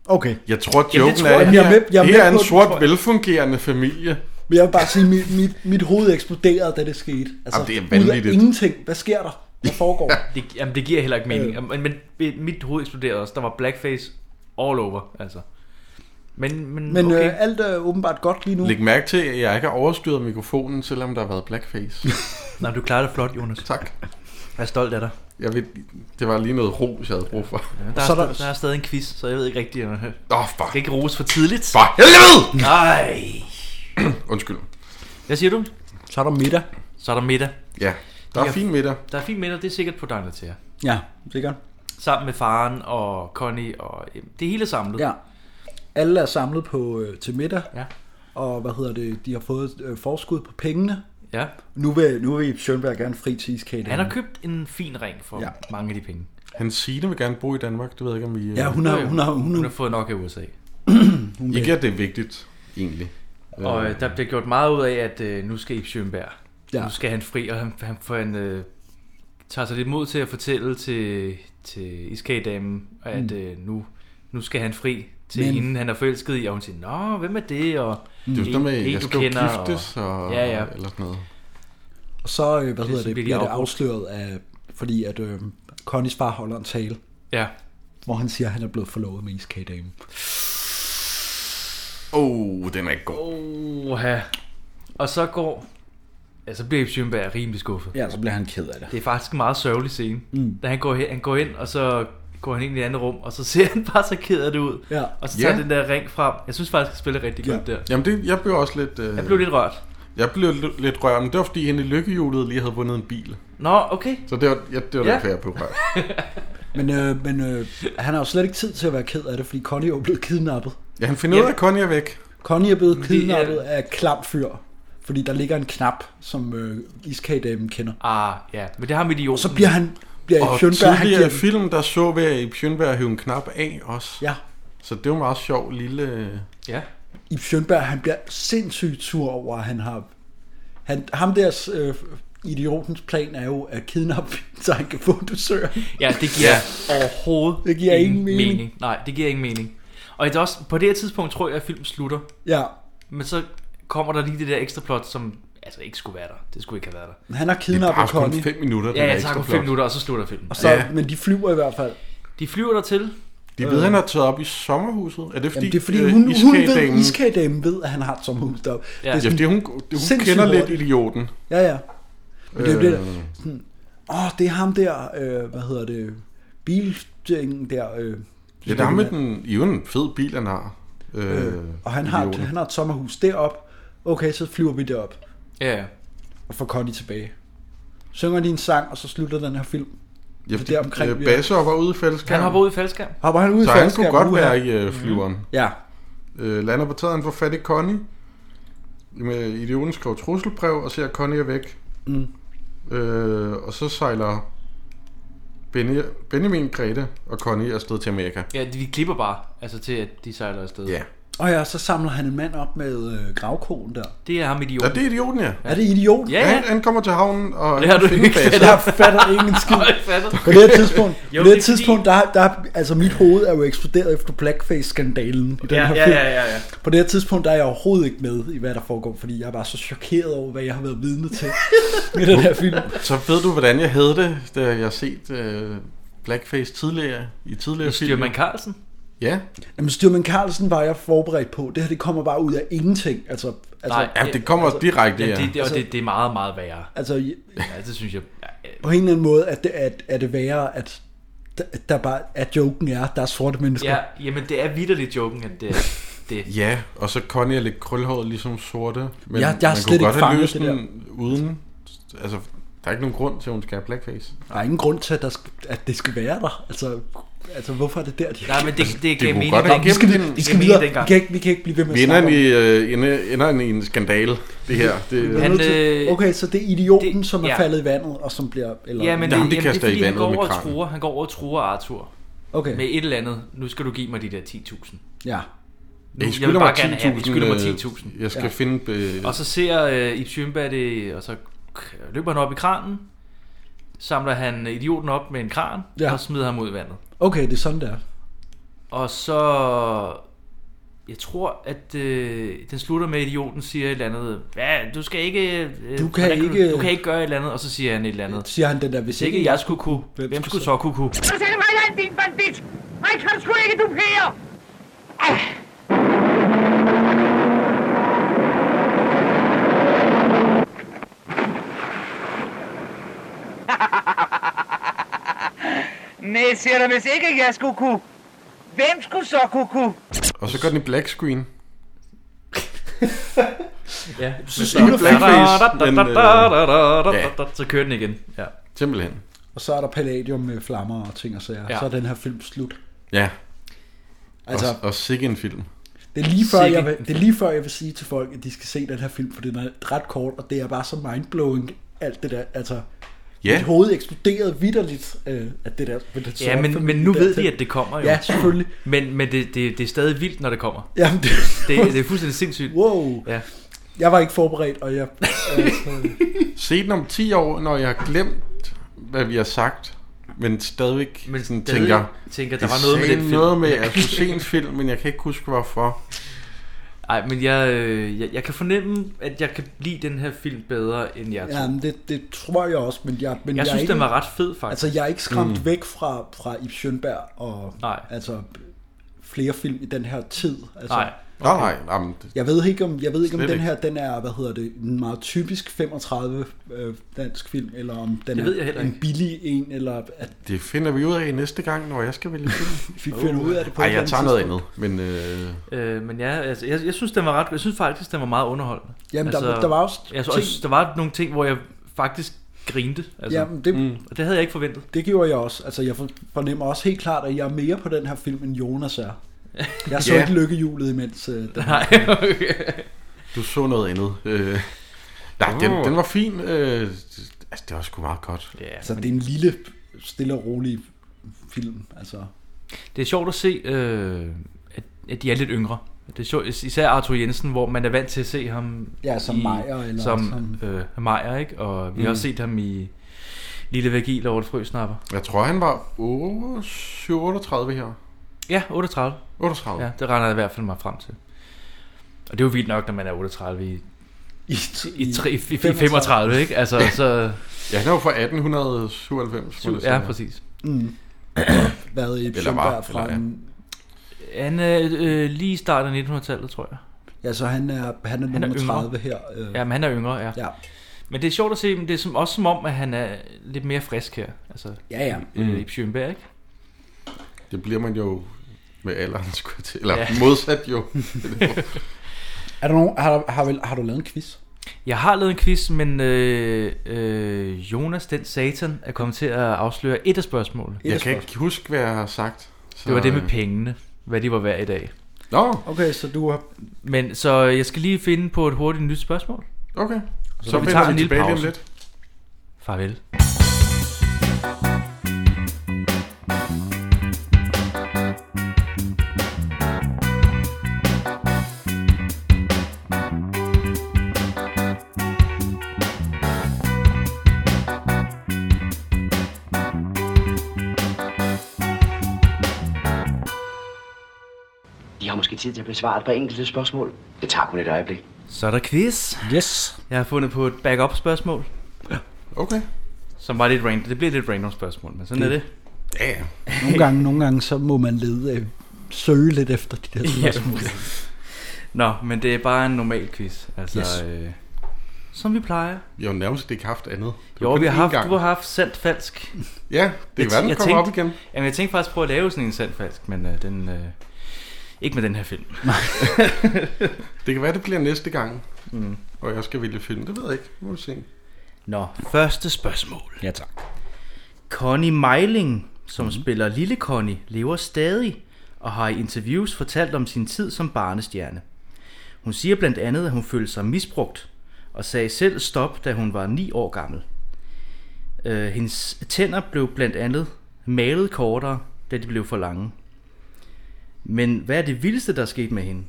Speaker 4: Okay.
Speaker 3: Jeg tror, at
Speaker 4: Jamen, det
Speaker 3: joken
Speaker 4: tror
Speaker 3: er,
Speaker 4: jeg.
Speaker 3: at
Speaker 4: Jeg er
Speaker 3: her,
Speaker 4: med- jeg er
Speaker 3: her
Speaker 4: med
Speaker 3: er en
Speaker 4: på det, tror
Speaker 3: sort,
Speaker 4: jeg.
Speaker 3: velfungerende familie.
Speaker 4: Men jeg vil bare sige, mit, mit, mit hoved eksploderede, da det skete. Altså,
Speaker 3: Jamen, det er
Speaker 4: ud af
Speaker 3: vanvittigt.
Speaker 4: ingenting. Hvad sker der? Hvad foregår?
Speaker 2: Det, jamen, det giver heller ikke mening. Øh. Men, men mit hoved eksploderede også. Der var blackface all over, altså. Men, men,
Speaker 4: Men
Speaker 2: okay.
Speaker 4: okay. øh, alt er åbenbart godt lige nu.
Speaker 3: Læg mærke til, at jeg ikke har overstyret mikrofonen, selvom der har været blackface.
Speaker 2: Nej, du klarer det flot, Jonas.
Speaker 3: Tak.
Speaker 2: Jeg er stolt af dig.
Speaker 3: Jeg ved, det var lige noget ros, jeg havde brug for.
Speaker 2: Der er, så der... der er stadig en quiz, så jeg ved ikke rigtigt. Åh,
Speaker 3: oh, fuck.
Speaker 2: Skal ikke rose for tidligt.
Speaker 3: For helvede!
Speaker 2: Nej.
Speaker 3: Undskyld.
Speaker 2: Hvad siger du?
Speaker 4: Så er der middag.
Speaker 2: Så er der middag.
Speaker 3: Ja, der er
Speaker 2: Ja.
Speaker 3: fin middag.
Speaker 2: Der er fin middag, det er sikkert på Diner til jer.
Speaker 4: Ja, sikkert.
Speaker 2: Sammen med faren og Connie og øh, det hele er samlet.
Speaker 4: Ja. Alle er samlet på øh, til middag.
Speaker 2: Ja.
Speaker 4: Og hvad hedder det? De har fået øh, forskud på pengene.
Speaker 2: Ja.
Speaker 4: Nu vil, nu vil Ip Schønberg gerne fri cheesecake.
Speaker 2: Han har købt en fin ring for
Speaker 4: Ja.
Speaker 2: ja. mange af de penge.
Speaker 3: Han Signe vil gerne bo i Danmark, det ved jeg ikke, om vi... øh,
Speaker 4: Ja, hun har, hun har,
Speaker 2: Hun,
Speaker 4: hun
Speaker 2: hun har
Speaker 4: har,
Speaker 2: fået nok af USA.
Speaker 4: hun
Speaker 3: Ikke, at det er vigtigt, egentlig.
Speaker 2: Og øh, der bliver gjort meget ud af, at øh, nu skal Ip Schønberg.
Speaker 4: Ja.
Speaker 2: Ja. Nu skal han fri, og han, han, for han øh, tager sig lidt mod til at fortælle til, til iskagedamen, at
Speaker 4: Mm.
Speaker 2: øh, nu, nu skal han fri til
Speaker 4: Men-
Speaker 2: Men... hende, han er forelsket i. Og hun siger, nå, hvem er det? Og
Speaker 3: Mm. Det er jo
Speaker 2: en-
Speaker 3: sådan noget med,
Speaker 2: en,
Speaker 3: jeg
Speaker 2: du
Speaker 3: skal jo
Speaker 2: kender,
Speaker 3: giftes, og,
Speaker 2: Ja, ja.
Speaker 3: eller sådan noget.
Speaker 4: og så øh, hvad
Speaker 2: Det
Speaker 4: hedder
Speaker 2: bliver
Speaker 4: det,
Speaker 2: de
Speaker 4: bliver det
Speaker 2: afbrudt.
Speaker 4: afsløret af, fordi at øh, Connys far holder en tale.
Speaker 2: Ja.
Speaker 4: Hvor han siger, at han er blevet forlovet med ISK-damen.
Speaker 3: Oh, den er ikke god.
Speaker 2: Oha. Og så går... Ja, så bliver Ib Schønberg rimelig skuffet.
Speaker 4: Ja, så bliver han ked af det.
Speaker 2: Det er faktisk en meget sørgelig scene. Mm. Da han går, hen, han går ind, og så går han ind i et andet rum, og så ser han bare så ked af det ud.
Speaker 4: Ja.
Speaker 2: Og så tager
Speaker 3: Ja.
Speaker 2: den der ring frem. Jeg synes faktisk, at spiller rigtig godt der.
Speaker 3: Jamen, det, jeg blev også lidt... Øh,
Speaker 2: Jeg blev lidt rørt.
Speaker 3: Jeg blev l- lidt rørt, men det var fordi, hende i lykkehjulet lige havde vundet en bil.
Speaker 2: Nå, okay.
Speaker 3: Så det var, ja, det var
Speaker 2: Ja.
Speaker 3: ja. derfor, jeg blev rørt.
Speaker 4: Men, øh, men øh, han har jo slet ikke tid til at være ked af det, fordi Connie er jo blevet kidnappet.
Speaker 3: Ja, han finder ud af, at Connie er væk.
Speaker 4: Connie er blevet
Speaker 3: Fordi,
Speaker 4: kidnappet af et klam fyr, fordi der ligger en knap, som øh, iskagedamen kender.
Speaker 2: Ah, ja. Men det har med de Og
Speaker 4: så bliver han- bliver
Speaker 2: Øh,
Speaker 4: Ib
Speaker 3: og
Speaker 4: Schønberg, han
Speaker 3: tidligere i
Speaker 4: giver-
Speaker 3: film, der så vi, at Ib Schønberg hævde en knap af også.
Speaker 4: Ja.
Speaker 3: Så det var en meget sjov lille...
Speaker 2: Ja.
Speaker 4: Ib Schønberg, han bliver sindssygt sur over, at han har... Han, ham deres øh, idiotens plan er jo at kidnappe, så han kan få dusør.
Speaker 2: Ja, det giver ja. overhovedet
Speaker 4: Det giver ingen mening.
Speaker 2: Nej, det giver ingen mening. Og det er også, på det her tidspunkt tror jeg, at filmen slutter.
Speaker 4: Ja.
Speaker 2: Men så kommer der lige det der ekstra plot, som altså ikke skulle være der. Det skulle ikke have været der.
Speaker 4: Han har kidnappet Connie.
Speaker 2: Ja, det tager kun fem minutter, og så slutter filmen.
Speaker 4: Og så, ja. Men de flyver i hvert fald.
Speaker 2: De flyver der til.
Speaker 3: De ved, han har taget op i sommerhuset. Er det fordi,
Speaker 4: Øh. Jamen, det er fordi,
Speaker 3: øh,
Speaker 4: hun, øh, hun ved,
Speaker 3: iskagedamen-
Speaker 4: iskagedamen ved, at han har et sommerhus der.
Speaker 3: Ja. Ja, fordi hun- hun kender lidt idioten.
Speaker 4: Ja, ja. Men det er jo det der,
Speaker 3: Øh.
Speaker 4: sådan, åh, det er ham der, øh, hvad hedder det, biltingen der. Øh,
Speaker 3: Ja, det er ham med den, i øvrigt en fed bil, han har. Øh,
Speaker 4: Øh, og han har, et,
Speaker 3: idioten.
Speaker 4: han har et sommerhus derop. Okay, så flyver vi derop.
Speaker 2: Ja.
Speaker 4: Og får Connie tilbage. Synger de en sang, og så slutter den her film.
Speaker 3: Ja,
Speaker 4: For
Speaker 3: fordi, øh, Basse hopper ud i faldskærm.
Speaker 2: Han hopper ud i faldskærm.
Speaker 4: Hopper han ud i
Speaker 3: så han
Speaker 4: faldskærm?
Speaker 3: kunne godt
Speaker 4: Uha.
Speaker 3: være i øh, flyveren.
Speaker 4: Ja.
Speaker 3: Øh, lander på taget, han får fat i Connie. Med idioten skriver trusselbrev og ser, at Connie er væk.
Speaker 4: Mm.
Speaker 3: Øh, og så sejler Benny, Benjamin, Grete og Connie afsted til Amerika.
Speaker 2: Ja, de, vi klipper bare, altså til at de sejler afsted.
Speaker 3: Ja.
Speaker 4: Og ja, så samler han en mand op med øh, gravkonen der.
Speaker 2: Det er ham idioten.
Speaker 3: Ja, det er idioten, ja.
Speaker 4: Er det idioten?
Speaker 2: Ja, ja.
Speaker 3: Han, han kommer til havnen og
Speaker 2: Det har du
Speaker 3: finder
Speaker 2: ikke
Speaker 3: Basse.
Speaker 2: fattet.
Speaker 4: Jeg fatter ingen skid. På det her tidspunkt,
Speaker 2: Jo,
Speaker 4: jo, på det her
Speaker 2: det er
Speaker 4: tidspunkt der, der, altså mit hoved er jo eksploderet efter blackface-skandalen i den
Speaker 2: Ja,
Speaker 4: her
Speaker 2: ja,
Speaker 4: film.
Speaker 2: ja, ja, ja.
Speaker 4: På det her tidspunkt, der er jeg overhovedet ikke med i, hvad der foregår, fordi jeg er bare så chokeret over, hvad jeg har været vidne til i den her film.
Speaker 3: Så ved du, hvordan jeg havde det, da jeg har set øh, Blackface tidligere i tidligere
Speaker 2: I Styrmand Carlsen?
Speaker 3: Ja.
Speaker 4: Jamen, Styrman Carlsen var jeg forberedt på. Det her, det kommer bare ud af ingenting. Altså, altså,
Speaker 2: ja. Det, det, og det, det er meget, meget værre.
Speaker 4: Altså,
Speaker 2: ja, det synes jeg.
Speaker 4: på en eller anden måde, at det, at, at det værre, at der- der bare, at joken er, at der er sorte mennesker.
Speaker 2: Ja, jamen det er vidderligt joken, at det er det.
Speaker 3: Ja, og så Connie er lidt krølhåret, ligesom sorte. Men
Speaker 4: Jeg- jeg har
Speaker 3: man
Speaker 4: slet
Speaker 3: kunne
Speaker 4: ikke
Speaker 3: godt have
Speaker 4: fanget
Speaker 3: løst
Speaker 4: det
Speaker 3: den uden... Altså, der er ikke nogen grund til, at hun skal have blackface.
Speaker 4: Der er ingen grund til, at, der skal, at det skal være der. Altså, altså hvorfor er det der, de
Speaker 2: Nej, men det, det
Speaker 3: kunne
Speaker 2: gav mening.
Speaker 3: godt have
Speaker 2: dengang.
Speaker 4: Vi skal,
Speaker 2: Det
Speaker 4: vi, vi
Speaker 2: gav
Speaker 4: skal
Speaker 2: mening
Speaker 4: videre. Vi
Speaker 2: dengang.
Speaker 4: kan, ikke, vi kan ikke blive ved med at
Speaker 3: Vinder
Speaker 4: snakke om
Speaker 3: i, øh, ende- ender den i en skandale, det her.
Speaker 4: det.
Speaker 3: Det, øh,
Speaker 4: Vi er nødt til- Okay, så det er idioten, det, som er
Speaker 2: øh, ja.
Speaker 4: ja. faldet i vandet, og som bliver... Eller,
Speaker 2: Ja, men det,
Speaker 3: Jamen,
Speaker 2: jamen,
Speaker 3: de
Speaker 2: det,
Speaker 3: kaster
Speaker 2: er fordi,
Speaker 3: i
Speaker 2: han
Speaker 3: vandet
Speaker 2: går
Speaker 3: med
Speaker 2: over og
Speaker 3: kranen.
Speaker 2: truer, han går over og truer Arthur.
Speaker 4: Okay.
Speaker 2: Med et eller andet. Nu skal du give mig de der 10.000.
Speaker 4: Ja.
Speaker 2: Nu,
Speaker 3: I
Speaker 2: jeg vil
Speaker 3: skylder
Speaker 2: bare
Speaker 3: mig
Speaker 2: gerne have, I
Speaker 3: 10.000,
Speaker 2: skylder mig
Speaker 3: øh,
Speaker 2: 10.000.
Speaker 3: jeg skal finde, øh,
Speaker 2: Og så ser øh, Ip Schønberg det, og så k- løber han op i kranen, samler han idioten op med en kran,
Speaker 4: Ja.
Speaker 2: ja. og smider ham ud i vandet.
Speaker 4: Okay, det er sådan, der.
Speaker 2: Og så... Jeg tror, at øh, den slutter med, at idioten siger et eller andet. Hvad? Du skal ikke... Øh,
Speaker 4: Du kan
Speaker 2: hvordan
Speaker 4: ikke-
Speaker 2: Du, du kan ikke gøre et eller andet. Og så siger han et eller andet.
Speaker 4: Siger han den der, hvis
Speaker 2: Hvis ikke
Speaker 4: ikke
Speaker 2: jeg skulle kunne, hvem, hvem skulle så kunne kunne?
Speaker 9: Så sætter mig dig, din bandit! Mig kan sgu ikke, du her!
Speaker 7: Nej, siger du, hvis ikke jeg skulle kunne. Hvem skulle så kunne kunne?
Speaker 3: Og så går den i black screen.
Speaker 2: Ja.
Speaker 3: synes, det er blackface, men, øh,
Speaker 2: Så kører den igen. Ja.
Speaker 3: Simpelthen.
Speaker 4: Og så er der palladium med flammer og ting og sager.
Speaker 2: Ja.
Speaker 4: Ja. Så er den her film slut.
Speaker 3: Ja.
Speaker 4: Altså-
Speaker 3: Altså, og, og sikke en film.
Speaker 4: Det er, lige før,
Speaker 2: Sikke
Speaker 4: jeg
Speaker 2: en
Speaker 4: vil, det er lige før, jeg vil sige til folk, at de skal se den her film, for den er ret kort, og det er bare så mindblowing, alt det der. Altså,
Speaker 3: Ja.
Speaker 4: mit hoved eksploderede vidderligt, øh, at det der... ved den
Speaker 2: Ja,
Speaker 4: sorte
Speaker 2: men,
Speaker 4: familie
Speaker 2: men nu
Speaker 4: der
Speaker 2: ved
Speaker 4: til.
Speaker 2: de, at det kommer jo.
Speaker 4: Ja, selvfølgelig.
Speaker 2: Men, men det, det, det er stadig vildt, når det kommer.
Speaker 4: Jamen, det-
Speaker 2: det, det er fuldstændig sindssygt.
Speaker 4: Wow.
Speaker 2: Ja.
Speaker 4: Jeg var ikke forberedt, og jeg... Altså,
Speaker 3: Se den om 10 år, når jeg har glemt, hvad vi har sagt, men stadigvæk men sådan,
Speaker 2: stadig
Speaker 3: tænker,
Speaker 2: tænker, der
Speaker 3: "I
Speaker 2: var noget med
Speaker 3: sagde
Speaker 2: den film."
Speaker 3: noget med, at jeg skulle se en film, men jeg kan ikke huske, hvorfor.
Speaker 2: Nej, men jeg, øh, jeg, jeg kan fornemme, at jeg kan lide den her film bedre end jeg
Speaker 4: Ja,
Speaker 2: tror.
Speaker 4: men det, det tror jeg også, men jeg... Men
Speaker 2: Jeg synes,
Speaker 4: er ikke,
Speaker 2: den var ret fed, faktisk.
Speaker 4: Altså, jeg er ikke skræmt
Speaker 2: Mm.
Speaker 4: mm. væk fra, fra Ibs Schønberg og
Speaker 2: Nej.
Speaker 4: altså flere film i den her tid. Altså,
Speaker 3: Nej. Nå, nej, nej, men det-
Speaker 4: jeg ved ikke, om, jeg ved ikke, om
Speaker 3: Slet
Speaker 4: den
Speaker 3: ikke.
Speaker 4: her den er, hvad hedder det, en meget typisk 35 øh, dansk film, eller om den
Speaker 3: Det
Speaker 4: er
Speaker 3: ved jeg heller
Speaker 4: en
Speaker 3: ikke.
Speaker 4: billig en, eller at
Speaker 3: Det finder vi ud af næste gang, når jeg skal vælge film.
Speaker 4: Vi finder ud af det på
Speaker 3: Ej,
Speaker 4: et
Speaker 3: jeg
Speaker 4: eller
Speaker 3: tager
Speaker 4: andet
Speaker 3: noget andet. Men øh,
Speaker 2: Øh, men ja, altså, jeg, jeg synes, den var ret, jeg synes faktisk, den var meget underholdende.
Speaker 4: Jamen, der-
Speaker 2: altså,
Speaker 4: der var også
Speaker 2: jeg,
Speaker 4: ting-
Speaker 2: også, der var nogle ting, hvor jeg faktisk grinte. Altså,
Speaker 4: Jamen, det,
Speaker 2: mm. og det havde jeg ikke forventet.
Speaker 4: Det gjorde jeg også. Altså, jeg fornemmer også helt klart, at jeg er mere på den her film, end Jonas er. Jeg så
Speaker 3: Ja.
Speaker 4: ikke lykkehjulet imens. Øh, den her
Speaker 2: Nej,
Speaker 4: film.
Speaker 3: du så noget andet. Øh, nej,
Speaker 4: Uh.
Speaker 3: den, den var fin. Øh, altså, det var sgu meget godt.
Speaker 2: Ja,
Speaker 4: Så det er en lille, stille og rolig film. Altså,
Speaker 2: Det er sjovt at se, øh, at, at de er lidt yngre. Det er sjovt, især Arthur Jensen, hvor man er vant til at se ham
Speaker 4: Ja, som Meyer eller
Speaker 2: som,
Speaker 4: som-
Speaker 2: øh, Meyer, ikke? Og vi har
Speaker 3: Mm.
Speaker 2: også set ham i Lille Vagil over et frøsnapper.
Speaker 3: Jeg tror, han var 8, 7, 38 her.
Speaker 2: Ja, 38.
Speaker 3: 38.
Speaker 2: Ja, det regner jeg i hvert fald mig frem til. Og det er jo vildt nok, når man er 38 i,
Speaker 4: i,
Speaker 2: i, tre- i, i 35, ikke? Altså, så...
Speaker 3: Ja, han er jo fra 1897. må det
Speaker 2: Ja,
Speaker 3: sige.
Speaker 2: præcis.
Speaker 4: Mm. Hvad i
Speaker 3: Eller var,
Speaker 4: Schønberg fra
Speaker 3: eller er.
Speaker 4: en,
Speaker 2: Han er øh, lige i starten af 1900-tallet, tror jeg.
Speaker 4: Ja, så han er, han er nummer 30 her. Øh.
Speaker 2: Ja, men han er yngre, ja.
Speaker 4: ja.
Speaker 2: Men det er sjovt at se, men det er som, også som om, at han er lidt mere frisk her. Altså,
Speaker 4: Ja, ja.
Speaker 2: Mm.
Speaker 3: Mm.
Speaker 2: I Schønberg, ikke?
Speaker 3: Det bliver man jo med alderen, skulle jeg til. Eller
Speaker 2: Ja.
Speaker 3: ja. modsat jo.
Speaker 4: Er der nogen, har, har, vel, har du lavet en quiz?
Speaker 2: Jeg har lavet en quiz, men øh, øh, Jonas, den satan, er kommet til at afsløre et af spørgsmålene.
Speaker 3: jeg kan ikke huske, hvad jeg har sagt.
Speaker 2: Så, det var det med
Speaker 3: øh,
Speaker 2: pengene, hvad de var værd i dag.
Speaker 3: Nå.
Speaker 4: Okay, så du har...
Speaker 2: Men så jeg skal lige finde på et hurtigt nyt spørgsmål.
Speaker 3: Okay.
Speaker 2: Så,
Speaker 3: Så
Speaker 2: så vi
Speaker 3: vender
Speaker 2: tager
Speaker 3: vi
Speaker 2: en lille
Speaker 3: tilbage lige om
Speaker 2: pause.
Speaker 3: lidt.
Speaker 2: Farvel.
Speaker 14: De har måske tid til at besvare et par enkelte spørgsmål. Det tager kun et øjeblik.
Speaker 2: Så er der quiz.
Speaker 4: Yes.
Speaker 2: Jeg har fundet på et backup spørgsmål.
Speaker 3: Okay.
Speaker 2: Som var lidt random. Det bliver lidt random spørgsmål, men sådan det. er det.
Speaker 3: Ja.
Speaker 4: Nogle gange, nogle gange, så må man lede, øh, søge lidt efter de der
Speaker 2: Ja.
Speaker 4: spørgsmål.
Speaker 2: Nå, men det er bare en normal quiz. Altså,
Speaker 4: Yes.
Speaker 2: øh, som vi plejer.
Speaker 3: Vi har jo nærmest ikke haft andet. Det var
Speaker 2: Jo,
Speaker 3: kun
Speaker 2: vi har
Speaker 3: én
Speaker 2: haft,
Speaker 3: gang.
Speaker 2: du har haft sandt falsk.
Speaker 3: Ja, det er hvad, den
Speaker 2: jeg
Speaker 3: kommer op
Speaker 2: tænkte- Jamen, jeg tænkte faktisk på at lave sådan en sandt falsk, men øh, den, øh, ikke med den her film.
Speaker 3: Det kan være, det bliver næste gang. Mm. Og jeg skal vælge film. Det ved jeg ikke. Nu må vi se.
Speaker 2: Nå, første spørgsmål.
Speaker 4: Ja, tak.
Speaker 2: Connie Meiling, som mm. spiller Lille Connie, lever stadig og har i interviews fortalt om sin tid som barnestjerne. Hun siger blandt andet, at hun følte sig misbrugt og sagde selv stop, da hun var 9 år gammel. Øh, hendes tænder blev blandt andet malet kortere, da de blev for lange. Men hvad er det vildeste, der er sket med hende?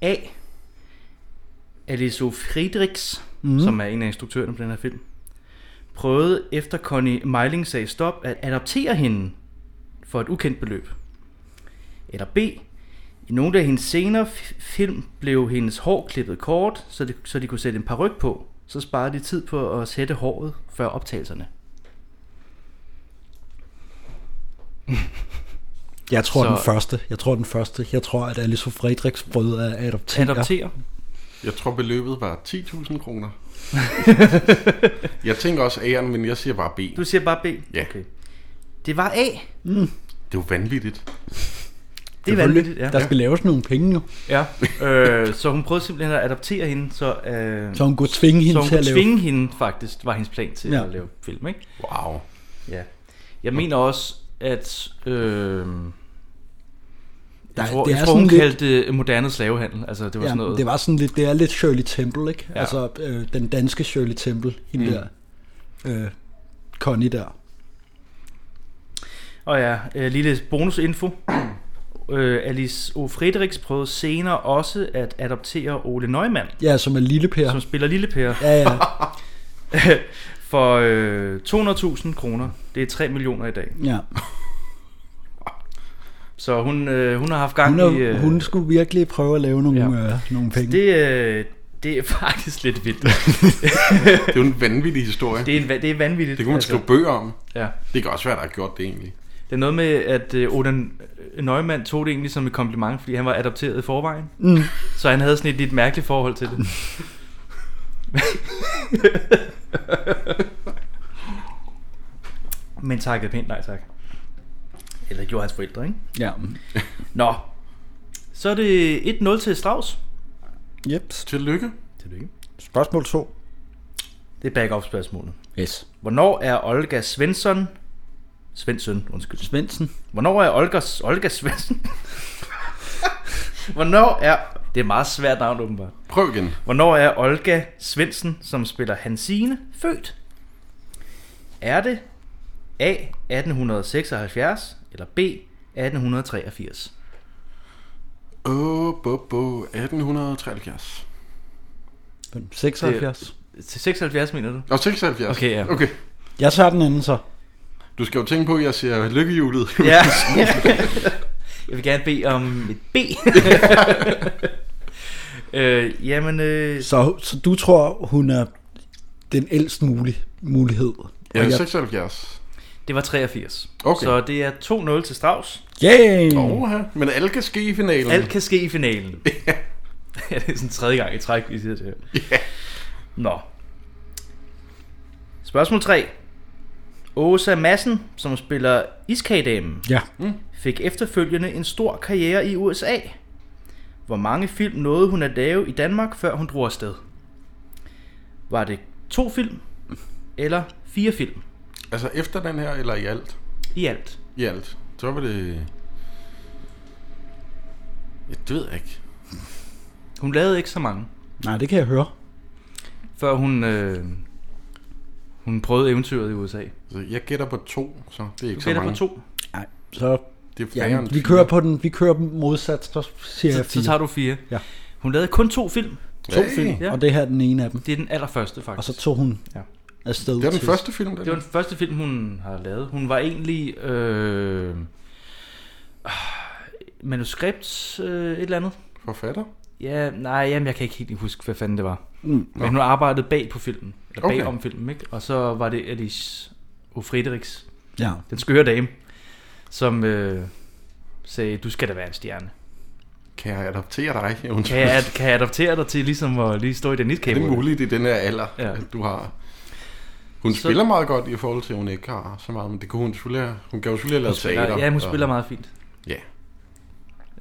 Speaker 2: A. Aliso Friedrichs, mm.
Speaker 4: Mhm.
Speaker 2: som er en af instruktørerne på den her film, prøvede efter Connie Meiling sagde stop at adoptere hende for et ukendt beløb. Eller B. I nogle af hendes senere f- film blev hendes hår klippet kort, så de, så de kunne sætte en paryk på. Så sparede de tid på at sætte håret før optagelserne.
Speaker 4: Jeg tror
Speaker 2: Så-
Speaker 4: så... den første. Jeg tror den første. Jeg tror, at Alice Frederiks brød er adoptere.
Speaker 2: Adoptere.
Speaker 3: Jeg tror, beløbet var 10.000 kroner. jeg tænker også A'eren, men jeg siger bare B.
Speaker 2: Du siger bare B?
Speaker 3: Ja.
Speaker 2: Okay. Det var A.
Speaker 4: Mm.
Speaker 3: Det er jo vanvittigt.
Speaker 2: Det er vanvittigt, ja.
Speaker 4: Der skal laves nogle penge jo.
Speaker 2: Ja, øh, så hun prøvede simpelthen at adoptere hende, så... Øh,
Speaker 4: Så hun kunne tvinge hende
Speaker 2: så hun
Speaker 4: til at
Speaker 2: kunne
Speaker 4: lave-
Speaker 2: tvinge hende, faktisk, var hendes plan til ja.
Speaker 4: Ja.
Speaker 2: at lave film, ikke?
Speaker 3: Wow.
Speaker 2: Ja. Jeg mener også, at... Øh,
Speaker 4: Der-
Speaker 2: jeg tror,
Speaker 4: det
Speaker 2: jeg
Speaker 4: er
Speaker 2: tror hun
Speaker 4: sådan lidt-
Speaker 2: kaldte det moderne slavehandel. Altså, det var sådan noget...
Speaker 4: det var sådan lidt, det er lidt Shirley Temple, ikke?
Speaker 2: Ja.
Speaker 4: Ja. Altså øh, den danske Shirley Temple, hende
Speaker 2: Mm.
Speaker 4: mm. der, øh, Connie der.
Speaker 2: Og ja, øh, lille bonusinfo. øh, Alice O. Frederiks prøvede senere også at adoptere Ole Neumann,
Speaker 4: Ja, som er lille Per.
Speaker 2: som spiller Lille Per.
Speaker 4: Ja, ja.
Speaker 2: for øh, 200.000 kroner. Det er 3 millioner i dag.
Speaker 4: Ja.
Speaker 2: Så hun, øh, hun har haft gang
Speaker 4: Hun,
Speaker 2: i...
Speaker 4: er,
Speaker 2: øh,
Speaker 4: hun skulle virkelig prøve at lave nogle, ja. øh, nogle penge.
Speaker 2: Det, øh, det er faktisk lidt vildt.
Speaker 3: Det er jo en vanvittig historie.
Speaker 2: Det er, en, va- det er vanvittigt. altså.
Speaker 3: Det kunne man skrive bøger om.
Speaker 2: Ja.
Speaker 3: Det kan også være, der har gjort det egentlig.
Speaker 2: Det er noget med, at øh, Oden Neumann tog det egentlig som et kompliment, fordi han var adopteret i forvejen.
Speaker 4: Mm.
Speaker 2: Så han havde sådan et lidt mærkeligt forhold til det. Men takkede pænt nej tak. Eller det gjorde hans forældre, ikke?
Speaker 4: Ja.
Speaker 2: Nå. Så er det 1-0 til Strauss.
Speaker 4: Yep.
Speaker 3: Tillykke.
Speaker 2: Tillykke.
Speaker 4: Spørgsmål 2.
Speaker 2: Det er back-up spørgsmålet.
Speaker 4: Yes.
Speaker 2: Hvornår er Olga Svensson... Svensson, undskyld.
Speaker 4: Svensson.
Speaker 2: Hvornår er Olga, Olga Svensson... Hvornår er... Det er et meget svært navn, åbenbart.
Speaker 3: Prøv igen.
Speaker 2: Hvornår er Olga Svensson, som spiller Hansine, født? Er det A. 1876 eller B. 1883?
Speaker 3: Åh, oh, bo, bo, 1873.
Speaker 4: 76.
Speaker 2: Det, til 76 mener du?
Speaker 3: Og 76.
Speaker 2: Okay, ja.
Speaker 3: Okay.
Speaker 4: Jeg tager den anden så.
Speaker 3: Du skal jo tænke på, at jeg siger lykkehjulet.
Speaker 2: Ja. Jeg vil gerne bede om et B. øh, jamen, øh,
Speaker 4: Så, så du tror, hun er den ældste mulig, mulighed? Og jeg-
Speaker 3: 76.
Speaker 2: Det var 83.
Speaker 3: Okay.
Speaker 2: Så det er 2-0 til Strauss.
Speaker 4: Yay!
Speaker 3: Oha, men alt kan ske i finalen.
Speaker 2: Alt kan ske i finalen. Ja. det er sådan tredje gang i træk, vi siger det her.
Speaker 3: Ja.
Speaker 2: Nå. Spørgsmål 3. Åsa Madsen, som spiller iskagedamen,
Speaker 4: Ja.
Speaker 2: mm. fik efterfølgende en stor karriere i USA. Hvor mange film nåede hun at lave i Danmark, før hun drog afsted? Var det to film, eller fire film
Speaker 3: Altså efter den her, eller i alt?
Speaker 2: i alt?
Speaker 3: I alt. Så var det... Ja, det ved jeg ikke.
Speaker 2: Hun lavede ikke så mange.
Speaker 4: Nej, det kan jeg høre.
Speaker 2: Før hun, øh, hun prøvede eventyret i USA.
Speaker 3: Så Altså, jeg gætter på to, så det er ikke
Speaker 2: Du
Speaker 3: så
Speaker 2: gætter på
Speaker 3: mange.
Speaker 2: to?
Speaker 4: Nej, så...
Speaker 3: Det er færre
Speaker 4: Ja,
Speaker 3: end
Speaker 4: vi
Speaker 3: fire.
Speaker 4: kører på den, vi kører dem modsat, så siger
Speaker 2: Så,
Speaker 4: jeg fire.
Speaker 2: så tager du fire.
Speaker 4: Ja.
Speaker 2: Hun lavede kun to film.
Speaker 4: To film, og det her er den ene af dem.
Speaker 2: Det er den allerførste, faktisk.
Speaker 4: Og så tog hun
Speaker 2: ja.
Speaker 4: afsted. til-
Speaker 2: Det var den første film, hun har lavet. Hun var egentlig... Øh, manuskript øh, et eller andet.
Speaker 3: Forfatter?
Speaker 2: Ja, nej, jamen, jeg kan ikke helt huske, hvad fanden det var.
Speaker 3: Mm.
Speaker 2: Men hun arbejdede bag på filmen. Eller
Speaker 3: Okay.
Speaker 2: bag om filmen, ikke? Og så var det Alice Ofredericks.
Speaker 4: Ja.
Speaker 2: Den skøre dame, som øh, sagde, du skal da være en stjerne.
Speaker 3: Kan jeg adoptere dig?
Speaker 2: Kan jeg, kan jeg adoptere dig til ligesom at lige stå i den
Speaker 3: Er
Speaker 2: iskæbe?
Speaker 3: det muligt i den her alder,
Speaker 2: Ja.
Speaker 3: ja. at du har... Hun
Speaker 2: Så-
Speaker 3: så... spiller meget godt i forhold til, at hun ikke har så meget, men det kunne hun selvfølgelig have. Hun kan jo selvfølgelig have
Speaker 2: Hun
Speaker 3: lavet
Speaker 2: spiller-
Speaker 3: teater.
Speaker 2: ja, hun
Speaker 3: og-
Speaker 2: spiller meget fint.
Speaker 3: Ja.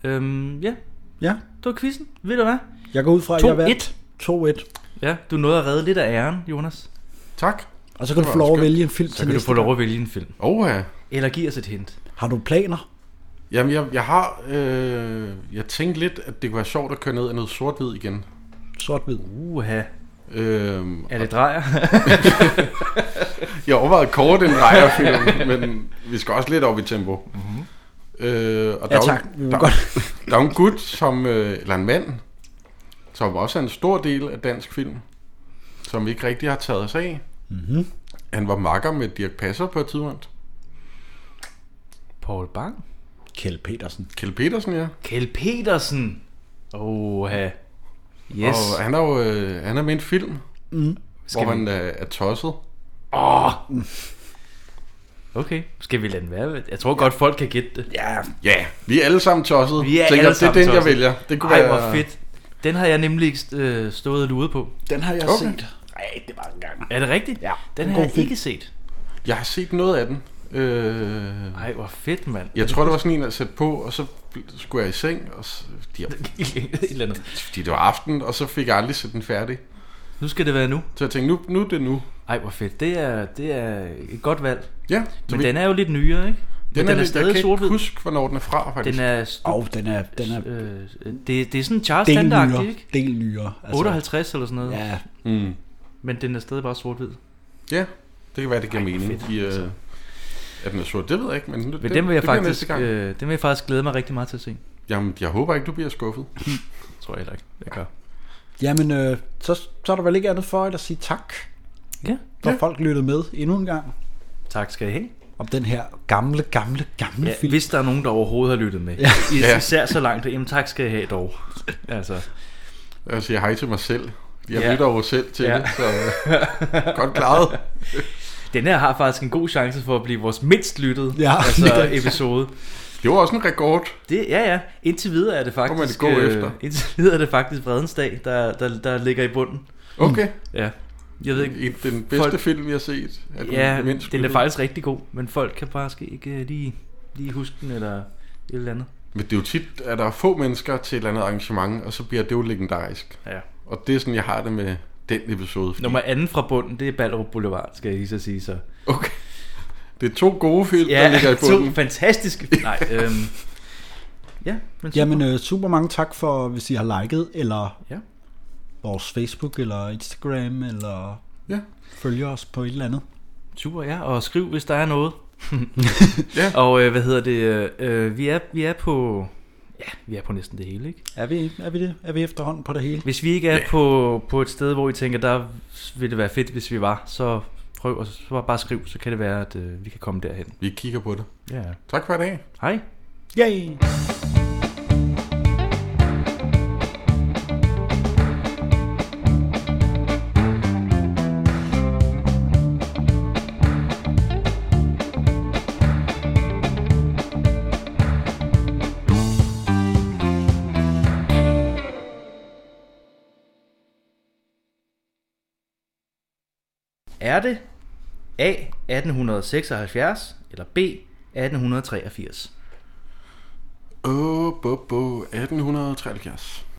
Speaker 2: Øhm, ja.
Speaker 4: Ja.
Speaker 2: Det var quizzen. Ved du hvad?
Speaker 4: Jeg går ud fra, at jeg vandt 2-1.
Speaker 2: Ja, du nåede at redde lidt af æren, Jonas.
Speaker 3: Tak.
Speaker 4: Og så kan du få lov at vælge en film
Speaker 2: Så
Speaker 4: til
Speaker 2: kan du
Speaker 4: næste
Speaker 2: få lov
Speaker 4: gang.
Speaker 2: at vælge en film.
Speaker 3: Oh, ja.
Speaker 2: Eller giv os et hint.
Speaker 4: Har du planer?
Speaker 3: Jamen, jeg, jeg har... Øh, jeg tænkte lidt, at det kunne være sjovt at køre ned af noget sort-hvid igen.
Speaker 4: Sort-hvid?
Speaker 2: Uha.
Speaker 3: Øhm,
Speaker 2: Er det drejer?
Speaker 3: jeg overvejede kort en drejerfilm, men vi skal også lidt op i tempo.
Speaker 2: Mhm.
Speaker 3: Øh, og
Speaker 4: Ja,
Speaker 3: der er jo-
Speaker 4: tak. Vi vil
Speaker 3: Der,
Speaker 4: godt.
Speaker 3: der er jo en gut, som, øh, eller en mand, som også er en stor del af dansk film, som vi ikke rigtig har taget os af.
Speaker 4: Mhm.
Speaker 3: Han var makker med Dirk Passer på et tidspunkt.
Speaker 2: Paul Bang?
Speaker 4: Kjeld Petersen.
Speaker 3: Kjeld Petersen, ja.
Speaker 2: Kjeld Petersen! Oha. Yes.
Speaker 3: Og han er jo øh, han er med i en film,
Speaker 2: Mhm.
Speaker 3: mm.
Speaker 2: Skal
Speaker 3: hvor
Speaker 2: vi-
Speaker 3: han øh, er tosset.
Speaker 2: Åh! Okay, skal vi lade den være? Jeg tror godt, folk kan gætte det.
Speaker 4: Ja,
Speaker 3: Ja, vi er alle sammen tossede.
Speaker 2: Vi er
Speaker 3: Tænker,
Speaker 2: alle
Speaker 3: det er
Speaker 2: sammen
Speaker 3: den, jeg
Speaker 2: tosset.
Speaker 3: vælger. Det kunne
Speaker 2: Ej,
Speaker 3: være-
Speaker 2: hvor fedt. Den har jeg nemlig ikke øh, stået og luret på.
Speaker 4: Den har jeg
Speaker 3: Okay.
Speaker 4: set rigtig mange gange.
Speaker 2: Er det rigtigt?
Speaker 4: Ja.
Speaker 2: Den
Speaker 4: En
Speaker 2: har
Speaker 4: god
Speaker 2: jeg
Speaker 4: film.
Speaker 2: ikke set.
Speaker 3: Jeg har set noget af den. Øh,
Speaker 2: Ej, hvor fedt, mand.
Speaker 3: Jeg tror, det var sådan en, jeg satte på, og så bl- skulle jeg i seng, og så, de,
Speaker 2: Et eller andet.
Speaker 3: fordi det var aften, og så fik jeg aldrig set den færdig.
Speaker 2: Nu skal det være nu.
Speaker 3: Så jeg tænkte, nu, nu er det nu.
Speaker 2: Ej, hvor fedt. Det er, det er et godt valg.
Speaker 3: Ja.
Speaker 2: Men
Speaker 3: vi-
Speaker 2: den er jo lidt nyere, ikke? Men
Speaker 3: Den, den er, er
Speaker 2: stadig
Speaker 3: stadig Jeg kan
Speaker 2: sort-hvid.
Speaker 3: ikke huske, hvornår den er fra, faktisk.
Speaker 2: Den er... Stu-
Speaker 4: oh, den er... Den er
Speaker 2: øh, det, det er sådan Charles Standard, ikke?
Speaker 4: Del nyere.
Speaker 2: Altså, 58 eller sådan noget.
Speaker 4: Ja.
Speaker 3: Mm.
Speaker 2: Men den er stadig bare sort-hvid.
Speaker 3: Ja, det kan være, det giver mening. I, øh, at den er sort, det ved jeg ikke. Men,
Speaker 2: Men den vil jeg
Speaker 3: det bliver næste
Speaker 2: faktisk,
Speaker 3: gang.
Speaker 2: øh, den vil jeg faktisk glæde mig rigtig meget til at se.
Speaker 3: Jamen, jeg håber ikke, du bliver skuffet.
Speaker 2: tror jeg heller ikke, jeg gør.
Speaker 4: Jamen, øh, så, så er der vel ikke andet for end at sige tak.
Speaker 2: Ja.
Speaker 4: For folk lyttede med endnu en gang.
Speaker 2: Tak skal I have.
Speaker 4: om den her gamle, gamle, gamle
Speaker 2: Ja,
Speaker 4: ja, film.
Speaker 2: hvis der er nogen, der overhovedet har lyttet med.
Speaker 4: Ja.
Speaker 2: Ja.
Speaker 4: Ja.
Speaker 2: Især så langt, jamen tak skal jeg have dog. Altså.
Speaker 3: Altså, Jeg siger hej til mig selv. Jeg lytter jo selv til det, så, øh, godt klaret.
Speaker 2: Den her har faktisk en god chance for at blive vores mindst lyttede
Speaker 3: Ja.
Speaker 2: altså,
Speaker 3: Ja.
Speaker 2: episode.
Speaker 3: Det var også en rekord.
Speaker 2: Det, ja, ja. Indtil videre er det
Speaker 3: man
Speaker 2: faktisk...
Speaker 3: gå
Speaker 2: øh,
Speaker 3: efter.
Speaker 2: Indtil videre er det faktisk Fredens Dag, der, der, der ligger i bunden.
Speaker 3: Okay.
Speaker 2: Ja. Jeg ved ikke,
Speaker 3: den bedste film, vi har set, er den
Speaker 2: ja,
Speaker 3: mindst
Speaker 2: den er
Speaker 3: lyttede.
Speaker 2: faktisk rigtig god, men folk kan faktisk ikke øh, lige, lige huske den eller et eller andet.
Speaker 3: Men det er jo tit, at der er få mennesker til et eller andet arrangement, og så bliver det jo legendarisk.
Speaker 2: Ja.
Speaker 3: Og det er sådan, jeg har det med den episode. Fordi
Speaker 2: Nummer anden fra bunden, det er Ballerup Boulevard, skal jeg lige så sige så.
Speaker 3: Okay. Det er to gode film,
Speaker 2: ja,
Speaker 3: der ligger i bunden.
Speaker 2: to fantastiske... Nej, øhm, ja, men super.
Speaker 4: Jamen, øh, super mange tak for, hvis I har liket, eller
Speaker 2: ja.
Speaker 4: vores Facebook, eller Instagram, eller
Speaker 3: ja.
Speaker 4: følger os på et eller andet.
Speaker 2: Super, ja, og skriv, hvis der er noget. ja. Og øh, hvad hedder det? øh, Øh, vi, er, vi er på... Ja, vi er på næsten det hele, ikke?
Speaker 4: Er vi, er vi det? Er vi efterhånden på det hele?
Speaker 2: Hvis vi ikke er på, på et sted, hvor I tænker, der ville det være fedt, hvis vi var, så prøv at så bare- bare skriv, så kan det være, at øh, vi kan komme derhen.
Speaker 3: Vi kigger på det.
Speaker 2: Ja.
Speaker 3: Tak for i dag.
Speaker 2: Hej.
Speaker 4: Yay!
Speaker 2: Er det A. 1876 eller B. 1883?
Speaker 3: Åh, bo, bo, 1873.